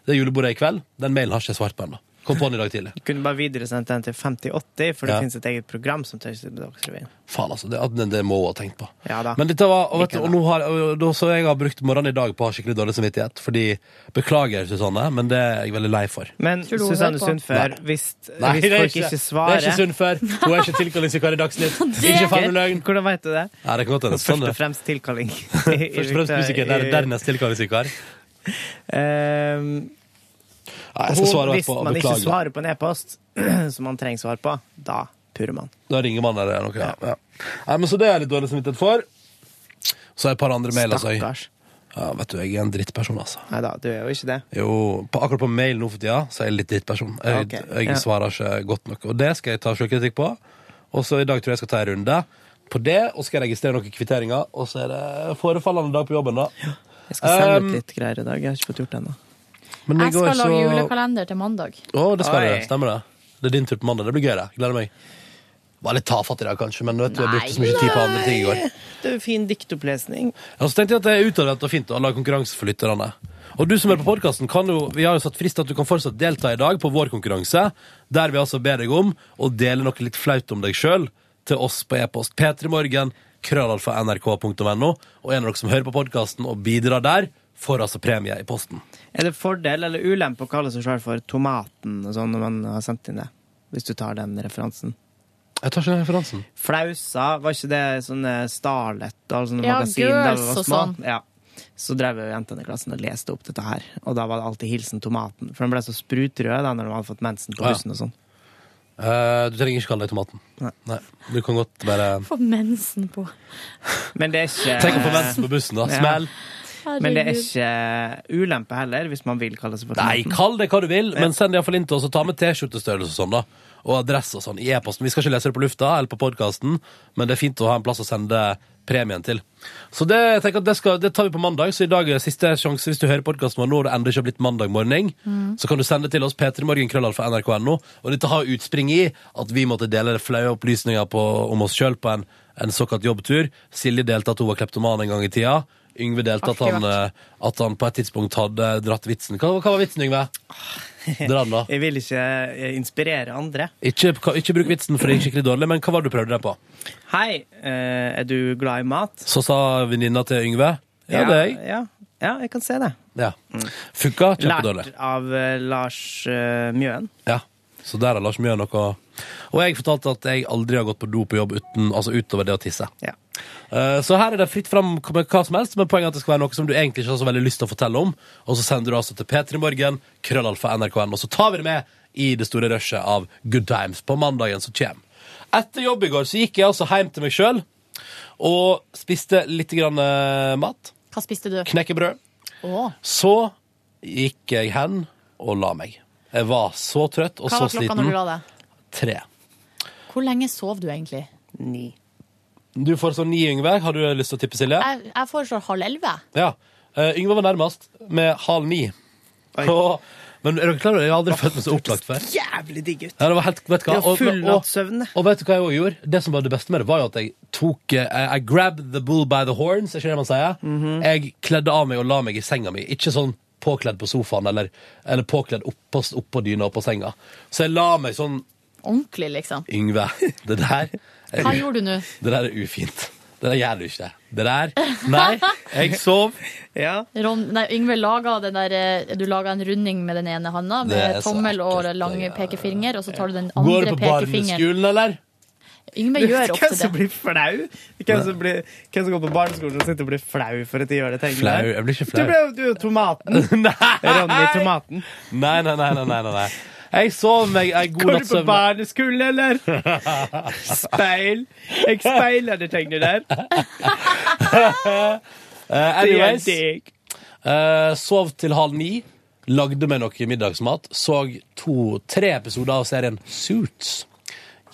[SPEAKER 1] det er julebordet i kveld, den mailen har ikke jeg svart på ennå. Kom på den i dag tidlig.
[SPEAKER 2] Kunne bare videresendt den til 5080, for det
[SPEAKER 1] Ja.
[SPEAKER 2] finnes et eget program som tøyser med Dagsrevyen.
[SPEAKER 1] Faen, altså. Det, at- det må hun ha tenkt på.
[SPEAKER 2] Ja da.
[SPEAKER 1] Men dette var, og, vet,
[SPEAKER 2] Ikke
[SPEAKER 1] du, og nå har, og da så jeg har brukt morgenen i dag på å ha skikkelig dårlig samvittighet. Fordi, Beklager, Susanne, men det er jeg veldig lei for.
[SPEAKER 2] Men
[SPEAKER 1] Tror du hun
[SPEAKER 2] Susanne
[SPEAKER 1] hører på?
[SPEAKER 2] Sundfør,
[SPEAKER 1] Nei.
[SPEAKER 2] hvis,
[SPEAKER 1] Nei,
[SPEAKER 2] hvis
[SPEAKER 1] det er ikke-
[SPEAKER 2] folk ikke,
[SPEAKER 1] det er
[SPEAKER 2] svarer
[SPEAKER 1] ikke Sundfør. Hun er ikke tilkallingsvikar i Dagsnytt. Ikke faen med løgn.
[SPEAKER 2] Hvordan vet du det?
[SPEAKER 1] Nei, det kan godt hende.
[SPEAKER 2] Først
[SPEAKER 1] Sånn er
[SPEAKER 2] og
[SPEAKER 1] det.
[SPEAKER 2] fremst tilkalling. I- i-
[SPEAKER 1] Først og fremst musiker, der, dernest tilkallingsvikar.
[SPEAKER 2] Ehm,
[SPEAKER 1] Nei, jeg skal
[SPEAKER 2] hun-
[SPEAKER 1] svare
[SPEAKER 2] hvis
[SPEAKER 1] etterpå,
[SPEAKER 2] man ikke
[SPEAKER 1] beklager.
[SPEAKER 2] svarer på en e-post som man trenger svar på, da purrer man.
[SPEAKER 1] Da ringer man eller noe. Ja. Ja. Nei, men Så det er jeg litt dårlig samvittighet for. Så er det et par andre mailer. altså.
[SPEAKER 2] Stakkars.
[SPEAKER 1] Ja, vet du, jeg er en drittperson, altså.
[SPEAKER 2] Nei da, du er jo ikke det.
[SPEAKER 1] Jo, på, akkurat på mail nå for tida, så er jeg litt drittperson. Jeg,
[SPEAKER 2] Ok,
[SPEAKER 1] jeg
[SPEAKER 2] ja.
[SPEAKER 1] svarer ikke godt nok. Og det skal jeg ta sjølkritikk på. Og så i dag tror jeg jeg skal ta en runde på det, og skal jeg registrere noen kvitteringer. Og så er det forefallende dag på jobben, da.
[SPEAKER 2] Jeg skal sende
[SPEAKER 1] Um,
[SPEAKER 2] ut litt greier i dag. Jeg har ikke fått gjort det ennå.
[SPEAKER 1] Men det
[SPEAKER 3] Jeg skal
[SPEAKER 1] går så-
[SPEAKER 3] lage julekalender til mandag.
[SPEAKER 1] Å, det skal
[SPEAKER 2] Oi.
[SPEAKER 1] du. Stemmer det. Det er din tur på mandag. Det blir gøy, det. Gleder meg. Var litt tafatt i dag, kanskje, men vet du, jeg brukte så mye tid på andre ting i går.
[SPEAKER 2] Det er jo fin diktopplesning.
[SPEAKER 1] Ja, så tenkte jeg at det er utadrettet og fint å lage konkurranse for lytterne. Og du som er på podcasten, kan jo, vi har jo satt frist at du kan fortsatt delta i dag på vår konkurranse, der vi altså ber deg om å dele noe litt flaut om deg selv til oss på e-post p3morgen, krøllalfa nrk.no, og en av dere som hører på podcasten og bidrar der, får altså premie i posten.
[SPEAKER 2] Er det fordel eller ulempe å kalle seg sjøl for Tomaten og sånn når man har sendt inn det? Hvis du tar den referansen.
[SPEAKER 1] Jeg tar ikke den referansen.
[SPEAKER 2] Flausa, var ikke det sånne Starlet og sånne
[SPEAKER 3] Ja,
[SPEAKER 2] magasin da vi
[SPEAKER 3] Girls
[SPEAKER 2] var
[SPEAKER 3] og
[SPEAKER 2] små?
[SPEAKER 3] sånn.
[SPEAKER 2] Ja. Så drev jo jentene i klassen og leste opp dette her. Og da var det alltid hilsen Tomaten. For de ble så sprutrøde da når de hadde fått mensen på
[SPEAKER 1] Ja.
[SPEAKER 2] bussen og sånn.
[SPEAKER 1] Eh, du trenger ikke kalle deg tomaten. Nei. Du kan godt bare...
[SPEAKER 3] Få mensen på.
[SPEAKER 2] Men det er ikke
[SPEAKER 1] Tenk å få mensen på bussen da,
[SPEAKER 2] Ja.
[SPEAKER 1] smell!
[SPEAKER 2] Men det er ikke ulempe heller, hvis man vil kalle seg for
[SPEAKER 1] Nei,
[SPEAKER 2] Tomaten.
[SPEAKER 1] kall det hva du vil, men send det iallfall inn til oss, og ta med T-skjortestørrelse og sånn, da. Og adresse og sånn i e-posten. Vi skal ikke lese det på lufta eller på podkasten, men det er fint å ha en plass å sende premien til. Så det, jeg tenker at det, skal, det tar vi på mandag, så i dag er siste sjanse hvis du hører podkasten vår nå og det ennå ikke har blitt mandag morgen,
[SPEAKER 16] Mm.
[SPEAKER 1] så kan du sende det til oss p3morgenkrøllalfa.nrk.no. Og dette har utspring i at vi måtte dele det flaue opplysninger på, om oss sjøl på en, en såkalt jobbtur. Silje delte at hun var kleptoman en gang i tida. Yngve delte at
[SPEAKER 2] Artig
[SPEAKER 1] han, eh, at han på et tidspunkt hadde dratt vitsen. Hva, hva var vitsen, Yngve? Dra den, da.
[SPEAKER 2] Jeg vil ikke eh, inspirere andre.
[SPEAKER 1] Ikke, ikke bruk vitsen, for det gikk skikkelig dårlig, men hva var det du prøvde deg på?
[SPEAKER 2] Hei, eh, er du glad i mat?
[SPEAKER 1] Så sa venninna til Yngve Ja, det er jeg.
[SPEAKER 2] Ja, ja, jeg kan se det.
[SPEAKER 1] Ja. Funka kjempedårlig.
[SPEAKER 2] Lært av eh, Lars eh, Mjøen.
[SPEAKER 1] Ja. Så der har Lars Mjøen noe Og jeg fortalte at jeg aldri har gått på do på jobb uten, altså utover det å tisse. Eh, Så her er det fritt fram med hva som helst, men poenget er at det skal være noe som du egentlig ikke har så veldig lyst til å fortelle om. Og så sender du altså til p3morgen, krøllalfa nrk.no, og så tar vi det med i det store rushet av Good Times på mandagen som kommer. Etter jobb i går så gikk jeg altså hjem til meg sjøl og spiste litt grann eh, mat.
[SPEAKER 3] Hva spiste du?
[SPEAKER 1] Knekkebrød.
[SPEAKER 3] Å.
[SPEAKER 1] Så gikk jeg hen og la meg. Jeg var så trøtt og
[SPEAKER 3] Hva
[SPEAKER 1] så
[SPEAKER 3] var klokka når du la
[SPEAKER 1] sliten.
[SPEAKER 3] deg?
[SPEAKER 1] Tre.
[SPEAKER 3] Hvor lenge sov du egentlig?
[SPEAKER 2] Ni.
[SPEAKER 1] Du får sånn ni, Yngve. Har du lyst til å tippe, Silje?
[SPEAKER 3] Jeg, jeg foreslår halv elleve.
[SPEAKER 1] Ja. Eh, Yngve var nærmest med halv ni. Og, men er dere klar over det? Jeg har aldri følt meg så opplagt før.
[SPEAKER 2] Jævlig digg ut.
[SPEAKER 1] Ja, det var helt, vet du hva?
[SPEAKER 2] Det er
[SPEAKER 1] Og-
[SPEAKER 2] full
[SPEAKER 1] og-
[SPEAKER 2] nattsøvn.
[SPEAKER 1] Og vet du hva jeg også gjorde? Det som var det beste med det, var jo at jeg tok eh, I grabbed the bull by the horns, er ikke det man sier? Jeg kledde av meg og la meg i senga mi. Ikke sånn påkledd på sofaen eller, eller påkledd oppå opp på dyna og på senga. Så jeg la meg sånn
[SPEAKER 3] Ordentlig, liksom.
[SPEAKER 1] Yngve, det der er
[SPEAKER 3] Hva
[SPEAKER 1] u-
[SPEAKER 3] gjorde du nå?
[SPEAKER 1] Det der er ufint. Det der gjør du ikke. Det der Nei, jeg sov.
[SPEAKER 3] Ron, nei, Yngve laga den der eh, Du laga en runding med den ene handa,
[SPEAKER 1] Det
[SPEAKER 3] med
[SPEAKER 1] er så
[SPEAKER 3] tommel og lang pekefinger, og så tar du den
[SPEAKER 1] Går du
[SPEAKER 3] andre
[SPEAKER 1] på
[SPEAKER 3] pekefingeren.
[SPEAKER 1] barneskolen, eller?
[SPEAKER 3] Yngve gjør
[SPEAKER 2] Hvem
[SPEAKER 3] ofte
[SPEAKER 2] som
[SPEAKER 3] det.
[SPEAKER 2] blir flau? Hvem som, blir, hvem som går på barneskolen og sitter og blir flau for at de gjør det? tenker
[SPEAKER 1] Flau?
[SPEAKER 2] jeg.
[SPEAKER 1] Jeg blir ikke
[SPEAKER 2] Du
[SPEAKER 1] flau.
[SPEAKER 2] ble jo- du er jo tomaten. Ronny Tomaten.
[SPEAKER 1] Nei, nei, nei. nei, nei, nei, nei. Jeg sov meg ei god
[SPEAKER 2] Går du
[SPEAKER 1] natts
[SPEAKER 2] på
[SPEAKER 1] søvn.
[SPEAKER 2] barneskolen, eller? Speil. Jeg speiler det tegnet der.
[SPEAKER 1] Eh, anyways,
[SPEAKER 2] Det er
[SPEAKER 1] eh, sov til halv ni, lagde meg noe middagsmat, så to, tre episoder av serien Suits.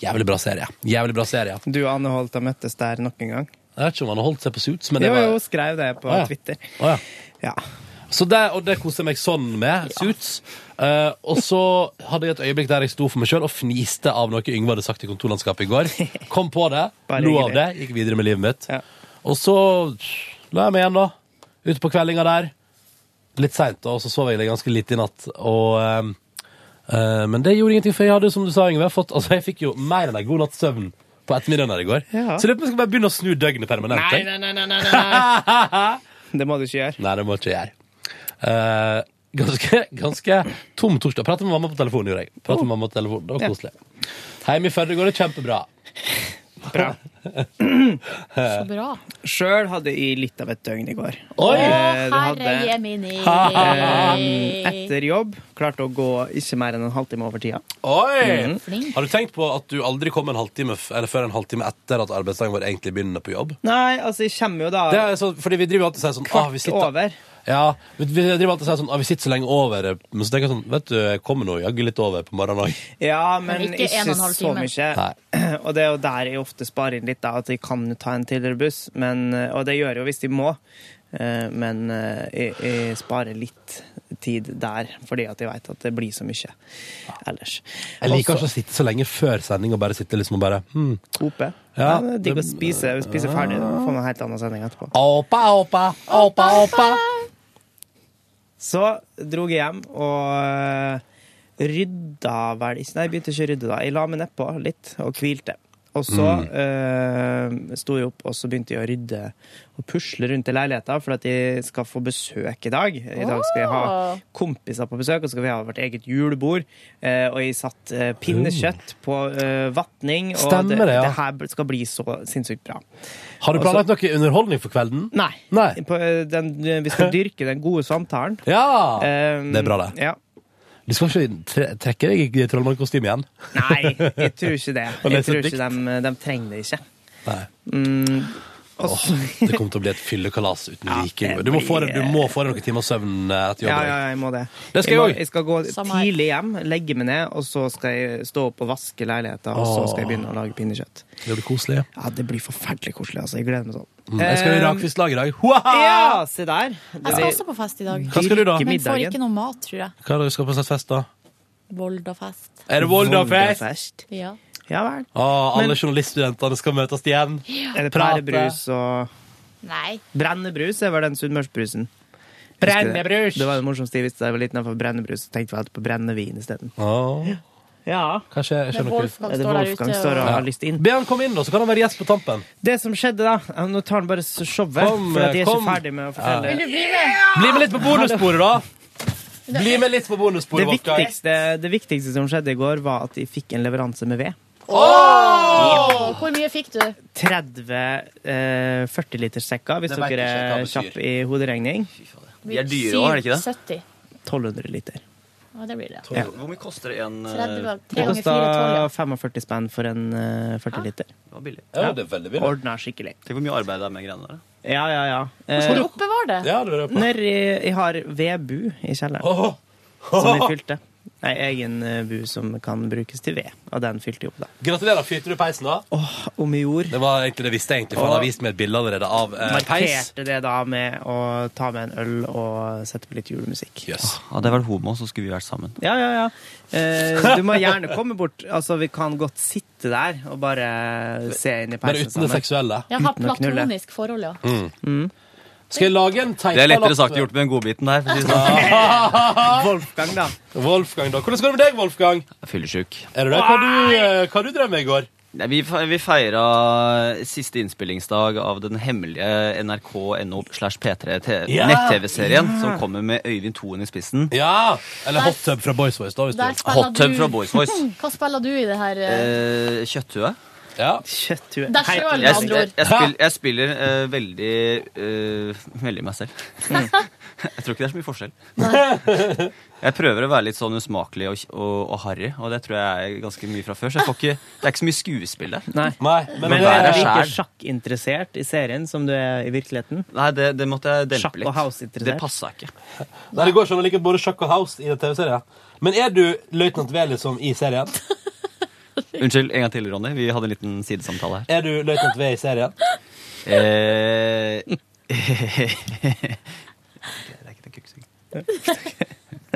[SPEAKER 1] Jævlig bra serie. Jævlig bra serie.
[SPEAKER 2] Du og Anne Holt har møttes der nok en gang.
[SPEAKER 1] Jeg vet ikke om han har holdt seg på Suits, men det
[SPEAKER 2] Jo,
[SPEAKER 1] var
[SPEAKER 2] jo, skrev det på
[SPEAKER 1] Å, ja.
[SPEAKER 2] Twitter.
[SPEAKER 1] Å, ja. Så det, og det koser jeg meg sånn med. Suits. Eh, og så hadde jeg et øyeblikk der jeg sto for meg sjøl og fniste av noe Yngve hadde sagt i kontorlandskapet i går. Kom på det,
[SPEAKER 2] Bare
[SPEAKER 1] lo av
[SPEAKER 2] hyggelig.
[SPEAKER 1] det, gikk videre med livet mitt. Og så la jeg meg igjen, da. Ute på kveldinga der. Litt seint, og så sov jeg ganske lite i natt. Og, eh, eh, men det gjorde ingenting, for jeg hadde, som du sa, Yngve, fått Altså, jeg fikk jo mer enn en god natts søvn på ettermiddagen her i går.
[SPEAKER 2] Ja.
[SPEAKER 1] Så jeg lurer på om jeg skal bare begynne å snu døgnet permanent. jeg.
[SPEAKER 2] nei, nei, nei, nei, nei. Det må du ikke gjøre.
[SPEAKER 1] Nei, det må ikke jeg gjøre. Eh, ganske, ganske tom torsdag. Pratet med mamma på telefonen, gjorde jeg. Pratet med mamma på telefonen, Det var
[SPEAKER 2] Ja.
[SPEAKER 1] koselig. Hjemme i Førde går det kjempebra.
[SPEAKER 2] Bra.
[SPEAKER 1] Så
[SPEAKER 3] bra.
[SPEAKER 2] Sjøl hadde jeg litt av et døgn i går.
[SPEAKER 3] Oi!
[SPEAKER 2] Eh, det
[SPEAKER 3] Å,
[SPEAKER 2] hadde-
[SPEAKER 3] herre jemini.
[SPEAKER 2] Eh, Etter jobb klarte å gå ikke mer enn en halvtime over tida.
[SPEAKER 1] Oi!
[SPEAKER 2] Mhm.
[SPEAKER 3] Flink.
[SPEAKER 1] Har du tenkt på at du aldri kom en halvtime f- eller før en halvtime etter at arbeidsdagen vår egentlig begynner på jobb?
[SPEAKER 2] Nei, altså, jeg kommer jo da
[SPEAKER 1] Det er sånn, fordi vi driver alltid og sier sånn
[SPEAKER 2] Kvart
[SPEAKER 1] ah, vi sitter,
[SPEAKER 2] over.
[SPEAKER 1] Ja, vi vi driver alltid og sier sånn ah, vi sitter så lenge over. Men så tenker jeg sånn Vet du, jeg kommer nå jaggu litt over på morgenen òg.
[SPEAKER 2] Ja, men,
[SPEAKER 3] Men ikke
[SPEAKER 2] ikke,
[SPEAKER 3] en og en halv
[SPEAKER 2] så
[SPEAKER 3] time.
[SPEAKER 2] mye. Og det er jo der jeg ofte sparer inn litt, da, at jeg kan jo ta en tidligere buss. Men, eh, og det gjør jeg jo hvis jeg må. Eh, Men eh, jeg, jeg sparer litt tid der, fordi at jeg veit at det blir så mye ellers.
[SPEAKER 1] Jeg liker
[SPEAKER 2] Også-
[SPEAKER 1] ikke å sitte så lenge før sending og bare sitte liksom og bare hmm.
[SPEAKER 2] Ope.
[SPEAKER 1] Ja, Ah.
[SPEAKER 2] Nei, det er Digg å spise, spise ferdig. Da får man en helt annen sending etterpå.
[SPEAKER 1] Opa, opa, opa, opa.
[SPEAKER 2] Så dro jeg hjem og eh, rydda vel ikke Nei, jeg begynte ikke å rydde da. Jeg la meg nedpå litt og hvilte. Og så
[SPEAKER 1] Mm.
[SPEAKER 2] eh, sto jeg opp, og så begynte jeg å rydde og pusle rundt i leiligheta, for at jeg skal få besøk i dag. I dag skal jeg ha kompiser på besøk, og så skal vi ha vårt eget julebord. Eh, og jeg satt eh, pinnekjøtt på eh, vatning,
[SPEAKER 1] Uh.
[SPEAKER 2] og
[SPEAKER 1] Stemmer
[SPEAKER 2] det,
[SPEAKER 1] det, ja.
[SPEAKER 2] det her skal bli så sinnssykt bra.
[SPEAKER 1] Har du
[SPEAKER 2] Og så-
[SPEAKER 1] planlagt noe underholdning for kvelden?
[SPEAKER 2] Altså- Nei. På, eh, den, vi skal dyrke den gode samtalen.
[SPEAKER 1] Ja!
[SPEAKER 2] Eh,
[SPEAKER 1] Det er bra, det.
[SPEAKER 2] Ja.
[SPEAKER 1] Du skal ikke tre trekke deg i trollmannkostyme igjen?
[SPEAKER 2] Nei, jeg tror ikke det.
[SPEAKER 1] Og
[SPEAKER 2] Jeg
[SPEAKER 1] lese
[SPEAKER 2] tror
[SPEAKER 1] et
[SPEAKER 2] ikke de, de trenger det ikke.
[SPEAKER 1] Nei.
[SPEAKER 2] Mm, og
[SPEAKER 1] Åh,
[SPEAKER 2] så-
[SPEAKER 1] det kommer til å bli et fyllekalas uten like.
[SPEAKER 2] det
[SPEAKER 1] Du må få deg
[SPEAKER 2] blir-
[SPEAKER 1] du må få deg noen timer søvn eh, etter
[SPEAKER 2] ja,
[SPEAKER 1] jobb.
[SPEAKER 2] ja, jeg må det.
[SPEAKER 1] Det skal jeg
[SPEAKER 2] må-
[SPEAKER 1] også.
[SPEAKER 2] Jeg skal gå tidlig hjem, legge meg ned, og så skal jeg stå opp og vaske leiligheten, og så skal jeg begynne å lage pinnekjøtt.
[SPEAKER 1] Det blir koselig.
[SPEAKER 2] Ja, det blir forferdelig koselig, altså. Jeg gleder meg sånn.
[SPEAKER 1] Mm, jeg skal i rakfistlag i dag. Hua!
[SPEAKER 2] Ja, se der.
[SPEAKER 3] Ah! Jeg skal også på fest i dag.
[SPEAKER 1] Hva skal du da?
[SPEAKER 3] Men får ikke noe mat, tror jeg.
[SPEAKER 1] Hva er det du skal på slags fest, da?
[SPEAKER 3] Voldafest.
[SPEAKER 1] Er det Volda-fest?
[SPEAKER 3] Ja.
[SPEAKER 2] Ja vel.
[SPEAKER 1] Å, alle
[SPEAKER 2] Men-
[SPEAKER 1] journaliststudentene skal møtes igjen.
[SPEAKER 2] Er det
[SPEAKER 1] Ah, Prate.
[SPEAKER 2] pærebrus og
[SPEAKER 3] Nei.
[SPEAKER 2] Brennebrus er vel den sunnmørsbrusen.
[SPEAKER 1] Brennebrus!
[SPEAKER 2] Det var det morsomste jeg visste da jeg var liten. for Brennebrus så tenkte jeg alltid på brennevin isteden.
[SPEAKER 1] Oh.
[SPEAKER 2] Ja.
[SPEAKER 1] Kanskje jeg
[SPEAKER 2] Det er
[SPEAKER 1] skjønner
[SPEAKER 2] Wolfgang Det er står der Wolfgang ute og- står og har lyst inn.
[SPEAKER 1] Be han komme inn, da, så kan han være gjest på tampen.
[SPEAKER 2] Det som skjedde, da ja, Nå tar han bare showet,
[SPEAKER 1] Kom,
[SPEAKER 2] for at jeg er
[SPEAKER 1] kom.
[SPEAKER 2] ikke ferdig med å fortelle.
[SPEAKER 1] Ja. Vil Bli med litt på bonussporet, da! Bli med litt på
[SPEAKER 2] Det
[SPEAKER 1] bonussporet, Wolfgang.
[SPEAKER 2] viktigste, det viktigste som skjedde i går, var at jeg fikk en leveranse med ved.
[SPEAKER 3] Åh, Hvor mye fikk du?
[SPEAKER 2] 30 eh, 40-literssekker, hvis
[SPEAKER 3] Det vet
[SPEAKER 2] dere er
[SPEAKER 3] ikke jeg hva
[SPEAKER 2] kjapp i hoderegning.
[SPEAKER 16] De er dyre også, er det ikke det?
[SPEAKER 3] 70.
[SPEAKER 2] 1200 liter.
[SPEAKER 3] Ja, det blir det.
[SPEAKER 2] Ja.
[SPEAKER 16] Hvor mye koster en eh,
[SPEAKER 3] 30 var-
[SPEAKER 2] Det
[SPEAKER 3] Tre ganger
[SPEAKER 2] kosta
[SPEAKER 3] fire, tolv, ja.
[SPEAKER 2] 45 spenn for en eh, 40 liter.
[SPEAKER 16] Det var billig.
[SPEAKER 1] Ja, det er veldig billig.
[SPEAKER 2] Ordna skikkelig.
[SPEAKER 16] Tenk hvor mye arbeid det er med greiene der. da.
[SPEAKER 2] Ja, ja, ja. Eh,
[SPEAKER 16] Hvor skal du
[SPEAKER 3] oppbevare det?
[SPEAKER 1] Ja, det lurer jeg på.
[SPEAKER 2] Når jeg, jeg har vedbu i kjelleren,
[SPEAKER 1] Åh!
[SPEAKER 2] som jeg fylte. Ei egen eh, bu som kan brukes til ved, og den fylte jeg opp, da.
[SPEAKER 1] Gratulerer, fyrte du peisen da?
[SPEAKER 2] om jeg gjorde.
[SPEAKER 1] Det var egentlig det visste jeg egentlig, for han har vist meg et bilde allerede av eh, peis.
[SPEAKER 2] Markerte det da med å ta med en øl og sette på litt julemusikk.
[SPEAKER 16] Hadde jeg vært homo, så skulle vi vært sammen.
[SPEAKER 2] Ja, ja, ja. Eh, du må gjerne komme bort. Altså, vi kan godt sitte der og bare se inn i
[SPEAKER 1] Bare
[SPEAKER 2] peisen
[SPEAKER 1] uten det seksuelle.
[SPEAKER 3] Jeg har
[SPEAKER 2] Uten å knulle.
[SPEAKER 3] platonisk forhold, ja.
[SPEAKER 1] Skal jeg lage en teipa
[SPEAKER 16] Det er lettere sagt enn gjort med den godbiten der. For å si det sånn.
[SPEAKER 2] Wolfgang, da.
[SPEAKER 1] Wolfgang, da. Hvordan går det med deg, Wolfgang?
[SPEAKER 16] Jeg er Fyllesyk.
[SPEAKER 1] Er du det? Hva du, eh, hva du drev med i går?
[SPEAKER 16] Nei, vi, fe- vi feira siste innspillingsdag av den hemmelige nrk.no slash
[SPEAKER 1] Ja!
[SPEAKER 16] p3-nett-TV-serien som kommer med Øyvind Toen i spissen.
[SPEAKER 1] Ja! Eller Hot Tub fra Boys Voice, da. hvis
[SPEAKER 3] Der
[SPEAKER 16] du
[SPEAKER 3] spiller
[SPEAKER 16] Hot Tub
[SPEAKER 3] du-
[SPEAKER 16] fra Boys Voice.
[SPEAKER 3] Hva spiller du i det her? eh?
[SPEAKER 16] Eh, Kjøtthue.
[SPEAKER 1] Ja.
[SPEAKER 2] Kjøtthue.
[SPEAKER 3] Deg selv, med
[SPEAKER 16] jeg,
[SPEAKER 3] andre
[SPEAKER 16] jeg,
[SPEAKER 3] ord.
[SPEAKER 16] jeg, spill, jeg spiller eh, veldig eh, Veldig meg selv. jeg tror ikke det er så mye forskjell. jeg prøver å være litt sånn usmakelig og, og, og harry, og det tror jeg er ganske mye fra før. Så jeg får ikke, det er ikke så mye skuespill der.
[SPEAKER 2] Nei.
[SPEAKER 1] Nei,
[SPEAKER 16] men
[SPEAKER 2] Men
[SPEAKER 16] det
[SPEAKER 2] er
[SPEAKER 16] er
[SPEAKER 2] du like
[SPEAKER 16] skjær.
[SPEAKER 2] sjakkinteressert i serien som du er i virkeligheten?
[SPEAKER 1] Mm.
[SPEAKER 16] Nei, det, det måtte jeg dempe
[SPEAKER 2] Sjakk og
[SPEAKER 16] litt.
[SPEAKER 2] house-interessert.
[SPEAKER 16] det passa ikke.
[SPEAKER 1] Nei, det går sånn like både Sjakk og House i en TV-serie. Men er du løytnant V liksom i serien?
[SPEAKER 16] Unnskyld, en gang til, Ronny. Vi hadde en liten sidesamtale
[SPEAKER 1] Er
[SPEAKER 16] her.
[SPEAKER 1] du løytnant V i serien?
[SPEAKER 16] Eh, det er ikke det kuksing.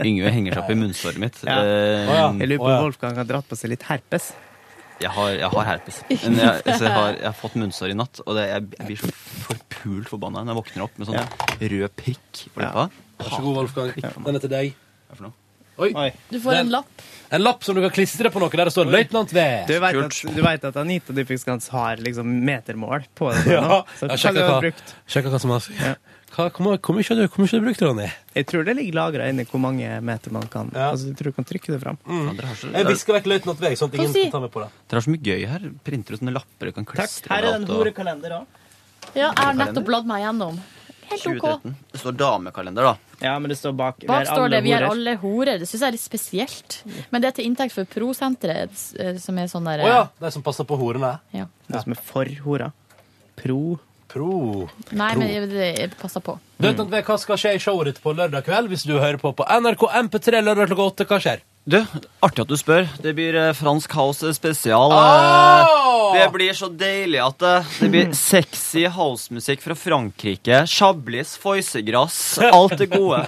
[SPEAKER 16] Yngve henger seg opp i munnsåret mitt.
[SPEAKER 2] Ja.
[SPEAKER 16] Eh,
[SPEAKER 2] Jeg lurer på om Wolfgang har dratt på seg litt herpes.
[SPEAKER 16] Jeg har, jeg har herpes. Men jeg, så jeg, har, jeg har fått munnsår i natt, og det, jeg, jeg blir så forpult forbanna når jeg våkner opp med sånn rød prikk på leppa.
[SPEAKER 1] Vær så god, Wolfgang. Den er til deg.
[SPEAKER 16] Hva for noe?
[SPEAKER 1] Oi.
[SPEAKER 3] Du får en lapp.
[SPEAKER 1] En lapp som du kan klistre på noe der det står 'Løytnant V'.
[SPEAKER 2] Du vet, at, du vet at Anita Dypingskans har liksom metermål på det?
[SPEAKER 1] Ja,
[SPEAKER 2] nå? Så
[SPEAKER 1] jeg
[SPEAKER 2] hva
[SPEAKER 1] har sjekket
[SPEAKER 2] du har
[SPEAKER 1] hva-
[SPEAKER 2] brukt?
[SPEAKER 1] sjekket hva som er Hva- Hvor mye- hvor mye har du hvor mye har du brukt, Ronny?
[SPEAKER 2] Jeg tror det ligger lagra inni hvor mange meter man kan Altså, Jeg tror du kan trykke det fram.
[SPEAKER 16] Mm. Eh,
[SPEAKER 1] Jeg visker vekk løytnant V, sånn at
[SPEAKER 2] Hva
[SPEAKER 1] ingen
[SPEAKER 2] si?
[SPEAKER 1] kan ta meg på det.
[SPEAKER 16] Dere har så mye gøy her. Printer ut sånne lapper du kan klistre
[SPEAKER 2] Her er det en
[SPEAKER 16] overalt, og-
[SPEAKER 2] horekalender òg.
[SPEAKER 3] Ja, jeg har nettopp bladd meg gjennom. Helt OK.
[SPEAKER 16] 2013. Det står damekalender, da.
[SPEAKER 2] Ja, men det står bak.
[SPEAKER 3] Bak står det 'Vi er alle horer'. Det syns jeg er litt spesielt. Men det er til inntekt for Prosenteret, eh, som er sånn der eh,
[SPEAKER 1] Å ja, de som passer på horene.
[SPEAKER 3] Ja.
[SPEAKER 2] Det som er for hora. Pro.
[SPEAKER 1] Pro.
[SPEAKER 3] Nei, men det det passer på.
[SPEAKER 1] Løytnant V, hva skal skje i showet ditt på lørdag kveld hvis du hører på på NRK MP3 lørdag klokka åtte? Hva skjer?
[SPEAKER 16] Du, artig at du spør. Det blir eh, Fransk House spesial.
[SPEAKER 1] Ah!
[SPEAKER 16] eh.
[SPEAKER 1] Åh!
[SPEAKER 16] Det blir så deilig at det, det blir sexy housemusikk fra Frankrike. Chablis, foisegrass, alt det gode.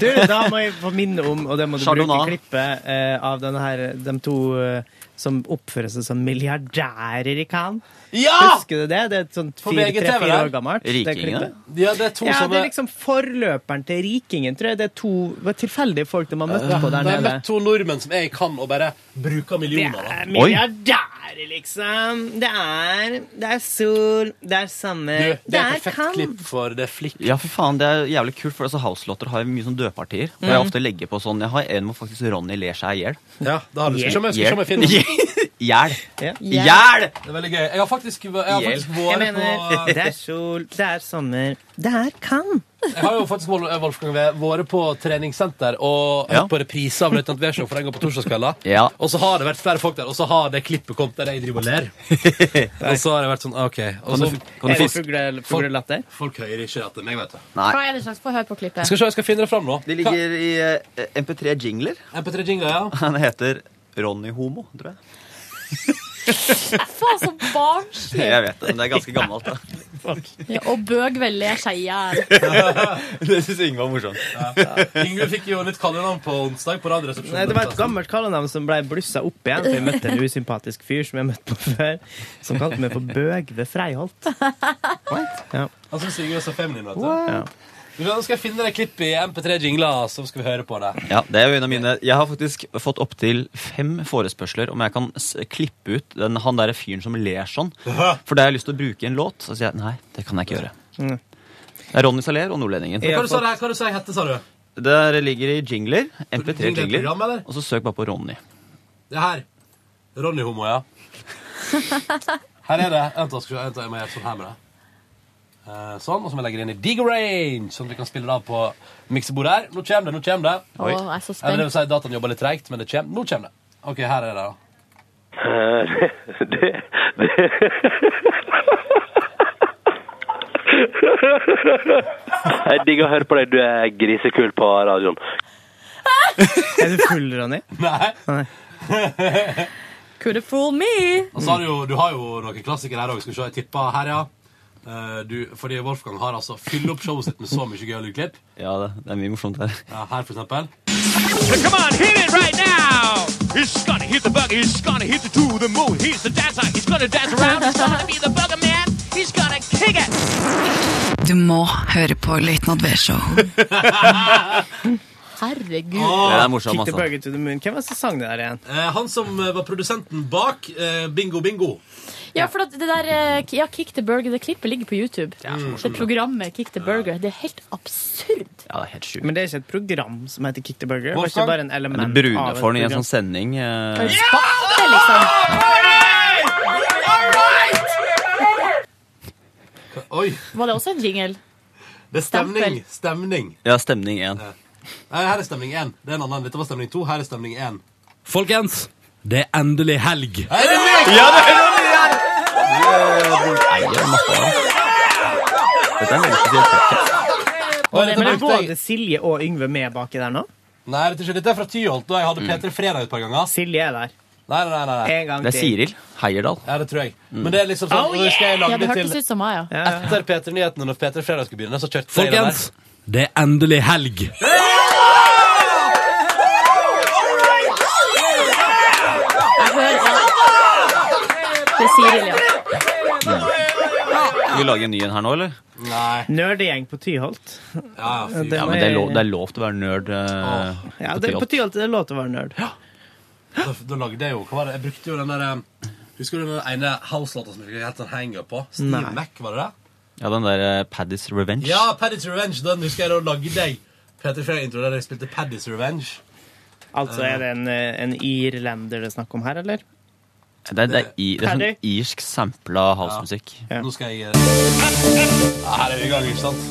[SPEAKER 2] Du, da må jeg få minne om, og det må du
[SPEAKER 16] Chardonnay.
[SPEAKER 2] bruke i klippet, eh, av denne her, de to eh, som oppfører seg som milliardærer i Cannes.
[SPEAKER 1] Ja!
[SPEAKER 2] Husker du det? Det er et sånt
[SPEAKER 1] På
[SPEAKER 2] fire-
[SPEAKER 1] VGTV
[SPEAKER 2] tre-fire
[SPEAKER 1] der.
[SPEAKER 2] år gammelt. det
[SPEAKER 16] Rikingene?
[SPEAKER 2] klippet.
[SPEAKER 1] Ja, det er to
[SPEAKER 2] Ja,
[SPEAKER 1] som
[SPEAKER 2] det er
[SPEAKER 1] er-
[SPEAKER 2] liksom forløperen til rikingen, tror jeg. Det er to det var tilfeldige folk de har møtt
[SPEAKER 1] Da
[SPEAKER 2] på der
[SPEAKER 1] har jeg
[SPEAKER 2] nede.
[SPEAKER 1] møtt to nordmenn som jeg kan og bare bruker millioner.
[SPEAKER 2] Det er
[SPEAKER 1] da.
[SPEAKER 2] milliardærer, liksom. Det er, det er sol, det
[SPEAKER 1] Du,
[SPEAKER 2] er sommer,
[SPEAKER 1] det
[SPEAKER 2] det
[SPEAKER 1] er et
[SPEAKER 2] er
[SPEAKER 1] perfekt
[SPEAKER 2] kamp.
[SPEAKER 1] klipp for det flikk.
[SPEAKER 16] Ja, for faen, det er jævlig kult, for altså, house-låter har jo mye sånn dødpartier. Og jeg
[SPEAKER 1] Mm.
[SPEAKER 16] ofte legger på sånn Jeg har en hvor faktisk Ronny ler seg i hjel.
[SPEAKER 1] Ja, det har du. Skal vi se om jeg- skal vi se om jeg finner den?
[SPEAKER 16] Hjel.
[SPEAKER 1] Hjel!
[SPEAKER 16] Hjel!
[SPEAKER 1] Det er veldig gøy. Jeg har faktisk, jeg har
[SPEAKER 2] Jeg,
[SPEAKER 1] faktisk vært
[SPEAKER 2] mener,
[SPEAKER 1] på eh,
[SPEAKER 2] det er sol, det er sommer, det er kamp.
[SPEAKER 1] Jeg har jo faktisk Wolf- Wolfgang Wee, vært på treningssenter og hørt på reprise av Løytnant V-show, for den går på torsdagskvelder.
[SPEAKER 16] Ja.
[SPEAKER 1] Og så har det vært flere folk der, og så har det klippet kommet der jeg driver og ler. og så har det vært sånn, OK. Og så,
[SPEAKER 16] Kan du- kan du Er det få-
[SPEAKER 2] fugle-
[SPEAKER 1] folk, folk hører ikke at det er meg, vet du.
[SPEAKER 3] Hva er det slags? Få høre på klippet.
[SPEAKER 1] Skal vi se, jeg skal finne det fram nå.
[SPEAKER 16] Det ligger i eh, MP3 Jingler.
[SPEAKER 1] MP3 Jingler, ja.
[SPEAKER 16] Han heter Ronny Homo, tror jeg.
[SPEAKER 3] Faen, så barnslig!
[SPEAKER 16] Jeg vet det, men det er ganske gammelt. da.
[SPEAKER 3] Ja, og Bøgvel ler seg i hjel.
[SPEAKER 16] det syns Yngve var morsomt.
[SPEAKER 1] Ingrid fikk jo litt kallenavn på onsdag på Radioresepsjonen.
[SPEAKER 2] Nei, det var et gammelt kallenavn som ble blussa opp igjen. For jeg møtte en usympatisk fyr som jeg møtte på før, som kalte meg for Bøgve Freiholt. Ja.
[SPEAKER 1] Han synes Ingrid er så feminin, vet du.
[SPEAKER 2] Ja.
[SPEAKER 1] Nå skal jeg finne det klippet i MP3 Jingler, så skal vi høre på det.
[SPEAKER 16] Ja, det er jo en av mine Jeg har faktisk fått opptil fem forespørsler om jeg kan s klippe ut den, han derre fyren som ler sånn. For det har jeg lyst til å bruke i en låt. Så sier jeg nei, det kan jeg ikke gjøre.
[SPEAKER 2] Mm.
[SPEAKER 16] Det er Ronny Saler og Nordlendingen.
[SPEAKER 1] Men Hva du sa det her? Hva du sa jeg hette, sa du?
[SPEAKER 16] Der ligger i jingler. MP3
[SPEAKER 1] Jingler,
[SPEAKER 16] jingler.
[SPEAKER 1] program, eller?
[SPEAKER 16] Og så søk bare på Ronny.
[SPEAKER 1] Det her. Ronny Homo, ja. Her er det. Vent, da, skal vi se. Vent da, jeg må gjøre sånn her med det. Eh, sånn, og så må jeg legge det inn i Digorange, sånn at vi kan spille det av på miksebordet her. Nå kommer det, nå kommer det.
[SPEAKER 3] Å, jeg er så spent.
[SPEAKER 1] Eller det vil si, dataen jobber litt tregt, men det kommer. Nå kommer det. Ok, her er det, da.
[SPEAKER 10] det, det, det. Jeg digger å høre på deg. Du er grisekul på radioen.
[SPEAKER 2] Er du full, Ronny?
[SPEAKER 1] Nei.
[SPEAKER 3] Could have fooled me.
[SPEAKER 1] Og så har du jo, du har jo noen klassikere her òg. Skal vi se, jeg tipper her, ja. Eh, du, fordi Wolfgang har altså fyller opp showet sitt med så mye gøy lydklipp.
[SPEAKER 16] Ja, det, det er mye morsomt her.
[SPEAKER 1] Ja, her, for eksempel.
[SPEAKER 10] So come on, hit it right now! He's gonna hit the bugger, he's gonna hit the two, the moon, he's the dancer, he's gonna dance around, he's gonna be the bugger man, he's gonna kick it!
[SPEAKER 15] Du må høre på Løytnant V-show.
[SPEAKER 3] Herregud.
[SPEAKER 1] Åh,
[SPEAKER 16] Det er morsomt,
[SPEAKER 2] Kick the
[SPEAKER 16] altså.
[SPEAKER 2] bugger to the moon. Hvem var det som sang det der igjen?
[SPEAKER 1] Eh, han som eh, var produsenten bak eh, Bingo Bingo.
[SPEAKER 3] Ja, for at det der eh, ja, Kick the Burger, det klippet ligger på YouTube. Det programmet Kick the Burger. Det er helt absurd.
[SPEAKER 16] altså. Ja, det er helt sjukt.
[SPEAKER 2] Men det er ikke et program som heter Kick the Burger. Det var
[SPEAKER 16] Wolfgang?
[SPEAKER 2] ikke bare en element
[SPEAKER 16] Du bruner
[SPEAKER 2] av et
[SPEAKER 16] for den i en
[SPEAKER 2] program.
[SPEAKER 16] sånn sending. eh.
[SPEAKER 3] Spalte, liksom.
[SPEAKER 1] Oi,
[SPEAKER 3] Var det også en jingle?
[SPEAKER 1] det er stemning. Stemning.
[SPEAKER 16] Ja, stemning én.
[SPEAKER 1] Nei, her er stemning én. Det er en annen. Dette var stemning to. Her er stemning én. Folkens, det er endelig helg. Er det meg?
[SPEAKER 10] Ja, det er
[SPEAKER 16] Dette er en veldig spesiell podcast.
[SPEAKER 1] Oi, dette
[SPEAKER 2] Men det er
[SPEAKER 1] brukte jeg-
[SPEAKER 2] både Silje og Yngve med baki der nå?
[SPEAKER 1] Nei, dette er, ikke- dette er fra Tyholt, og jeg hadde P3 Fredag et par ganger.
[SPEAKER 2] Silje er der.
[SPEAKER 1] Nei, nei, nei, nei.
[SPEAKER 2] En gang
[SPEAKER 16] Det er
[SPEAKER 2] til.
[SPEAKER 16] Siril Heierdal.
[SPEAKER 1] Ja, det tror jeg. Men det er liksom sånn
[SPEAKER 2] Oh,
[SPEAKER 1] og da husker jeg jeg
[SPEAKER 3] Ja,
[SPEAKER 1] lagde
[SPEAKER 3] det
[SPEAKER 1] til
[SPEAKER 3] hørtes ut som meg, ja.
[SPEAKER 1] Etter P3 Nyhetene, når P3 Fredag skulle begynne, så kjørte jeg den
[SPEAKER 10] Folkens,
[SPEAKER 1] der. det er endelig helg.
[SPEAKER 10] right!
[SPEAKER 16] Skal vi lage en ny en her nå, eller?
[SPEAKER 1] Nei.
[SPEAKER 2] Nerdegjeng på Tyholt.
[SPEAKER 1] Ja,
[SPEAKER 2] fy.
[SPEAKER 16] Ja, men det er lov, det er lov til å være nerd. eh,
[SPEAKER 2] Ja,
[SPEAKER 16] på
[SPEAKER 2] det, på
[SPEAKER 16] Tyholt.
[SPEAKER 2] Tyholt er det lov til å være nerd.
[SPEAKER 1] Da, da lagde jeg jo Hva var det? Jeg brukte jo den der eh, Husker du den ene house-låta som jeg helt sånn hang-up på? Steve
[SPEAKER 16] Nei.
[SPEAKER 1] Mac, var det det?
[SPEAKER 16] Ja, den der eh, Paddy's Revenge.
[SPEAKER 1] Ja, Paddy's Revenge. Den husker jeg da lagde jeg. Peter Frey-intro der jeg spilte Paddy's Revenge.
[SPEAKER 2] Altså, er det en, eh, en irlender det er snakk om her, eller?
[SPEAKER 16] Det, er- det, er, i, det er
[SPEAKER 2] Paddy?
[SPEAKER 16] sånn irsk sampla housemusikk.
[SPEAKER 1] Nå skal jeg eh, Her er vi i gang, ikke sant?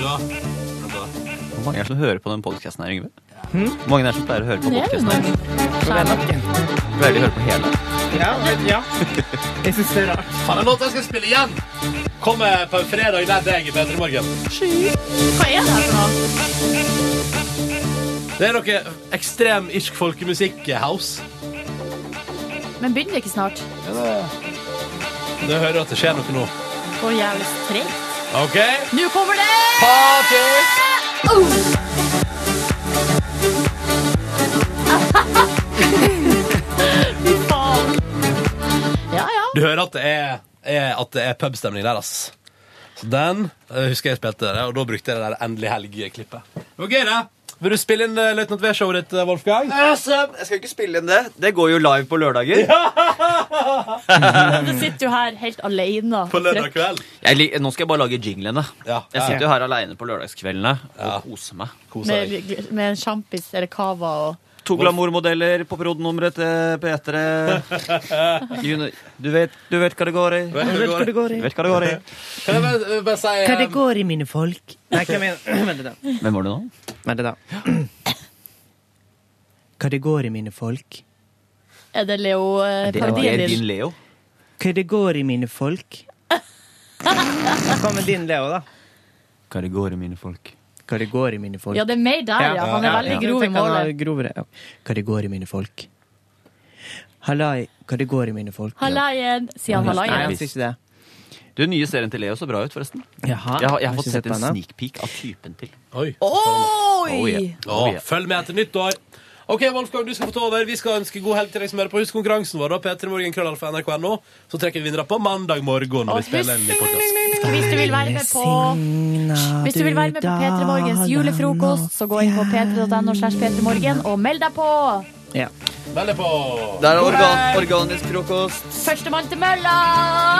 [SPEAKER 1] Ja. Vent da.
[SPEAKER 16] Hvor mange er det som hører på den podcasten her, Yngve? Hvor mange er Hm? det som pleier å høre på podcasten her? Pleier de å høre på hele?
[SPEAKER 2] Ja, ja. Jeg syns det er rart.
[SPEAKER 1] Faen, en låt jeg skal spille igjen! Kommer på en fredag der deg i Petter i morgen.
[SPEAKER 3] Hva er det her for noe?
[SPEAKER 1] Det er noe ekstrem irsk folkemusikk-house.
[SPEAKER 3] Men begynner det ikke snart?
[SPEAKER 1] Du hører at det skjer noe nå.
[SPEAKER 3] Å, jævlig tregt.
[SPEAKER 1] OK?
[SPEAKER 3] Nå kommer det!
[SPEAKER 1] Party!
[SPEAKER 3] Fy faen. Ja, ja.
[SPEAKER 1] Du hører at det er, er, at det er pubstemning der, ass. Så den eh, husker jeg spilte der, og da brukte jeg det der Endelig helg-klippet. Det var gøy, det. Vil du spille inn uh, Løytnant V-showet ditt, eh, Wolfgang?
[SPEAKER 16] Jeg skal ikke spille inn det. Det går jo live på lørdager.
[SPEAKER 3] Du sitter jo her helt alene. Trøtt.
[SPEAKER 1] kveld.
[SPEAKER 16] Jeg, lik- nå skal jeg bare lage jinglene. Jeg sitter jo
[SPEAKER 3] Ja.
[SPEAKER 16] her aleine på lørdagskveldene og koser meg.
[SPEAKER 3] Med, med en sjampis eller cava og
[SPEAKER 16] To glamourmodeller på prod.nummeret til P3. Juni- Du vet, du vet hva det går i.
[SPEAKER 1] Vet hva det går i.
[SPEAKER 16] Du Vet hva det går i.
[SPEAKER 1] Kan jeg bare, eh, bare si eh,
[SPEAKER 2] går i, mine folk? Nei, hva mener Vent litt, da.
[SPEAKER 16] Hvem var det nå?
[SPEAKER 2] Vent litt, da. Hva det går i, mine folk?
[SPEAKER 3] Er det Leo eh, parodien din?
[SPEAKER 16] Leo?
[SPEAKER 2] Hva det går i, mine folk? Hva med din Leo, da?
[SPEAKER 16] Hva det går i, mine folk.
[SPEAKER 2] Hva det går i, mine folk?
[SPEAKER 3] Ja, det er mer der, ja. Han er veldig grov i
[SPEAKER 2] Jeg tenker han er
[SPEAKER 3] målet.
[SPEAKER 2] grovere, ja. Hva det går i, mine folk? Hallai, hva det går i, mine folk?
[SPEAKER 3] Hallaien, sier han
[SPEAKER 2] Nei, han
[SPEAKER 3] hallaien.
[SPEAKER 2] sier ikke det.
[SPEAKER 16] Du, nye serien til Leo så bra ut, forresten.
[SPEAKER 2] Jaha.
[SPEAKER 16] jeg har, jeg har
[SPEAKER 2] Har
[SPEAKER 16] fått
[SPEAKER 2] ikke
[SPEAKER 16] sett
[SPEAKER 2] sett
[SPEAKER 16] en
[SPEAKER 2] på henne.
[SPEAKER 16] sneak peek av typen til.
[SPEAKER 1] Oi!
[SPEAKER 3] Oi!
[SPEAKER 16] Oh, yeah.
[SPEAKER 1] Å, følg med etter nyttår. OK, Wolfgang, du skal få ta over. Vi skal ønske god helg til deg som hører på. Husk konkurransen vår, da. p3morgen.krøllalfa.nrk.no. Så trekker vi vinnere på mandag morgen. når vi spiller en ny podcast.
[SPEAKER 3] Hvis du vil være med på Hvis du vil være med på P3 Morgens julefrokost, så gå inn på p3.no slash p3morgen og meld deg på!
[SPEAKER 2] Ja.
[SPEAKER 1] Meld deg på.
[SPEAKER 16] Det er organ, organisk frokost.
[SPEAKER 3] Førstemann til mølla!